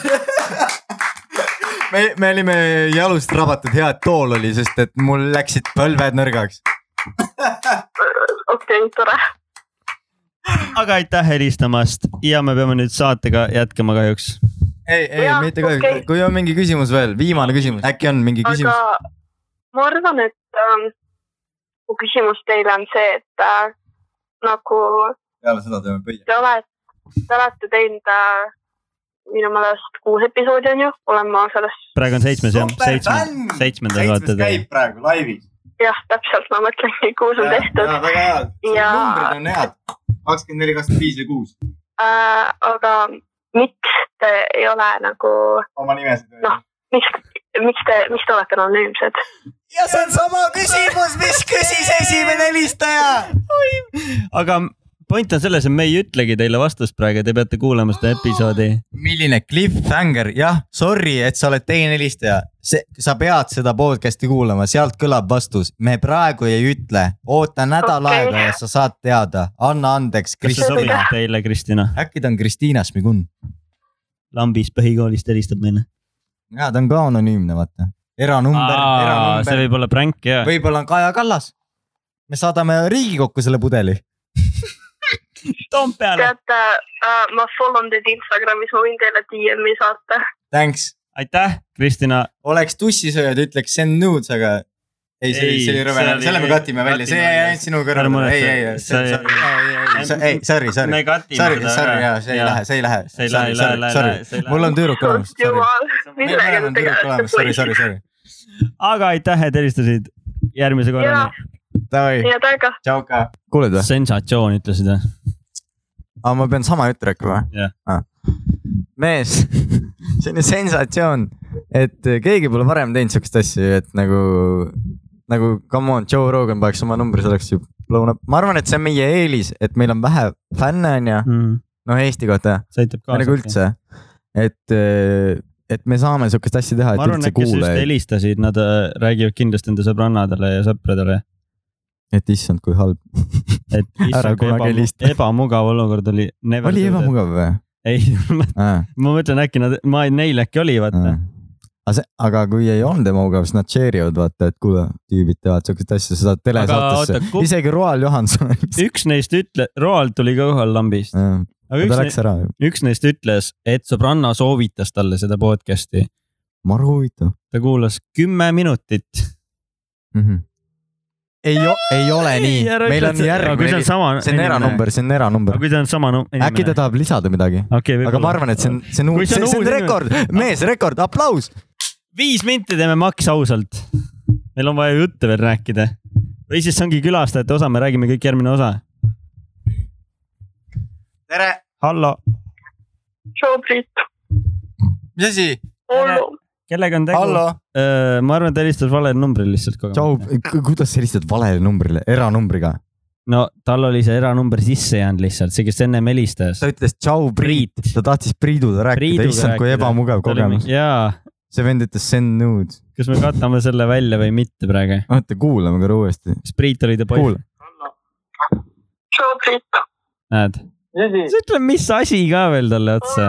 Speaker 1: me , me olime jalust rabatud , hea , et tool oli , sest et mul läksid põlved nõrgaks .
Speaker 3: okei okay, , tore .
Speaker 2: aga aitäh helistamast ja me peame nüüd saatega jätkama kahjuks .
Speaker 1: ei , ei
Speaker 3: Jaa,
Speaker 1: mitte kahjuks okay.
Speaker 3: okei. ,
Speaker 1: kui on mingi küsimus veel , viimane küsimus , äkki on mingi
Speaker 3: aga
Speaker 1: küsimus ?
Speaker 3: ma arvan , et ähm, mu küsimus teile on see , et äh, nagu
Speaker 1: peale seda teeme pöia .
Speaker 3: te olete , te olete teinud äh, minu meelest kuus episoodi on ju , olen ma selles ,
Speaker 2: praegu on seitsmes jah , seitsmes , seitsmendal vaata
Speaker 1: seitsmes
Speaker 2: te .
Speaker 1: käib praegu laivis .
Speaker 3: jah , täpselt ma mõtlengi , kuus on tehtud .
Speaker 1: väga head ,
Speaker 3: Ja-
Speaker 1: numbrid on head , kakskümmend neli , kakskümmend viis ja kuus ,
Speaker 3: äh, . aga miks te ei ole nagu ,
Speaker 1: oma nimesid .
Speaker 3: Noh. miks , miks te , miks te olete anonüümsed ?
Speaker 1: ja see on sama küsimus , mis küsis esimene helistaja
Speaker 2: aga point on selles , et me ei ütlegi teile vastust praegu , te peate kuulama seda episoodi .
Speaker 1: milline cliffhanger , jah , sorry , et sa oled teine helistaja , see , sa pead seda podcast'i kuulama , sealt kõlab vastus . me praegu ei ütle , oota nädal
Speaker 3: Okei.
Speaker 1: okay. aega ja sa saad teada , anna andeks ,
Speaker 2: kas see sobib
Speaker 1: Kristina .
Speaker 2: teile , Kristina ?
Speaker 1: äkki ta on Kristiina Šmigun ?
Speaker 2: lambis põhikoolist helistab meile .
Speaker 1: ja ta on ka anonüümne , vaata . eranumber ,
Speaker 2: see
Speaker 1: eranumber ,
Speaker 2: võib olla pränk ja .
Speaker 1: võib-olla on Kaja Kallas . me saadame Riigikokku selle pudeli .
Speaker 2: Toompeale .
Speaker 3: teate äh, , ma follow n teid Instagramis , ma võin teile DM-i saata .
Speaker 1: Thanks ,
Speaker 2: aitäh , Kristina .
Speaker 1: oleks tussisööjad , ütleks see on nudes , aga ei , see oli ,
Speaker 2: Ei,
Speaker 1: see oli rõve
Speaker 2: see , oli-
Speaker 1: selle me katime välja , see
Speaker 2: katime
Speaker 1: jäi
Speaker 2: välja.
Speaker 1: ainult sinu
Speaker 2: Ära
Speaker 1: kõrvale ,
Speaker 2: muretse,
Speaker 1: ei , ei , ei ,
Speaker 2: see-
Speaker 1: see , ei , sorry , sorry .
Speaker 2: me katime
Speaker 1: sorry , sorry , jaa , see ei lähe , see ei lähe .
Speaker 2: see ei lähe , ei lähe , ei lähe , see ei lähe .
Speaker 1: mul on tüdruk olemas , sorry .
Speaker 3: jumal ,
Speaker 1: meil
Speaker 3: millega
Speaker 1: on tüdruk olemas , sorry , sorry , sorry .
Speaker 2: aga aitäh , et helistasid . järgmise korrani .
Speaker 1: Davai ,
Speaker 3: head aega .
Speaker 1: tšau ka . kuuled või ?
Speaker 2: sensatsioon , ütlesid või ?
Speaker 1: aa , ma pean sama juttu rääkima
Speaker 2: Jah.
Speaker 1: või ? mees , selline sensatsioon , et keegi pole varem teinud siukest asja , et nagu , nagu come on , Joe Rogan paneks oma numbri , see oleks ju blown up . ma arvan , et see on meie eelis , et meil on vähe fänne , onju , noh Eesti kohta ,
Speaker 2: see aitab kaasa .
Speaker 1: nagu üldse . et , et me saame siukest asja teha ,
Speaker 2: ma
Speaker 1: et
Speaker 2: arvan ,
Speaker 1: üldse
Speaker 2: et kes just
Speaker 1: kuulajaid ,
Speaker 2: helistasid , nad äh, räägivad kindlasti enda sõbrannadele ja sõpradele ,
Speaker 1: et issand , kui halb .
Speaker 2: et .
Speaker 1: Ära kunagi helista.
Speaker 2: ebamugav olukord oli .
Speaker 1: oli . ebamugav või ? Ah.
Speaker 2: ei , ma mõtlen äkki nad , ma , neil äkki oli , vaata .
Speaker 1: Mm. aga see , aga kui ei olnud ebamugav , siis nad share ivad vaata , et kuule , tüübid teevad siukest asja , sa saad telesaatesse
Speaker 2: Aga oota, . ku-
Speaker 1: isegi Roal Johanson .
Speaker 2: üks neist ütle- , Roald tuli ka kohal lambist ,
Speaker 1: ta
Speaker 2: aga üks,
Speaker 1: läks
Speaker 2: ne,
Speaker 1: ära ju ,
Speaker 2: üks neist ütles , et sõbranna soovitas talle seda podcast'i .
Speaker 1: maru huvitav
Speaker 2: ta kuulas kümme minutit .
Speaker 1: mm . -hmm. ei , ei ole nii , meil on järgmine , see
Speaker 2: sama .
Speaker 1: on eranumber , see on
Speaker 2: aga
Speaker 1: eranumber .
Speaker 2: kui see on sama nu- inimene .
Speaker 1: äkki ta tahab lisada midagi ?
Speaker 2: okay,
Speaker 1: aga ma arvan , et see on , see on
Speaker 2: Kui
Speaker 1: uus ,
Speaker 2: see
Speaker 1: see
Speaker 2: on
Speaker 1: see on
Speaker 2: uus
Speaker 1: rekord , mees , rekord , aplaus .
Speaker 2: viis minti teeme maks ausalt . meil on vaja jutte veel rääkida . või siis see ongi külastajate osa , me räägime kõik järgmine osa .
Speaker 1: tere ,
Speaker 2: hallo ,
Speaker 3: tšau , Priit .
Speaker 1: mis asi ?
Speaker 3: hullu .
Speaker 2: kellega on tegu ?
Speaker 1: hallo ,
Speaker 2: ma arvan , et ta helistas valel numbril lihtsalt kogu
Speaker 1: tšau
Speaker 2: aeg .,
Speaker 1: kuidas sa helistad valele numbrile , eranumbriga ?
Speaker 2: no tal oli see eranumber sisse jäänud lihtsalt , see , kes ennem helistas .
Speaker 1: ta ütles tšau , Priit . ta tahtis Priiduga rääkida ,
Speaker 2: Priiduga
Speaker 1: issand , kui
Speaker 2: rääkida.
Speaker 1: ebamugav kogemus .
Speaker 2: jaa ,
Speaker 1: see vend ütles send nude .
Speaker 2: kas me katame selle välja või mitte praegu ?
Speaker 1: oota , kuulame korra uuesti .
Speaker 2: kas Priit oli ta
Speaker 1: Kuul-
Speaker 2: poiss ?
Speaker 3: tšau , Priit .
Speaker 2: näed ,
Speaker 4: mis asi ?
Speaker 2: sa ütle , mis asi ka veel talle otsa .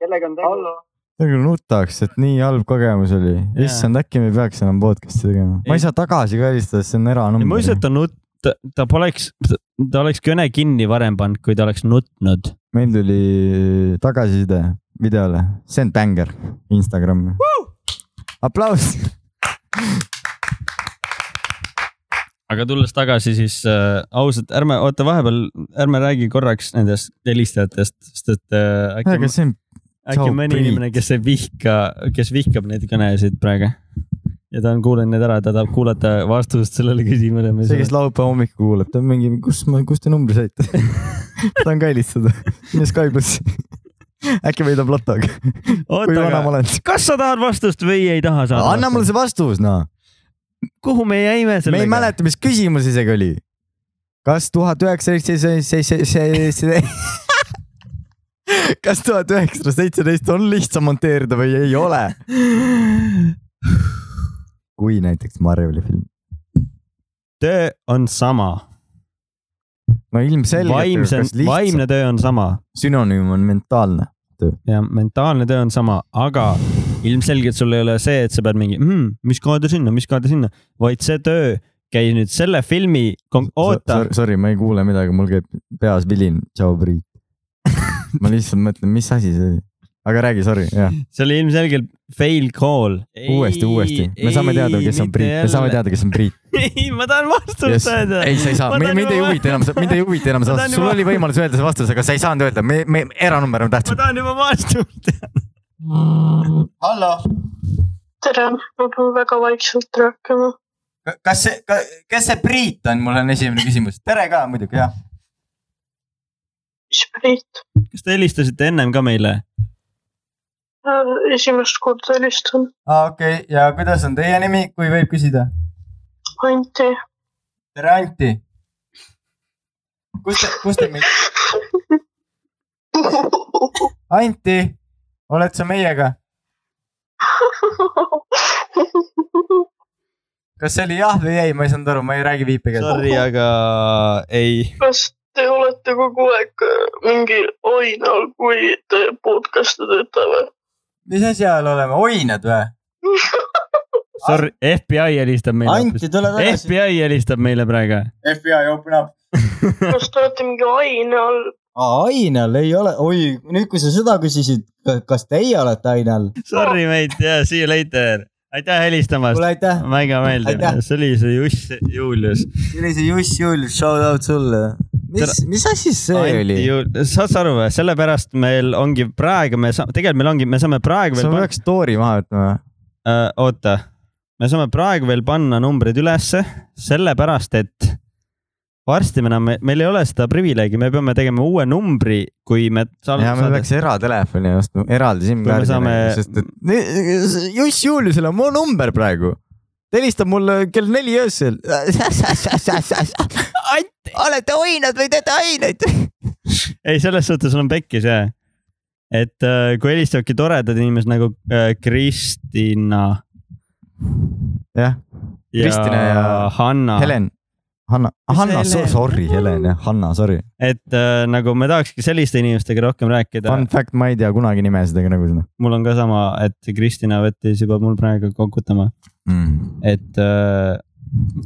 Speaker 4: kellega on tegu ?
Speaker 1: ma küll nutaks , et nii halb kogemus oli .
Speaker 2: Jaa.
Speaker 1: issand , äkki me ei peaks enam podcast'i tegema . ma
Speaker 2: Ei.
Speaker 1: ei saa tagasi ka helistada , sest see on
Speaker 2: ma ei usu , et
Speaker 1: eranumber .
Speaker 2: ta nut- , ta , ta poleks , ta oleks kõne kinni varem pannud , kui ta oleks nutnud .
Speaker 1: meil tuli tagasiside videole , see on bängar Instagrami . aplaus .
Speaker 2: aga tulles tagasi , siis äh, ausalt , ärme oota vahepeal , ärme räägi korraks nendest helistajatest , sest et äh,
Speaker 1: aga
Speaker 2: äkki ,
Speaker 1: see on ,
Speaker 2: äkki on mõni
Speaker 1: Priit.
Speaker 2: inimene , kes ei vihka , kes vihkab neid kõnesid praegu . ja ta on kuulanud need ära , ta tahab kuulata vastust sellele küsimusele , mis
Speaker 1: see , kes laupäeva hommikul kuuleb , ta on mingi , kus ma , kust te numbri saite ? tahan ka helistada , mine Skype'isse . äkki võidab lotoga , kui
Speaker 2: oota ,
Speaker 1: vana ma
Speaker 2: aga
Speaker 1: olen .
Speaker 2: kas sa tahad vastust või ei taha saada ?
Speaker 1: anna mulle see vastus , noh .
Speaker 2: kuhu me jäime sellega ?
Speaker 1: me ei mäleta , mis küsimus isegi oli . kas tuhat üheksateist , seitseteist , kas tuhat üheksasada seitseteist on lihtsam monteerida või ei ole ? kui näiteks Marjoli film .
Speaker 2: töö on sama ,
Speaker 1: no ilmselgelt ,
Speaker 2: vaimse
Speaker 1: kas , lihtsam ,
Speaker 2: vaimne töö on sama
Speaker 1: sünonüüm on mentaalne .
Speaker 2: ja mentaalne töö on sama , aga ilmselgelt sul ei ole see , et sa pead mingi mm, , mis kaader sinna , mis kaader sinna , vaid see töö käis nüüd selle filmi , oota ,
Speaker 1: Sorry , ma ei kuule midagi , mul käib peas vilin , tšau Priit . ma lihtsalt mõtlen , mis asi see oli , aga räägi , sorry , jah ,
Speaker 2: see oli ilmselgelt fail call .
Speaker 1: uuesti , uuesti , me saame teada , kes on Priit , me saame . teada , kes on Priit .
Speaker 2: ei , ma tahan vastust
Speaker 1: Yes.
Speaker 2: saada .
Speaker 1: ei , sa ei saa , mind mind ei huvita enam , mind ei huvita enam see
Speaker 2: Ma tahan
Speaker 1: vastus , sul
Speaker 2: juba-
Speaker 1: oli võimalus öelda see vastus , aga sa ei saanud öelda , me , me , eranumber on
Speaker 2: ma
Speaker 1: tähtsam .
Speaker 2: tahan juba vastust .
Speaker 1: hallo ,
Speaker 3: tere , ma pean väga vaikselt rääkima .
Speaker 1: kas see , kes see Priit on , mul on esimene küsimus , tere ka muidugi , jah .
Speaker 3: mis Priit ,
Speaker 2: kas te helistasite ennem ka meile ?
Speaker 3: esimest korda helistan .
Speaker 1: aa , okei okay. , ja kuidas on teie nimi , kui võib küsida ?
Speaker 3: Anti ,
Speaker 1: tere , Anti . kus te , kus te meid , Anti , oled sa meiega ? kas see oli jah või ei , ma ei saanud aru , ma ei räägi viipekeelt .
Speaker 2: Sorry , aga ei .
Speaker 3: kas te olete kogu aeg mingi oi näol , kui te podcast'e teete või ?
Speaker 1: mis asja all oleme , oined või ?
Speaker 2: Sorry , FBI helistab meile hoopis .
Speaker 1: Anti , tule tagasi .
Speaker 2: FBI helistab meile praegu .
Speaker 1: FBI , open up .
Speaker 3: kas te olete mingi oi näol ?
Speaker 1: ainel ei ole , oi , nüüd kui sa seda küsisid , kas teie olete ainel ?
Speaker 2: Sorry , mate , yeah , see you later . aitäh helistamast .
Speaker 1: kuule , aitäh ,
Speaker 2: väga meeldiv
Speaker 1: Aitäh. ,
Speaker 2: see oli see Juss , Julius .
Speaker 1: see oli see Juss Julius , shout out sulle . mis , mis asi see oli ?
Speaker 2: saad sa aru või , sellepärast meil ongi praegu , me saame , tegelikult meil ongi , me saame praegu
Speaker 1: sa
Speaker 2: veel pan- ,
Speaker 1: peaks story maha võtma .
Speaker 2: äh, oota , me saame praegu veel panna numbrid ülesse , sellepärast et varsti me enam , meil ei ole seda privileegi , me peame tegema uue numbri , kui me .
Speaker 1: ja me peaks eratelefoni ostma , eraldi SIM-kaardi ,
Speaker 2: saame-
Speaker 1: sest et Ni- Juss Juliusel on mu number praegu . ta helistab mulle kell neli öösel . olete oinad või teete aineid ?
Speaker 2: ei , selles suhtes on pekkis jah . et äh, kui helistavadki toredad inimesed nagu äh, Kristina .
Speaker 1: jah , Kristina ja
Speaker 2: Hanna .
Speaker 1: Helen , Hanna ,
Speaker 2: Mis
Speaker 1: Hanna ,
Speaker 2: Helen?
Speaker 1: sorry , Helen jah , Hanna , sorry .
Speaker 2: et äh, nagu me tahakski selliste inimestega rohkem rääkida
Speaker 1: Fun
Speaker 2: Pan... .
Speaker 1: fact , ma ei tea kunagi nimesid ega nagu seda
Speaker 2: mul on ka sama , et Kristina võttis juba mul praegu kokutama ,
Speaker 1: mm. .
Speaker 2: et äh,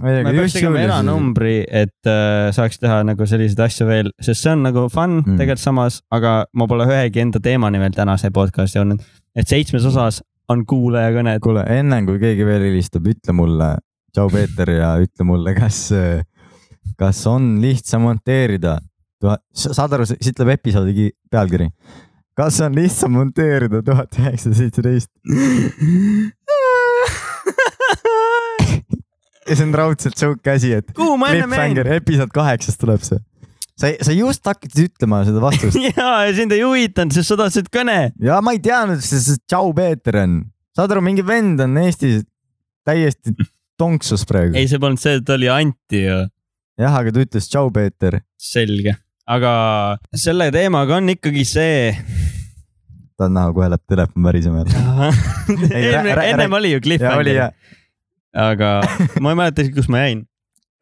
Speaker 2: me peaks tegema eranumbri , et äh, saaks teha nagu selliseid asju veel , sest see on nagu fun
Speaker 1: Mm.
Speaker 2: mm. tegelikult samas , aga ma pole ühegi enda teemani veel tänase podcast'i olnud . et seitsmes osas on kuulajakõned .
Speaker 1: kuule , enne kui keegi veel helistab , ütle mulle , tšau Peeter ja ütle mulle , kas , kas on lihtsam monteerida , saad aru , siit tuleb episoodi ki- pealkiri . kas on lihtsam monteerida tuhat üheksasada seitseteist ja see on raudselt sihuke asi , et
Speaker 2: kuhu ma ennem jäin ?
Speaker 1: cliffhanger , episood kaheksas tuleb see . sa , sa just hakkasid ütlema seda vastust
Speaker 2: ja , ja sind ei huvitanud , sest sa tahtsid kõne .
Speaker 1: ja ma ei teadnud , et see see tšau Peeter on , saad aru , mingi vend on Eestis täiesti tonksus praegu
Speaker 2: ei ,. see polnud see , ta oli Anti ju
Speaker 1: jah , aga ta ütles tšau , Peeter .
Speaker 2: selge , aga selle teemaga on ikkagi see .
Speaker 1: tahad näha , kohe läheb telefon värisema jälle . rää- rää-
Speaker 2: ennem oli ju
Speaker 1: ja oli ja
Speaker 2: cliffhanger ,, aga ma ei mäleta isegi , kus ma jäin .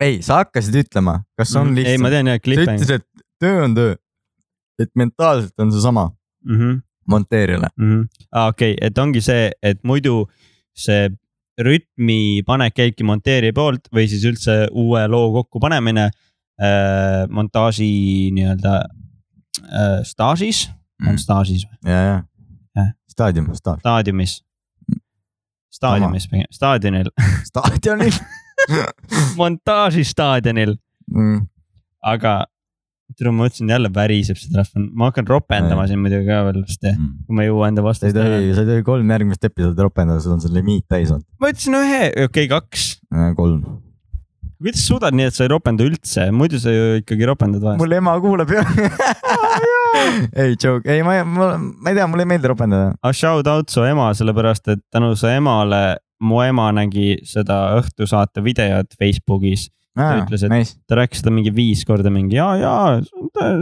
Speaker 1: ei , sa hakkasid ütlema , kas on
Speaker 2: Mm, ei , ma
Speaker 1: lihtsam .
Speaker 2: tean jah ,
Speaker 1: sa
Speaker 2: cliffhanger .
Speaker 1: ütlesid , et töö on töö . et mentaalselt on seesama
Speaker 2: Mhm.
Speaker 1: monteerijale . Mhm.
Speaker 2: Ah, okei , et ongi see , et muidu see rütmi panek käibki monteerija poolt või siis üldse uue loo kokkupanemine äh, montaaži nii-öelda äh, staažis , on
Speaker 1: Mm.
Speaker 2: staažis või ,
Speaker 1: ja ,
Speaker 2: Jah.
Speaker 1: ja . staadium , staaž .
Speaker 2: staadiumis . staadionis pigem , staadionil ,
Speaker 1: staadionil
Speaker 2: montaažistaadionil ,
Speaker 1: mm. .
Speaker 2: aga tule , ma mõtlesin jälle väriseb see telefon , ma hakkan ropendama siin muidugi ka veel vist , kui ma ei jõua enda
Speaker 1: sa ei
Speaker 2: vastust .
Speaker 1: tohi , sa ei tohi kolm järgmist episoodi ropendada , sul on see limiit täis olnud .
Speaker 2: ma ütlesin ühe , okei okay, , kaks .
Speaker 1: kolm .
Speaker 2: kuidas sa suudad nii , et sa ei ropenda üldse , muidu sa ju ikkagi ropendad vahest .
Speaker 1: mul ema kuuleb ju . ei , joke , ei , ma , ma , ma ei tea , mulle ei meeldi ropendada .
Speaker 2: aga Ah, shout out su ema , sellepärast et tänu su emale mu ema nägi seda õhtusaate videot Facebookis . Ta ütles, et-
Speaker 1: Nice.
Speaker 2: ta rääkis seda mingi viis korda mingi ja , ja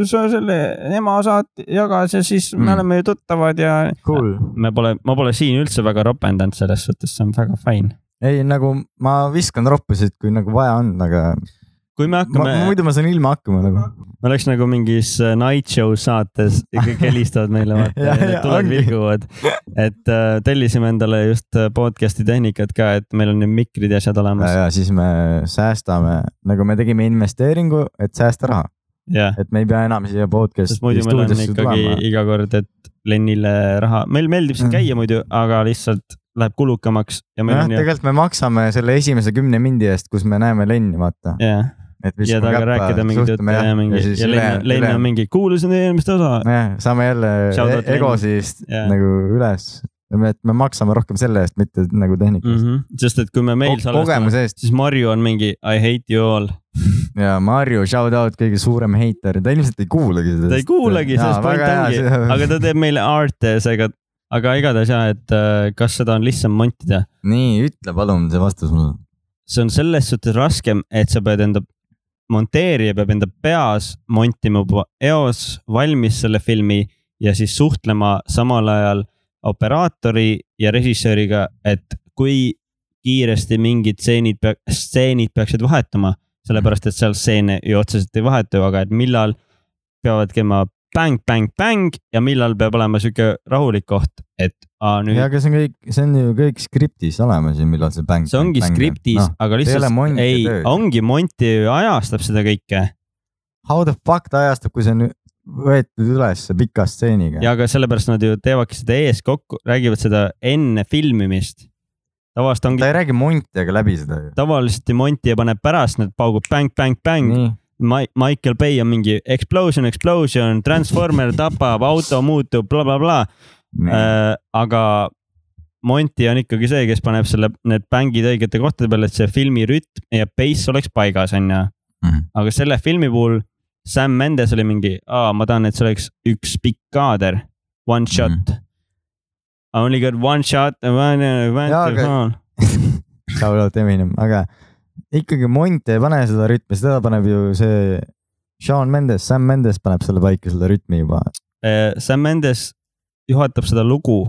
Speaker 2: sa selle ema saate jagas ja siis mm.
Speaker 1: Mm.
Speaker 2: me oleme ju tuttavad ja
Speaker 1: Cool .
Speaker 2: me pole , ma pole siin üldse väga ropendanud selles suhtes , see on väga fine .
Speaker 1: ei , nagu ma viskan roppusid , kui nagu vaja on , aga
Speaker 2: kui me
Speaker 1: ma,
Speaker 2: hakkame ,
Speaker 1: muidu ma saan ilma hakkama nagu .
Speaker 2: me oleks nagu mingis night show saates ja kõik helistavad meile , vaata
Speaker 1: Ja,
Speaker 2: ja, ja
Speaker 1: ja,
Speaker 2: tuled
Speaker 1: ongi.
Speaker 2: vilguvad . et äh, tellisime endale just äh, podcast'i tehnikat ka , et meil on nüüd mikrid ja asjad olemas
Speaker 1: ja siis me säästame , nagu me tegime investeeringu , et säästa raha ,
Speaker 2: ja
Speaker 1: et me ei pea enam siia podcast'i
Speaker 2: sest muidu meil on
Speaker 1: stuudiosse
Speaker 2: ikkagi
Speaker 1: tulema .
Speaker 2: iga kord , et Lennile raha , meil meeldib siin
Speaker 1: Mm.
Speaker 2: käia muidu , aga lihtsalt läheb kulukamaks ja meil
Speaker 1: jah ,
Speaker 2: on ju ,
Speaker 1: tegelikult me maksame selle esimese kümne mindi eest , kus me näeme lenni , vaata .
Speaker 2: jah .
Speaker 1: et
Speaker 2: ja
Speaker 1: viskame
Speaker 2: taga rääkida mingit juttu ja mingi
Speaker 1: siis
Speaker 2: ja
Speaker 1: üle-
Speaker 2: Lenn , Lenn
Speaker 1: üle-
Speaker 2: on mingi , kuulasin teie eelmist osa .
Speaker 1: jah , saame jälle
Speaker 2: Shout out
Speaker 1: e- egosist
Speaker 2: Lenn. Jaa.
Speaker 1: nagu üles , et me maksame rohkem selle eest , mitte nagu tehnika eest .
Speaker 2: sest et kui me Mhm. meil salvestame ,
Speaker 1: kogemuse eest
Speaker 2: siis Marju on mingi I hate you all .
Speaker 1: ja Marju , shout out , kõige suurem heiter , ta ilmselt ei kuulagi seda .
Speaker 2: ta ei
Speaker 1: äh,
Speaker 2: kuulegi , sellest point ongi , aga ta teeb meile art'e seega , aga igatahes ja , et äh, kas seda on lihtsam montida ,
Speaker 1: nii , ütle palun see vastus mulle .
Speaker 2: see on selles suhtes raskem , et sa pead enda , monteerija peab enda peas montima juba eos valmis selle filmi ja siis suhtlema samal ajal operaatori ja režissööriga , et kui kiiresti mingid stseenid , stseenid peaksid vahetuma , sellepärast et seal stseene ju otseselt ei vahetu , aga et millal peavad käima bäng , bäng , bäng ja millal peab olema sihuke rahulik koht , et aa, nüüd
Speaker 1: ja , aga see on kõik , see on ju kõik skriptis olemas ju , millal see bäng .
Speaker 2: see ongi skriptis no, , aga
Speaker 1: Noh, ei ole
Speaker 2: lihtsalt
Speaker 1: monti
Speaker 2: ei ,
Speaker 1: töö.
Speaker 2: ongi Monti ajastab seda kõike
Speaker 1: How the fuck ta ajastab , kui see on võetud üles pika stseeniga ?
Speaker 2: ja ka sellepärast nad ju teevadki seda ees kokku , räägivad seda enne filmimist . tavaliselt
Speaker 1: ta
Speaker 2: ongi ,
Speaker 1: ei räägi monti ega läbi seda ju .
Speaker 2: tavaliselt ju Monti ja paneb pärast , nad paugub bäng , bäng , bäng .
Speaker 1: nii ,
Speaker 2: Ma- , Michael Bay on mingi explosion , explosion , transformer tapab , auto muutub bla, , blablabla
Speaker 1: nii.
Speaker 2: äh, . aga Monti on ikkagi see , kes paneb selle , need bängid õigete kohtade peale , et see filmi rütm ja pace oleks paigas , onju .
Speaker 1: Mhm.
Speaker 2: aga selle filmi puhul Sam Mendes oli mingi , ma tahan , et see oleks üks pikk kaader , one shot mm .
Speaker 1: Mhm.
Speaker 2: -hmm. I only got one shot .
Speaker 1: Jaa, aga- Shout out Eminem , aga ikkagi Mont ei pane seda rütmi , seda paneb ju see Sean Mendes , Sam Mendes paneb selle paika , selle rütmi juba .
Speaker 2: Äh, Sam Mendes juhatab seda lugu ,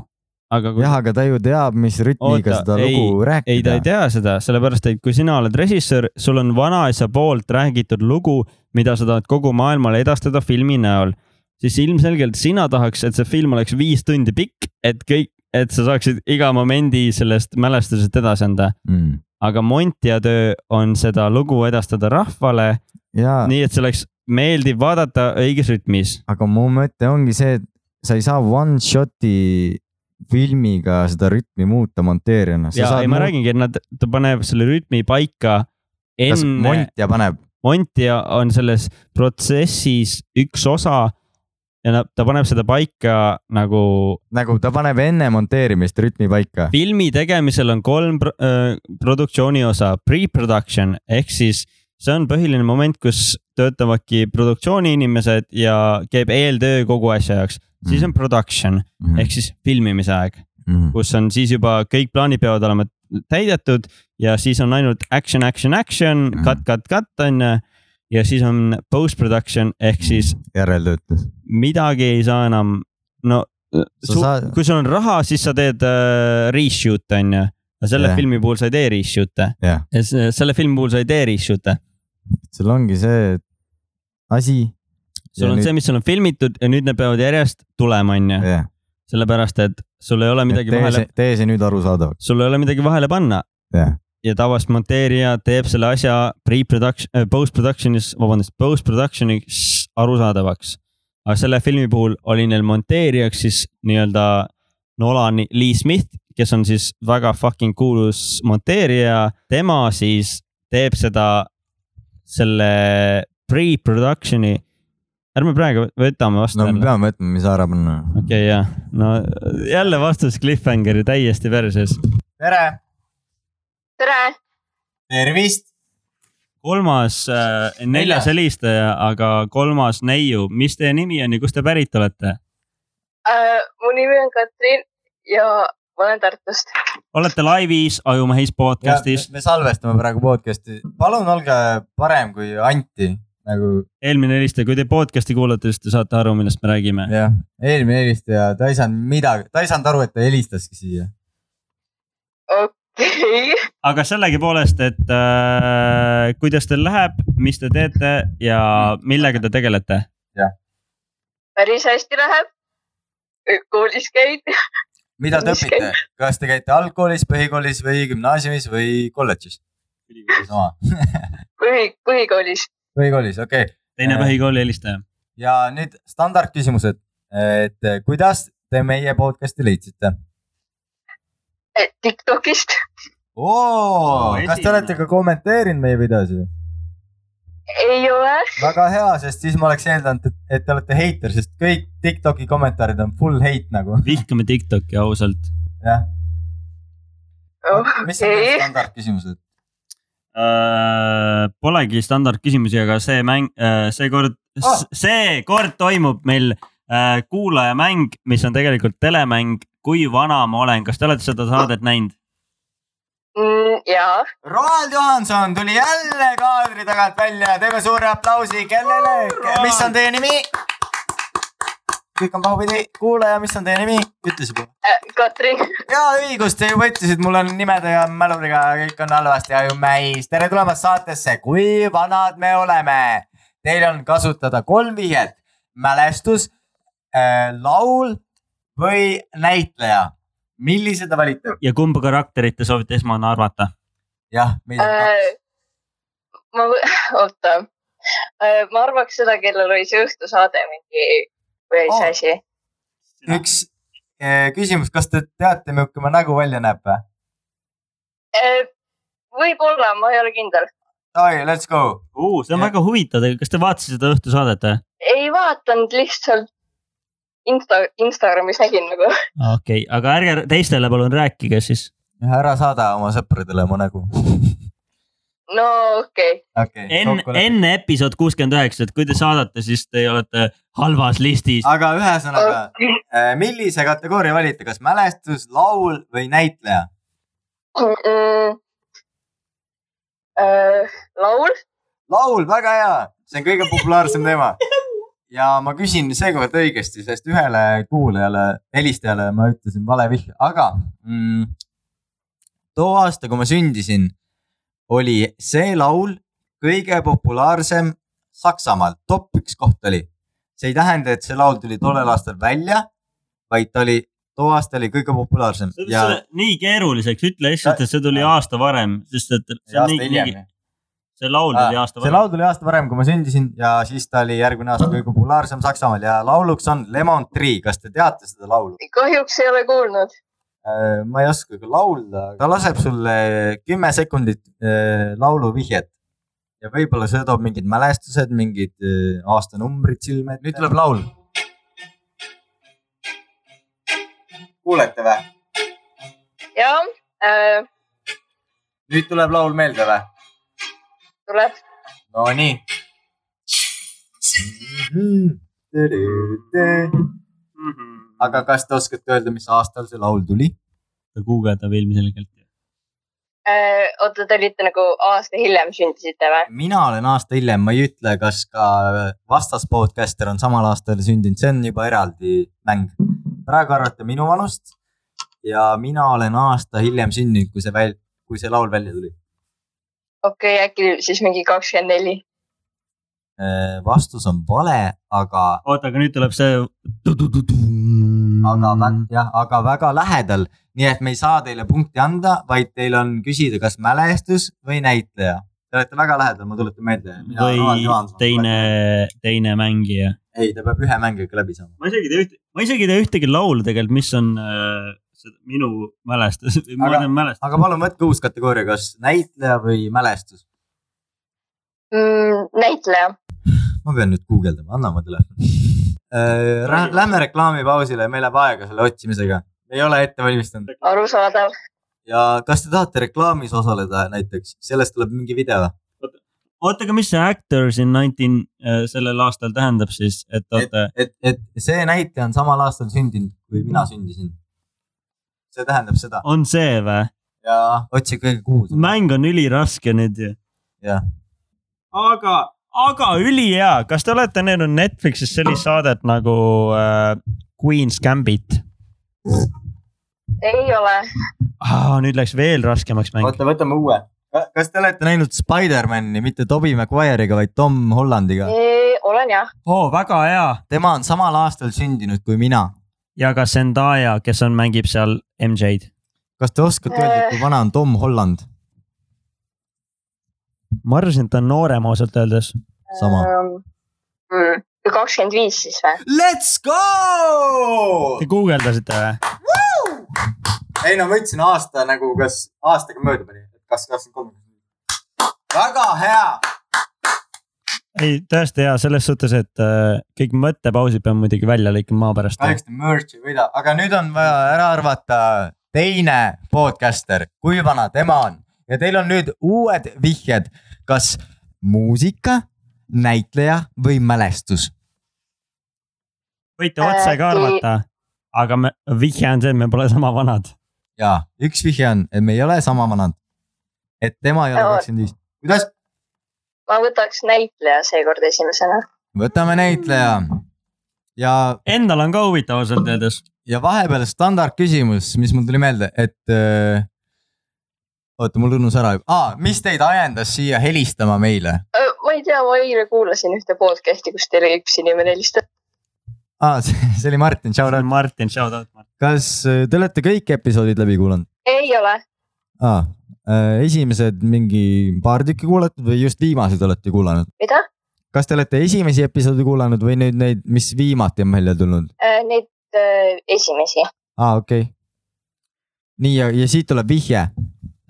Speaker 2: aga kui...
Speaker 1: jah , aga ta ju teab , mis rütmiga
Speaker 2: Oota,
Speaker 1: seda
Speaker 2: ei,
Speaker 1: lugu
Speaker 2: ei , ta ei
Speaker 1: rääkida .
Speaker 2: tea seda , sellepärast et kui sina oled režissöör , sul on vanaisa poolt räägitud lugu , mida sa tahad kogu maailmale edastada filmi näol , siis ilmselgelt sina tahaks , et see film oleks viis tundi pikk , et kõik , et sa saaksid iga momendi sellest mälestusest edasi anda .
Speaker 1: Mm.
Speaker 2: aga Montja töö on seda lugu edastada rahvale ,
Speaker 1: ja ,
Speaker 2: nii et see oleks meeldiv vaadata õiges rütmis .
Speaker 1: aga mu mõte ongi see , et sa ei saa one shot'i filmiga seda rütmi muuta monteerijana .
Speaker 2: ja ei , ma . räägingi , et nad , ta paneb selle rütmi paika
Speaker 1: kas
Speaker 2: enne
Speaker 1: Montja paneb ,
Speaker 2: Montija on selles protsessis üks osa ja na- ta paneb seda paika nagu
Speaker 1: nagu ta paneb enne monteerimist rütmi paika ?
Speaker 2: filmi tegemisel on kolm pro öö, produktsiooni osa , pre-production ehk siis see on põhiline moment , kus töötavadki produktsiooniinimesed ja käib eeltöö kogu asja jaoks . siis on production
Speaker 1: Mhm.
Speaker 2: ehk siis filmimise aeg , kus on siis juba kõik plaanid peavad olema täidetud ja siis on ainult action , action , action ,
Speaker 1: Mhm.
Speaker 2: cut , cut , cut on ju . ja siis on post-production ehk siis
Speaker 1: järeltöötlus .
Speaker 2: midagi ei saa enam , no
Speaker 1: Sa
Speaker 2: su,
Speaker 1: saad-
Speaker 2: kui sul on raha , siis sa teed äh, reshoot on ju . aga selle
Speaker 1: Jah.
Speaker 2: yeah. filmi puhul sa ei tee reshoot'e
Speaker 1: Jah.
Speaker 2: yeah. . selle filmi puhul sa ei tee reshoot'e .
Speaker 1: sul ongi see et asi .
Speaker 2: sul ja on nüüd... see , mis sul on filmitud ja nüüd need peavad järjest tulema , on ju .
Speaker 1: jah ,
Speaker 2: sellepärast , et sul ei ole midagi
Speaker 1: tee
Speaker 2: vahele
Speaker 1: see , tee see nüüd arusaadavaks ,
Speaker 2: sul ei ole midagi vahele panna
Speaker 1: Jah.
Speaker 2: ja tavaliselt monteerija teeb selle asja pre-production , post-production'is , vabandust , post-production'is arusaadavaks . aga selle filmi puhul oli neil monteerijaks siis nii-öelda Nolan Lee Smith , kes on siis väga fucking kuulus monteerija , tema siis teeb seda , selle pre-production'i . ärme praegu võtame vastu
Speaker 4: no me
Speaker 2: jälle .
Speaker 4: peame võtma , mis ära panna .
Speaker 2: okei , jah , no jälle vastus cliffhanger'i täiesti perses .
Speaker 1: tere ,
Speaker 3: tere ,
Speaker 1: tervist .
Speaker 2: kolmas äh, , neljas
Speaker 1: Neljas.
Speaker 2: helistaja , aga kolmas neiu , mis teie nimi on ja kust te pärit olete ?
Speaker 3: Äh, mu nimi on Katrin ja ma olen Tartust .
Speaker 2: olete laivis Ajumehis podcast'is ,
Speaker 4: me salvestame praegu podcast'i , palun olge parem kui Anti , nagu
Speaker 2: eelmine helistaja , kui te podcast'i kuulate , siis te saate aru , millest me räägime .
Speaker 4: jah , eelmine helistaja , ta ei saanud midagi , ta ei saanud aru , et ta helistaski siia .
Speaker 3: okei ,
Speaker 2: aga sellegipoolest , et äh, kuidas teil läheb , mis te teete ja millega te tegelete ?
Speaker 3: päris hästi läheb . koolis käin ,
Speaker 4: mida te
Speaker 3: Mis
Speaker 4: õpite , kas te käite algkoolis , põhikoolis või gümnaasiumis või kolledžis ? sama ,
Speaker 3: põhi , põhikoolis .
Speaker 4: põhikoolis , okei okay. .
Speaker 2: teine põhikooli helistaja .
Speaker 4: ja nüüd standardküsimused , et kuidas te meie podcast'i leidsite ?
Speaker 3: äh, Tiktokist ,
Speaker 4: oo , kas te
Speaker 1: esimene.
Speaker 4: olete ka kommenteerinud meie videosi ?
Speaker 3: ei ole ,
Speaker 4: väga hea , sest siis ma oleks eeldanud , et , et te olete heiter , sest kõik Tiktoki kommentaarid on full hate nagu ,
Speaker 2: vihkame Tiktoki ausalt .
Speaker 4: jah .
Speaker 3: Oh.
Speaker 4: mis on teie
Speaker 3: okei ,
Speaker 4: standardküsimused ?
Speaker 2: Äh, Polegi standardküsimusi , aga see mäng , seekord
Speaker 4: Ah.
Speaker 2: oh. , seekord toimub meil äh, kuulajamäng , mis on tegelikult telemäng . kui vana ma olen , kas te olete seda saadet näinud ?
Speaker 3: ja
Speaker 4: Roald Johanson tuli jälle kaadri tagant välja , teeme suure aplausi , kellele , mis on teie nimi ? kõik on pahupidi , kuulaja , mis on teie nimi , ütles juba .
Speaker 3: äh, Katrin ,
Speaker 4: ja õigus , te juba ütlesite , mul on nimede ja mäluliga kõik on halvasti ajumäis . tere tulemast saatesse , kui vanad me oleme . Teil on kasutada kolm vihjet , mälestus äh, , laul või näitleja . millise te valite ?
Speaker 2: ja kumba karakterit te soovite esmane arvata ?
Speaker 4: jah , meil on kaks .
Speaker 3: ma , äh, oota , ma arvaks seda , kellel oli see õhtusaade mingi või
Speaker 4: Aa.
Speaker 3: see asi .
Speaker 4: üks äh, küsimus , kas te teate , milline mu nägu välja näeb või ?
Speaker 3: Äh, võib-olla , ma ei ole kindel .
Speaker 4: Davai , let's go .
Speaker 2: Uh, see on ja.
Speaker 4: Jah.
Speaker 2: väga huvitav , kas te vaatasite seda õhtusaadet või ?
Speaker 3: ei vaadanud lihtsalt Insta , Instagramis nägin nagu .
Speaker 2: Ah, okei okay. , aga ärge teistele palun rääkige siis .
Speaker 4: ära saada oma sõpradele mu nägu .
Speaker 3: no okei
Speaker 4: okei .
Speaker 2: enne , enne episood kuuskümmend üheksa , et kui te saadate , siis te olete halvas listis .
Speaker 4: aga ühesõnaga
Speaker 3: okay. .
Speaker 4: Äh, millise kategooria valite , kas mälestus , laul või näitleja ?
Speaker 3: Mm, äh, laul ,
Speaker 4: laul , väga hea , see on kõige populaarsem teema . ja ma küsin seekord õigesti , sest ühele kuulajale , helistajale ma ütlesin vale vihje , aga mm, too aasta , kui ma sündisin , oli see laul kõige populaarsem Saksamaal , top üks koht oli . see ei tähenda , et see laul tuli tollel aastal välja , vaid ta oli , too aasta oli kõige populaarsem
Speaker 2: sa teed
Speaker 4: ja
Speaker 2: selle nii keeruliseks , ütle lihtsalt , et see tuli aasta varem , sest et see, on
Speaker 4: ja aasta
Speaker 2: nii,
Speaker 4: hiljem
Speaker 2: nii, see laul tuli aasta
Speaker 4: Ah, see
Speaker 2: varem .
Speaker 4: laul tuli aasta varem , kui ma sündisin ja siis ta oli järgmine aasta kõige populaarsem Saksamaal ja lauluks on Lemon Tree , kas te teate seda laulu ?
Speaker 3: kahjuks ei ole kuulnud .
Speaker 4: ma ei oska ka laulda , ta laseb sulle kümme sekundit äh, lauluvihjet . ja võib-olla see toob mingid mälestused , mingid äh, aastanumbrid silme ette . nüüd tuleb laul . kuulete või ?
Speaker 3: ja äh,
Speaker 4: nüüd tuleb laul meelde või ?
Speaker 3: tuleb
Speaker 4: Nonii . aga kas te oskate öelda , mis aastal see laul tuli ?
Speaker 2: ta guugeldab ilmselgelt .
Speaker 3: äh, , oota , te olite nagu aasta hiljem sündisite või ?
Speaker 4: mina olen aasta hiljem , ma ei ütle , kas ka vastas podcaster on samal aastal sündinud , see on juba eraldi mäng . praegu arvate minu vanust ja mina olen aasta hiljem sündinud , kui see väl- , kui see laul välja tuli .
Speaker 3: okei okay, , äkki siis mingi kakskümmend neli .
Speaker 4: vastus on vale , aga
Speaker 2: oota , aga nüüd tuleb see .
Speaker 4: aga väga ,
Speaker 2: Mm.
Speaker 4: jah , aga väga lähedal , nii et me ei saa teile punkti anda , vaid teil on küsida , kas mälestus või näitleja . Te olete väga lähedal , ma tuletan meelde .
Speaker 2: või teine , teine mängija .
Speaker 4: ei , ta peab ühe mängiga läbi saama .
Speaker 2: ma isegi ei tea üht- , ma isegi ei tea ühtegi laulu tegelikult , mis on äh, minu mälestus , ma
Speaker 4: Aga-
Speaker 2: olen mälestus ,
Speaker 4: aga palun võtke uus kategooria , kas näitleja või mälestus .
Speaker 5: mm, . näitleja .
Speaker 4: ma pean nüüd guugeldama , anna oma telefoni . Lähme reklaamipausile , meil läheb aega selle otsimisega , ei ole ette valmistanud
Speaker 5: arusaadav .
Speaker 4: ja kas te tahate reklaamis osaleda näiteks , sellest tuleb mingi video ,
Speaker 2: oota , aga mis see Actors in nineteen äh, sellel aastal tähendab siis , et oota ,
Speaker 4: et , et see näitleja on samal aastal sündinud , kui
Speaker 2: Mm.
Speaker 4: mina sündisin . see tähendab seda
Speaker 2: on see või ?
Speaker 4: ja otsi kõige kuulsam .
Speaker 2: mäng on üliraske nüüd ju .
Speaker 4: Jah. .
Speaker 2: aga , aga ülihea , kas te olete näinud Netflixis sellist saadet nagu äh, Queen's Gambit
Speaker 5: ei ole .
Speaker 2: ah, ? nüüd läks veel raskemaks mäng .
Speaker 4: oota , võtame uue . kas te olete näinud Spider-man'i mitte Toby Maguire'iga , vaid Tom Hollandiga ?
Speaker 5: olen jah .
Speaker 2: oo , Oh, väga hea
Speaker 4: tema on samal aastal sündinud kui mina .
Speaker 2: ja ka Zendaya , kes on , mängib seal MJ-d .
Speaker 1: kas te oskate öelda , kui vana on Tom Holland ?
Speaker 2: ma arvasin , et ta on noorem ausalt öeldes .
Speaker 1: Sama. .
Speaker 3: Äh.
Speaker 5: Ehm, mm, kakskümmend viis siis või ?
Speaker 4: Let's go
Speaker 2: Te . guugeldasite või ?
Speaker 4: ei no ma ütlesin aasta nagu , kas aastaga mööda pani , et kas kakskümmend kolm . väga hea .
Speaker 2: ei , tõesti hea selles suhtes , et äh, kõik mõttepausid pean muidugi välja lõikama maa pärast .
Speaker 4: kahjuks te merge'i ei võida , aga nüüd on vaja ära arvata teine podcaster , kui vana tema on ja teil on nüüd uued vihjed , kas muusika , näitleja või mälestus .
Speaker 2: võite otse ka arvata , aga me , vihje on see , et me pole sama vanad .
Speaker 4: ja üks vihje on , et me ei ole sama vanad . et tema ei ole
Speaker 5: Jaa.
Speaker 4: kakskümmend viis . kuidas ?
Speaker 5: ma võtaks näitleja seekord esimesena .
Speaker 4: võtame näitleja ja
Speaker 2: Endal on ka huvitav ausalt öeldes .
Speaker 4: ja vahepeal standardküsimus , mis mul tuli meelde , et äh, . oota , mul unus ära juba ah, , mis teid ajendas siia helistama meile
Speaker 5: ma ei tea , ma eile kuulasin ühte podcast'i , kus teile üks inimene helistas .
Speaker 4: ah, ? see oli Martin , shout out .
Speaker 2: Martin , shout out Martin .
Speaker 1: kas äh, te olete kõik episoodid läbi kuulanud
Speaker 5: ei ole .
Speaker 1: ah, ? esimesed mingi paar tükki kuulatud või just viimased olete kuulanud ?
Speaker 5: mida ?
Speaker 1: kas te olete esimesi episoode kuulanud või nüüd neid , mis viimati on välja tulnud ?
Speaker 5: Neid äh, esimesi .
Speaker 1: aa , okei okay. . nii ja , ja siit tuleb vihje .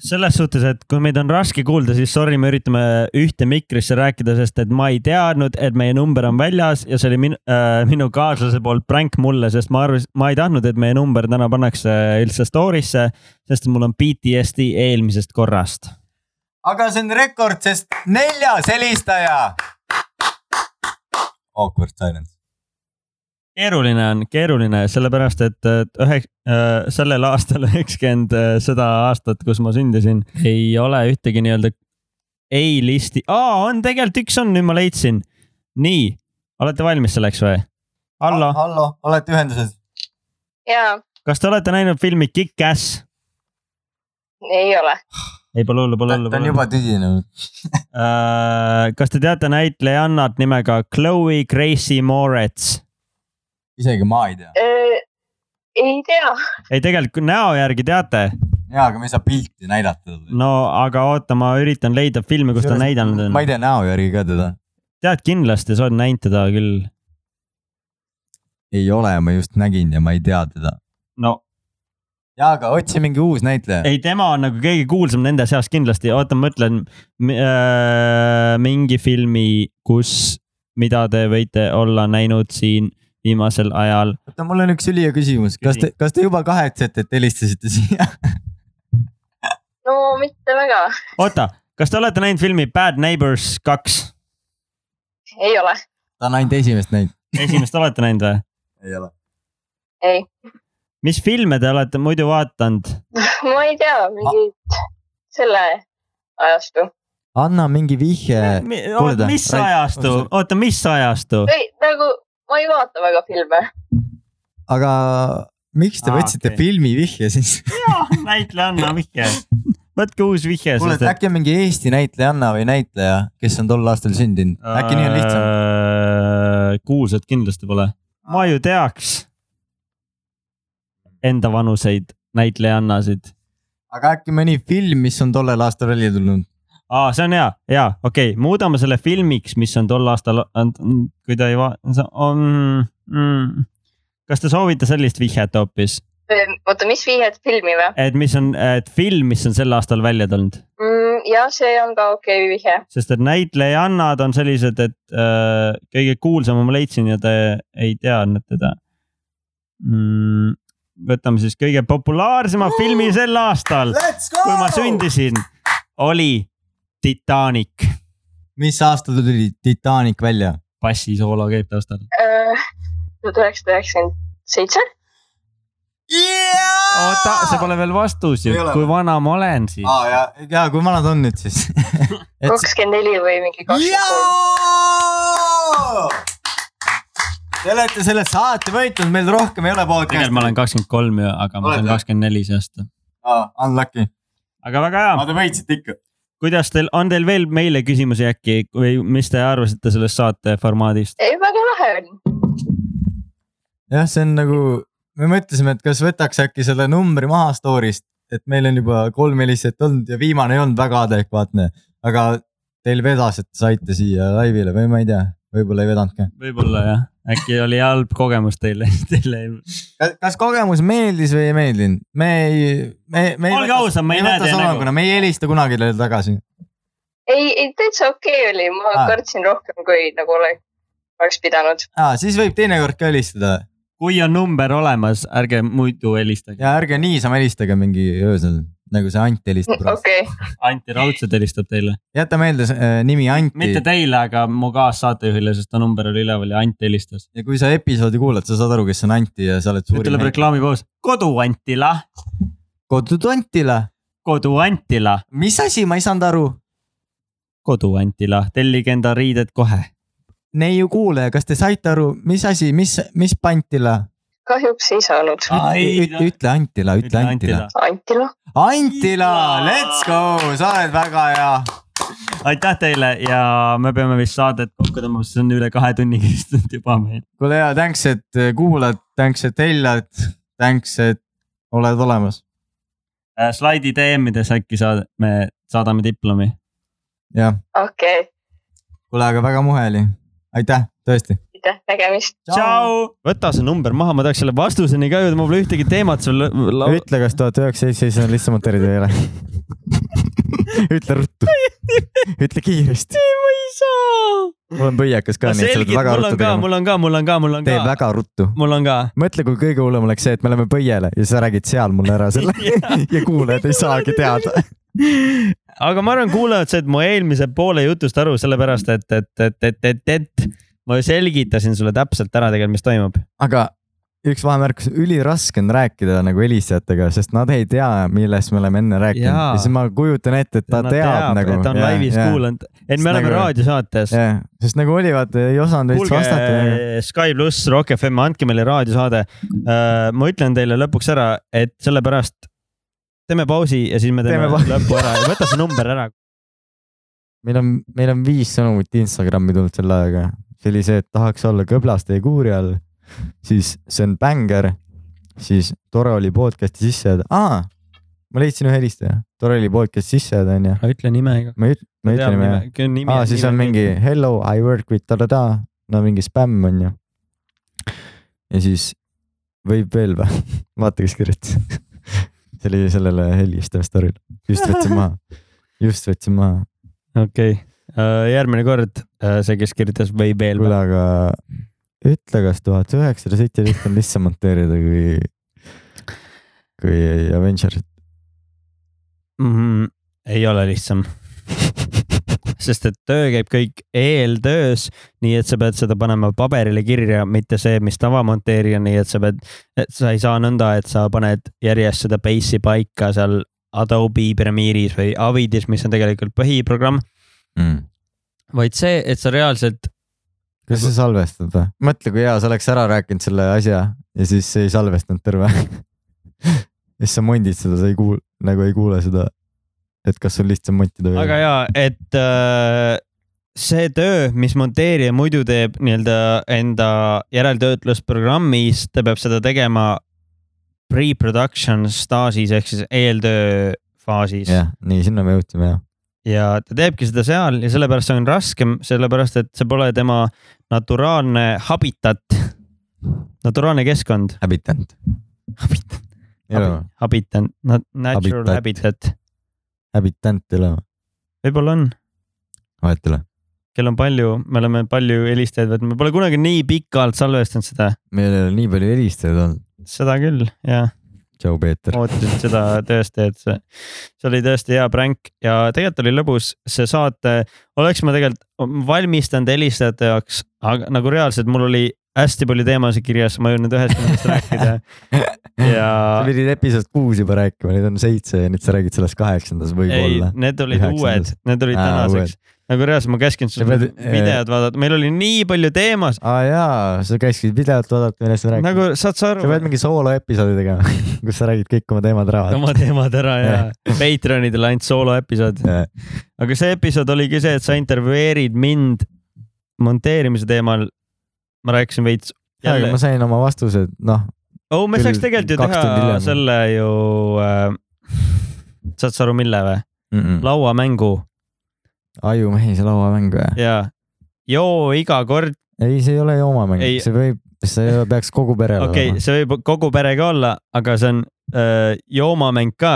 Speaker 2: selles suhtes , et kui meid on raske kuulda , siis sorry , me üritame ühte mikrisse rääkida , sest et ma ei teadnud , et meie number on väljas ja see oli minu äh, , minu kaaslase poolt pränk mulle , sest ma arvasin , ma ei tahtnud , et meie number täna pannakse üldse story'sse , sest mul on PTSD eelmisest korrast .
Speaker 4: aga see on rekord , sest neljas helistaja . Awkward silence .
Speaker 2: keeruline on , keeruline , sellepärast et äh, ühe , sellel aastal üheksakümmend äh, seda aastat , kus ma sündisin , ei ole ühtegi nii-öelda ei listi , aa , on tegelikult üks on , nüüd ma leidsin . nii , olete valmis selleks või ? Allo ,
Speaker 4: Allo , olete ühenduses ?
Speaker 5: jaa ,
Speaker 2: kas te olete näinud filmi Kick-Ass ?
Speaker 5: ei ole .
Speaker 2: ei , pole hullu , pole hullu .
Speaker 4: ta on juba tüdinenud .
Speaker 2: kas te teate näitlejannat nimega Chloe Gracie Moretz ?
Speaker 4: isegi ma ei tea .
Speaker 5: ei tea .
Speaker 2: ei , tegelikult näo järgi teate .
Speaker 4: ja , aga me ei saa pilti näidata talle .
Speaker 2: no aga oota , ma üritan leida filmi , kus ta näidanud on
Speaker 4: ma . ei tea näo järgi ka teda .
Speaker 2: tead kindlasti , sa oled näinud teda küll .
Speaker 4: ei ole , ma just nägin ja ma ei tea teda .
Speaker 2: no
Speaker 4: ja , aga otsi mingi uus näitleja .
Speaker 2: ei , tema on nagu kõige kuulsam nende seas kindlasti , oota , ma mõtlen mi- äh, mingi filmi , kus , mida te võite olla näinud siin viimasel ajal .
Speaker 4: oota , mul on üks ülihea küsimus , kas te , kas te juba kahetsete , et helistasite siia ?
Speaker 5: no mitte väga .
Speaker 2: oota , kas te olete näinud filmi Bad Neighbors kaks ?
Speaker 5: ei ole .
Speaker 4: ta on ainult esimest näinud .
Speaker 2: esimest olete näinud või ?
Speaker 4: ei ole .
Speaker 5: ei .
Speaker 2: mis filme te olete muidu vaadanud ?
Speaker 5: ma ei tea , mingid selle ajastu
Speaker 1: anna mingi
Speaker 4: Äh,
Speaker 1: vihje . kuulda,
Speaker 2: mis
Speaker 1: Rait-
Speaker 2: ajastu , oota , mis ajastu ?
Speaker 5: või nagu ma ei vaata väga filme .
Speaker 1: aga miks te
Speaker 2: Aa,
Speaker 1: ah, võtsite
Speaker 2: okei.
Speaker 1: okay. filmi vihje siis ?
Speaker 2: näitlejanna vihje . võtke uus vihje .
Speaker 4: kuule , äkki on mingi Eesti näitlejanna või näitleja , kes on tol aastal sündinud , äkki nii on lihtsam ?
Speaker 2: lihtsam . kuulsad Äh, kindlasti pole . ma ju teaks enda vanuseid näitlejannasid .
Speaker 4: aga äkki mõni film , mis on tollel aastal välja tulnud ?
Speaker 2: aa , see on hea , hea , okei okay. , muudame selle filmiks , mis on tol aastal , kui ta ei va- , on mm, . kas te soovite sellist vihjet hoopis ?
Speaker 5: oota , mis vihjed filmi või
Speaker 2: et mis on , et film , mis on sel aastal välja tulnud ,
Speaker 5: mm, ? jah , see on ka okei okay, vihje .
Speaker 2: sest et näitlejannad on sellised , et äh, kõige kuulsama ma leidsin ja te ei teadnud teda mm, . võtame siis kõige populaarsema filmi sel aastal ,
Speaker 4: Let's go
Speaker 2: kui ma . sündisin , oli Titanic .
Speaker 4: mis aastal tuli Titanic välja ?
Speaker 2: bassisoolo käib taustal .
Speaker 5: Äh, tuhat üheksasada üheksakümmend seitse .
Speaker 2: oota , see pole veel vastus ju
Speaker 4: Ei ole ,
Speaker 2: kui vana ma olen siis .
Speaker 4: aa ja , ja kui vanad on nüüd siis ?
Speaker 5: kakskümmend neli või mingi kakskümmend kolm .
Speaker 4: jaa . Te olete selle saate võitnud , meil rohkem ei ole podcast'i .
Speaker 2: tegelikult ma olen kakskümmend kolm ju , aga ma
Speaker 4: Oled
Speaker 2: saan
Speaker 4: või?
Speaker 2: kakskümmend neli see aasta .
Speaker 4: ah, . Unlucky ,
Speaker 2: aga väga hea ,
Speaker 4: aga te võitsite ikka .
Speaker 2: kuidas teil , on teil veel meile küsimusi äkki või mis te arvasite sellest saate formaadist ?
Speaker 5: ei , väga lahe on .
Speaker 4: jah , see on nagu , me mõtlesime , et kas võtaks äkki selle numbri maha story'st , et meil on juba kolm helistajat olnud ja viimane ei olnud väga adekvaatne , aga teil vedas , et saite siia laivile või ma ei tea , võib-olla ei vedanud ka .
Speaker 2: võib-olla jah , äkki oli halb kogemus teile , teile eelmine .
Speaker 4: kas kogemus meeldis või ei meeldinud ? me ei , me , me
Speaker 2: Olge ausad, ma ei näe nagu- teie nägu.
Speaker 4: nägu . me ei helista kunagi teile tagasi .
Speaker 5: ei , ei täitsa okei okay oli , ma
Speaker 4: Aa.
Speaker 5: ah. kartsin rohkem , kui nagu ole- oleks pidanud .
Speaker 4: aa , siis võib teinekord ka helistada
Speaker 2: kui on number olemas , ärge muidu helistage ,
Speaker 4: ja ärge niisama helistage mingi öösel , nagu see Ant helistab praegu .
Speaker 5: okei ,
Speaker 2: Anti Raudsepp helistab teile .
Speaker 4: jäta meelde äh, nimi
Speaker 2: mitte
Speaker 4: Anti
Speaker 2: teile , aga mu kaassaatejuhile , sest ta number oli üleval ja Ant helistas .
Speaker 4: ja kui sa episoodi kuulad , sa saad aru , kes on Anti ja sa oled
Speaker 2: nüüd tuleb
Speaker 4: suurim .
Speaker 2: reklaamipaus , kodu Antila ,
Speaker 4: kodud Antila ,
Speaker 2: kodu Antila ,
Speaker 4: mis asi , ma ei saanud aru .
Speaker 2: kodu Antila , tellige enda riided kohe .
Speaker 4: neiu kuulaja , kas te saite aru , mis asi , mis , mis Pantila ?
Speaker 5: kahjuks ei saanud .
Speaker 4: ütle Antila , ütle Antila .
Speaker 5: Antila ,
Speaker 4: Antila , let's go , sa oled väga hea .
Speaker 2: aitäh teile ja me peame vist saadet kokku tõmbama , sest see on üle kahe tunni kestnud juba meil .
Speaker 4: kuule ja thanks , et äh, kuulad , thanks , et hellad , thanks , et oled olemas
Speaker 2: slaidi DM-ides äkki saad , me saadame diplomi .
Speaker 4: ja
Speaker 5: okei okay. ,
Speaker 4: kuule , aga väga muhe oli , aitäh , tõesti .
Speaker 5: aitäh , nägemist .
Speaker 2: tšau . võta see number maha , ma tahaks selle vastuseni ka jõuda , mul pole ühtegi teemat sul lau- .
Speaker 1: ütle , kas tuhat üheksasada seitse on lihtsalt monteerida või ei ole . ütle ruttu , ütle kiiresti ,
Speaker 2: ma ei saa .
Speaker 1: mul on põiakas ka ,
Speaker 2: ma
Speaker 1: nii et sa pead
Speaker 2: selgelt ,
Speaker 1: väga
Speaker 2: mul
Speaker 1: ruttu
Speaker 2: on ka ,
Speaker 1: tegema .
Speaker 2: mul on ka , mul on ka , mul on
Speaker 1: tee
Speaker 2: ka .
Speaker 1: väga ruttu .
Speaker 2: mul on ka .
Speaker 1: mõtle , kui kõige hullem oleks see , et me läheme põiele ja sa räägid seal mulle ära selle ja kuulajad ei saagi teada .
Speaker 2: aga ma arvan , kuulajad said mu eelmise poole jutust aru , sellepärast et , et , et , et , et , et ma selgitasin sulle täpselt ära tegelikult , mis toimub .
Speaker 1: aga üks vahemärkus , üliraske on rääkida nagu helistajatega , sest nad ei tea , millest me oleme enne rääkinud ja,
Speaker 2: Jaa.
Speaker 1: ja siis ma kujutan ette , et ta teab, teab nagu .
Speaker 2: et ta on laivis kuulanud , et
Speaker 1: Sest
Speaker 2: me oleme
Speaker 1: nagu-
Speaker 2: raadiosaates .
Speaker 1: jah , sest nagu oli , vaata ei osanud veits
Speaker 2: kuulge
Speaker 1: vastata .
Speaker 2: Sky pluss , Rock FM , andke meile raadiosaade . ma ütlen teile lõpuks ära , et sellepärast teeme pausi ja siis me teeme,
Speaker 1: Teeme
Speaker 2: teeme
Speaker 1: pausi.
Speaker 2: lõpu ära ja võta see number ära .
Speaker 1: meil on , meil on viis sõnumit Instagrami tulnud selle ajaga . see oli see , et tahaks olla kõblaste ja kuuri all , siis see on bängar , siis tore oli podcast'i sisse jääda , aa , ma leidsin ühe helistaja , tore oli podcast'i sisse jääda , onju .
Speaker 2: ütle nimega .
Speaker 1: ma ei üt- , ma ei ütle nime . aa , siis on mingi hello , I work with ta-ta-ta , no mingi spämm on ju . ja siis võib veel või ? vaata , kes kirjutas . see oli sellele helistaja story'l , just võtsin maha , just võtsin maha .
Speaker 2: okei , järgmine kord äh, see , kes kirjutas või veel .
Speaker 1: kuule , aga ütle , kas tuhat üheksasada seitseteist on lihtsam monteerida kui , kui Avengers .
Speaker 2: Mhm. ei ole lihtsam sest et töö käib kõik eeltöös , nii et sa pead seda panema paberile kirja , mitte see , mis tavamonteerija , nii et sa pead , et sa ei saa nõnda , et sa paned järjest seda base'i paika seal Adobe Premiere'is või Avidis , mis on tegelikult põhiprogramm ,
Speaker 1: Mm.
Speaker 2: vaid see , et sa reaalselt ,
Speaker 1: kas see salvestada ? mõtle , kui hea sa oleks ära rääkinud selle asja ja siis ei salvestanud terve . ja siis sa mondid seda , sa ei kuul- , nagu ei kuule seda . et kas sul lihtsam montida või ?
Speaker 2: aga jaa , et äh, see töö , mis monteerija muidu teeb nii-öelda enda järeltöötlusprogrammis , ta peab seda tegema pre-production staažis ehk siis eeltöö faasis
Speaker 1: jah , nii sinna me jõudsime jah .
Speaker 2: ja ta teebki seda seal ja sellepärast see on raskem , sellepärast et see pole tema naturaalne habitat , naturaalne keskkond ,
Speaker 1: Habitant .
Speaker 2: habitat ,
Speaker 1: elama ,
Speaker 2: Habitan , natural
Speaker 1: Habitat.
Speaker 2: habitat ,
Speaker 1: habitant elama ,
Speaker 2: võib-olla on ,
Speaker 1: vahet ei ole .
Speaker 2: kell on palju , me oleme palju helistajaid võtnud , me pole kunagi nii pikalt salvestanud seda ,
Speaker 1: meil ei ole nii palju helistajaid olnud .
Speaker 2: seda küll ja
Speaker 1: tšau , Peeter .
Speaker 2: ootasid seda tõesti , et see , see oli tõesti hea pränk ja tegelikult oli lõbus see saate , oleks ma tegelikult valmistanud helistajate jaoks , aga nagu reaalselt mul oli hästi palju teemasid kirjas , ma ei jõudnud ühest nendest rääkida ja
Speaker 1: sa pidid episood kuus juba rääkima , nüüd on seitse ja nüüd sa räägid sellest kaheksandas
Speaker 2: ei
Speaker 1: võib-olla ,.
Speaker 2: need olid uued
Speaker 1: üheksandas. ,
Speaker 2: need olid
Speaker 1: Aa,
Speaker 2: tänaseks . nagu reaalselt ma käskin
Speaker 1: Sa
Speaker 2: sulle
Speaker 1: pead-
Speaker 2: videod vaadata , meil oli nii palju teemasid ,
Speaker 1: aa jaa , sa käisid videot vaadata , millest sa räägid nagu... .
Speaker 2: nagu saad sa
Speaker 1: sa
Speaker 2: aru
Speaker 1: pead mingi sooloepisoodi tegema , kus sa räägid kõik oma teemad ära .
Speaker 2: oma teemad ära ja Patreonidele ainult sooloepisood . aga see episood oligi see , et sa intervjueerid mind monteerimise teemal . ma rääkisin veits .
Speaker 1: jaa , aga ma sain oma vastused , noh ,
Speaker 2: oh , me
Speaker 1: küll
Speaker 2: saaks tegelikult ju
Speaker 1: kaks tundi
Speaker 2: teha
Speaker 1: hiljem.
Speaker 2: selle ju äh, . saad sa aru , mille või ? lauamängu
Speaker 1: ajumehise lauamäng või ?
Speaker 2: ja joo iga kord ,
Speaker 1: ei , see ei ole joomamäng
Speaker 2: Ei. ,
Speaker 1: see võib , see ei ole- peaks kogu perele
Speaker 2: okei okay, , see võib kogu perega olla , aga see on äh, joomamäng ka .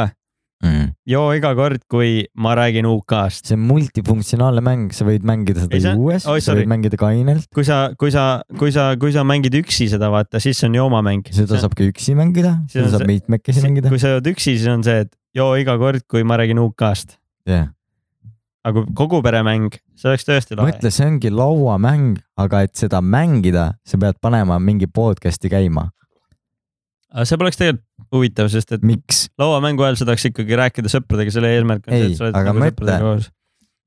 Speaker 1: olema .
Speaker 2: joo iga kord , kui ma räägin UK-st .
Speaker 1: see on multifunktsionaalne mäng , sa võid mängida seda
Speaker 2: Ei, see
Speaker 1: see...
Speaker 2: on-
Speaker 1: juues
Speaker 2: oi,
Speaker 1: oh, , sa
Speaker 2: sorry.
Speaker 1: võid mängida kainelt ,
Speaker 2: kui sa , kui sa , kui sa , kui sa mängid üksi seda vaata , siis see on joomamäng .
Speaker 1: seda saab ka üksi mängida ,
Speaker 2: see on
Speaker 1: seda saab
Speaker 2: see-
Speaker 1: mitmekesi mängida .
Speaker 2: kui sa jood üksi , siis on see , et joo iga kord , kui ma räägin UK-st ,
Speaker 1: jah ,
Speaker 2: aga kui kogu peremäng , see oleks tõesti lahe .
Speaker 1: mõtle , see ongi lauamäng , aga et seda mängida , sa pead panema mingi podcast'i käima .
Speaker 2: aga see poleks tegelikult huvitav , sest et
Speaker 1: miks ?
Speaker 2: lauamängu ajal sa tahaks ikkagi rääkida sõpradega , selle eesmärk on see ,
Speaker 1: Ei,
Speaker 2: et sa oled
Speaker 1: aga
Speaker 2: nagu
Speaker 1: mõtle.
Speaker 2: sõpradega koos .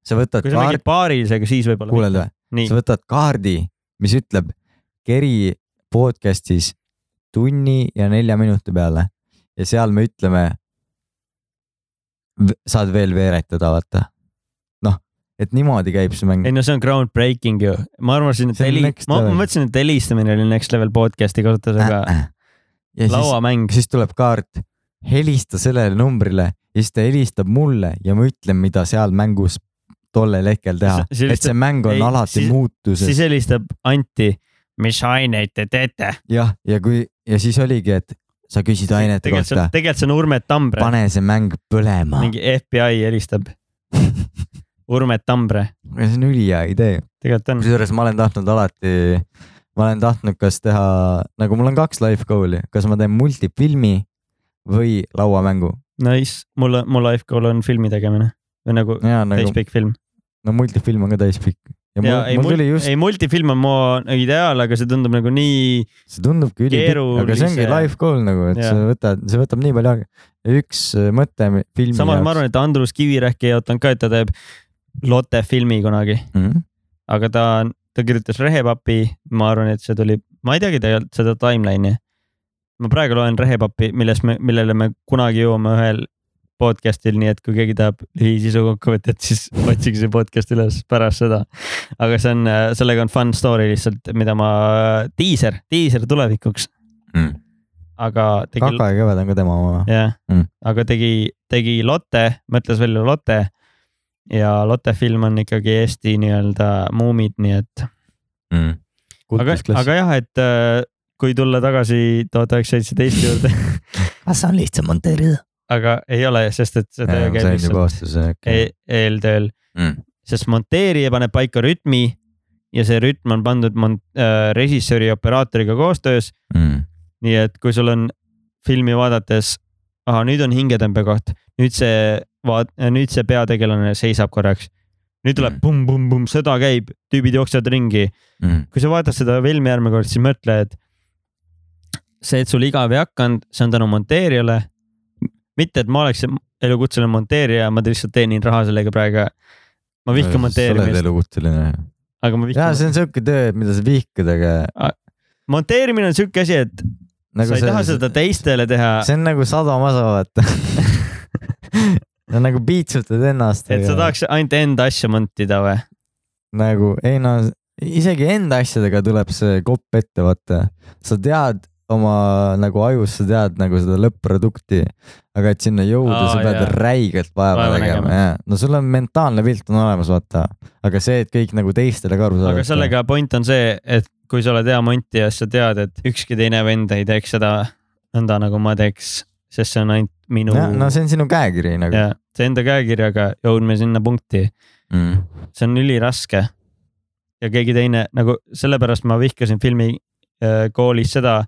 Speaker 1: sa võtad
Speaker 2: kui sa
Speaker 1: kaardi
Speaker 2: mängid , paarilisega , siis võib-olla .
Speaker 1: kuuled või ?
Speaker 2: nii
Speaker 1: sa , võtad kaardi , mis ütleb keri podcast'is tunni ja nelja minuti peale ja seal me ütleme . saad veel veeretada , vaata . noh , et niimoodi käib see mäng
Speaker 2: ei . no see on groundbreaking ju , ma arvasin , et
Speaker 1: See on
Speaker 2: heli
Speaker 1: next ,
Speaker 2: ma
Speaker 1: level.
Speaker 2: ma mõtlesin , et helistamine oli next level podcast'i kasutusega
Speaker 1: Äh. ja siis ,
Speaker 2: lauamäng .
Speaker 1: siis tuleb kaart , helista sellele numbrile ja siis ta helistab mulle ja ma ütlen , mida seal mängus tollel hetkel teha .
Speaker 2: Siis- siis
Speaker 1: et see
Speaker 2: helistab-
Speaker 1: mäng on
Speaker 2: ei,
Speaker 1: alati
Speaker 2: siis-
Speaker 1: muutuses
Speaker 2: siis . helistab Anti , mis aineid te teete ?
Speaker 1: jah , ja kui ja siis oligi , et sa küsid ainete
Speaker 2: tegelikult see
Speaker 1: kohta
Speaker 2: on ,, tegelikult see on Urme Tambre ,
Speaker 1: pane see mäng põlema .
Speaker 2: mingi FBI helistab Urme Tambre ,
Speaker 1: see on ülihea idee ,
Speaker 2: tegelikult on .
Speaker 1: kusjuures ma olen tahtnud alati , ma olen tahtnud kas teha , nagu mul on kaks life goal'i , kas ma teen multifilmi või lauamängu .
Speaker 2: Nice , mul , mul life goal on filmi tegemine või nagu
Speaker 1: ja nagu ,
Speaker 2: täispikk film .
Speaker 1: no multifilm on ka täispikk ja mul,
Speaker 2: ja ei ,
Speaker 1: mul
Speaker 2: mul,
Speaker 1: tuli just ,
Speaker 2: ei multifilm on mu ideaal , aga see tundub nagu nii ,
Speaker 1: see tundubki ülipikk , aga see ongi
Speaker 2: keerulise-
Speaker 1: life goal nagu , et
Speaker 2: Jaa.
Speaker 1: sa võtad , see võtab nii palju aega . üks äh, mõte filmi
Speaker 2: samas ma arvan , et Andrus Kivirähk ei ootanud ka , et ta teeb Lotte filmi kunagi ,
Speaker 1: mm -hmm.
Speaker 2: aga ta , ta kirjutas Rehepapi , ma arvan , et see tuli , ma ei teagi tegelikult seda timeline'i . ma praegu loen Rehepapi , milles me , millele me kunagi jõuame ühel podcast'il , nii et kui keegi tahab lühisisu kokkuvõtet , siis otsige see podcast üles pärast seda . aga see on , sellega on fun story lihtsalt , mida ma , diiser , diiser tulevikuks
Speaker 1: Mm. .
Speaker 2: aga tegi ,
Speaker 1: Kaka ja Kõved on ka nagu tema oma .
Speaker 2: jah
Speaker 1: Mm. ,
Speaker 2: aga tegi , tegi Lotte , mõtles välja Lotte ja Lotte film on ikkagi Eesti nii-öelda muumid , nii et Mm. aga , aga jah , et äh, kui tulla tagasi tuhat üheksasada seitseteist juurde ,
Speaker 1: kas on lihtsam monteerida ?
Speaker 2: aga ei ole , sest et see töö käib
Speaker 1: sain juba
Speaker 2: lihtsalt
Speaker 1: vastuse okay. .
Speaker 2: e- eeltööl
Speaker 1: Mm. ,
Speaker 2: sest monteerija paneb paika rütmi ja see rütm on pandud mon- , äh, režissööri ja operaatoriga koostöös ,
Speaker 1: Mm.
Speaker 2: nii et kui sul on filmi vaadates , ahah , nüüd on hingetõmbekoht , nüüd see vaat- , nüüd see peategelane seisab korraks . nüüd tuleb
Speaker 1: Mm.
Speaker 2: pumm-pumm-pumm , sõda käib , tüübid jooksevad ringi ,
Speaker 1: Mm.
Speaker 2: kui sa vaatad seda filmi järgmine kord , siis mõtle , et see , et sul igav ei hakanud , see on tänu monteerijale . mitte , et ma oleks elukutseline monteerija , ma lihtsalt teenin raha sellega praegu . ma vihkan
Speaker 1: sa oled
Speaker 2: monteerimist ,
Speaker 1: elukutseline .
Speaker 2: aga ma
Speaker 1: jaa ,
Speaker 2: vihkan .
Speaker 1: see on siuke töö , mida sa vihkad , aga
Speaker 2: monteerimine on sihuke asi , et
Speaker 1: nagu
Speaker 2: sa ei taha seda teistele teha ,
Speaker 1: see on nagu sadamasa , vaata . sa nagu piitsutad ennast .
Speaker 2: et sa tahaks ainult enda asja montida või ?
Speaker 1: nagu ei no isegi enda asjadega tuleb see kopp ette , vaata . sa tead oma nagu ajus , sa tead nagu seda lõpp-produkti , aga et sinna jõuda , sa
Speaker 2: Aa,
Speaker 1: pead
Speaker 2: jaa.
Speaker 1: räigelt vaeva
Speaker 2: Vaeva
Speaker 1: nägema
Speaker 2: nägema. ,
Speaker 1: jaa . no sul on mentaalne pilt on olemas , vaata . aga see , et kõik nagu teistele ka aru saavad .
Speaker 2: aga sellega point on see , et kui sa oled hea montija , siis sa tead , et ükski teine vend ei teeks seda nõnda , nagu ma teeks . sest see on ainult minu ,
Speaker 1: no see on sinu käekiri nagu .
Speaker 2: ja see enda käekirjaga jõudme sinna punkti ,
Speaker 1: Mm.
Speaker 2: see on üliraske . ja keegi teine nagu sellepärast ma vihkasin filmi äh, koolis seda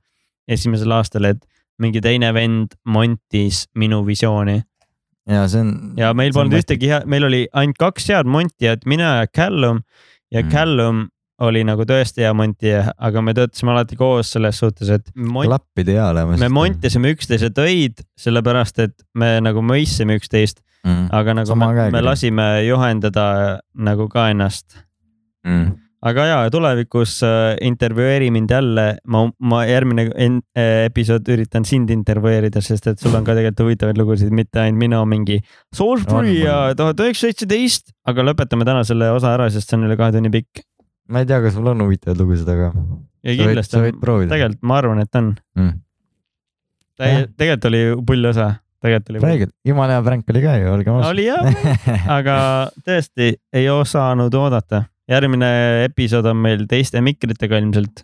Speaker 2: esimesel aastal , et mingi teine vend montis minu visiooni
Speaker 1: ja see on .
Speaker 2: ja meil polnud . ühtegi hea , meil oli ainult kaks head montijat , mina ja Callum ja
Speaker 1: Mm.
Speaker 2: mm. Callum oli nagu tõesti hea montija , aga me töötasime alati koos selles suhtes , et mont-
Speaker 1: klappide hea olema .
Speaker 2: me montisime üksteise töid , sellepärast et me nagu mõistsime üksteist ,
Speaker 1: mm. .
Speaker 2: aga nagu
Speaker 1: Sama
Speaker 2: me,
Speaker 1: käekiri.
Speaker 2: me lasime juhendada nagu ka ennast .
Speaker 1: Mm.
Speaker 2: aga jaa , tulevikus äh, intervjueeri mind jälle , ma , ma järgmine en- äh, episood üritan sind intervjueerida , sest et sul on ka tegelikult huvitavaid lugusid , mitte ainult minu mingi Salisbury
Speaker 1: On,
Speaker 2: ja tuhat üheksasada seitseteist , aga lõpetame täna selle osa ära , sest see on üle kahe tunni pikk .
Speaker 1: ma ei tea , kas mul on huvitavaid lugusid , aga .
Speaker 2: ja kindlasti
Speaker 1: sa võid
Speaker 2: on ,
Speaker 1: proovida .
Speaker 2: tegelikult ma arvan , et on
Speaker 1: Mm. Jah.
Speaker 2: Täie- . tegelikult oli pull osa , tegelikult oli .
Speaker 1: räägid , jumala hea prank oli ka ju , olgem ausad .
Speaker 2: oli hea , aga tõesti ei osanud oodata . järgmine episood on meil teiste mikritega ilmselt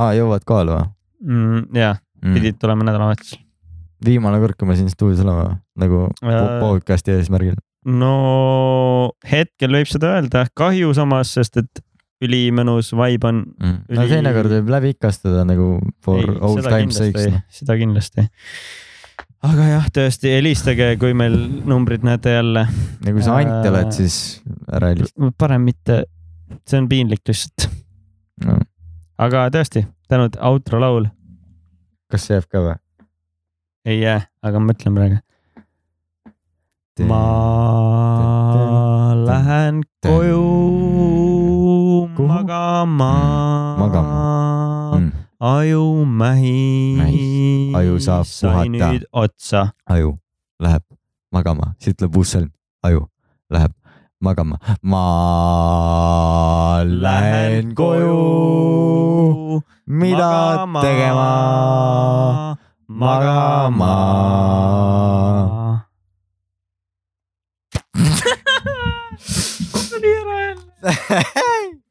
Speaker 1: aa , jõuavad kohale või
Speaker 2: mm, . ja
Speaker 1: mm. ?
Speaker 2: pidid tulema nädalavahetusel .
Speaker 1: viimane kord , kui me siin stuudios oleme või? nagu po-
Speaker 2: Äh.
Speaker 1: podcast'i eesmärgil .
Speaker 2: no hetkel võib seda öelda , kahju samas , sest et ülimõnus vibe on .
Speaker 1: Mm. no
Speaker 2: Üli-
Speaker 1: teinekord võib läbi ikastada nagu for ei, old time's sakes . noh.
Speaker 2: seda kindlasti . aga jah , tõesti helistage , kui meil numbrid näete jälle ,
Speaker 1: ja kui sa ant
Speaker 2: Äh.
Speaker 1: oled , siis ära helista
Speaker 2: parem mitte , see on piinlik lihtsalt .
Speaker 1: no. .
Speaker 2: aga tõesti , tänud , outro laul
Speaker 1: kas see jääb ka või ?
Speaker 2: ei jää , aga ma mõtlen praegu . ma
Speaker 1: tün-
Speaker 2: lähen
Speaker 1: tün-
Speaker 2: koju
Speaker 1: Kuhu?
Speaker 2: magama
Speaker 1: Mm, . magama. mm. .
Speaker 2: aju mähis
Speaker 1: Mähis. . Aju saab
Speaker 2: sai
Speaker 1: puhata.
Speaker 2: nüüd otsa .
Speaker 1: aju läheb magama , siit tuleb uus sõlm , aju läheb magama . ma lähen koju , mida
Speaker 2: magama.
Speaker 1: tegema ?
Speaker 2: magama .
Speaker 1: tuli ära jälle .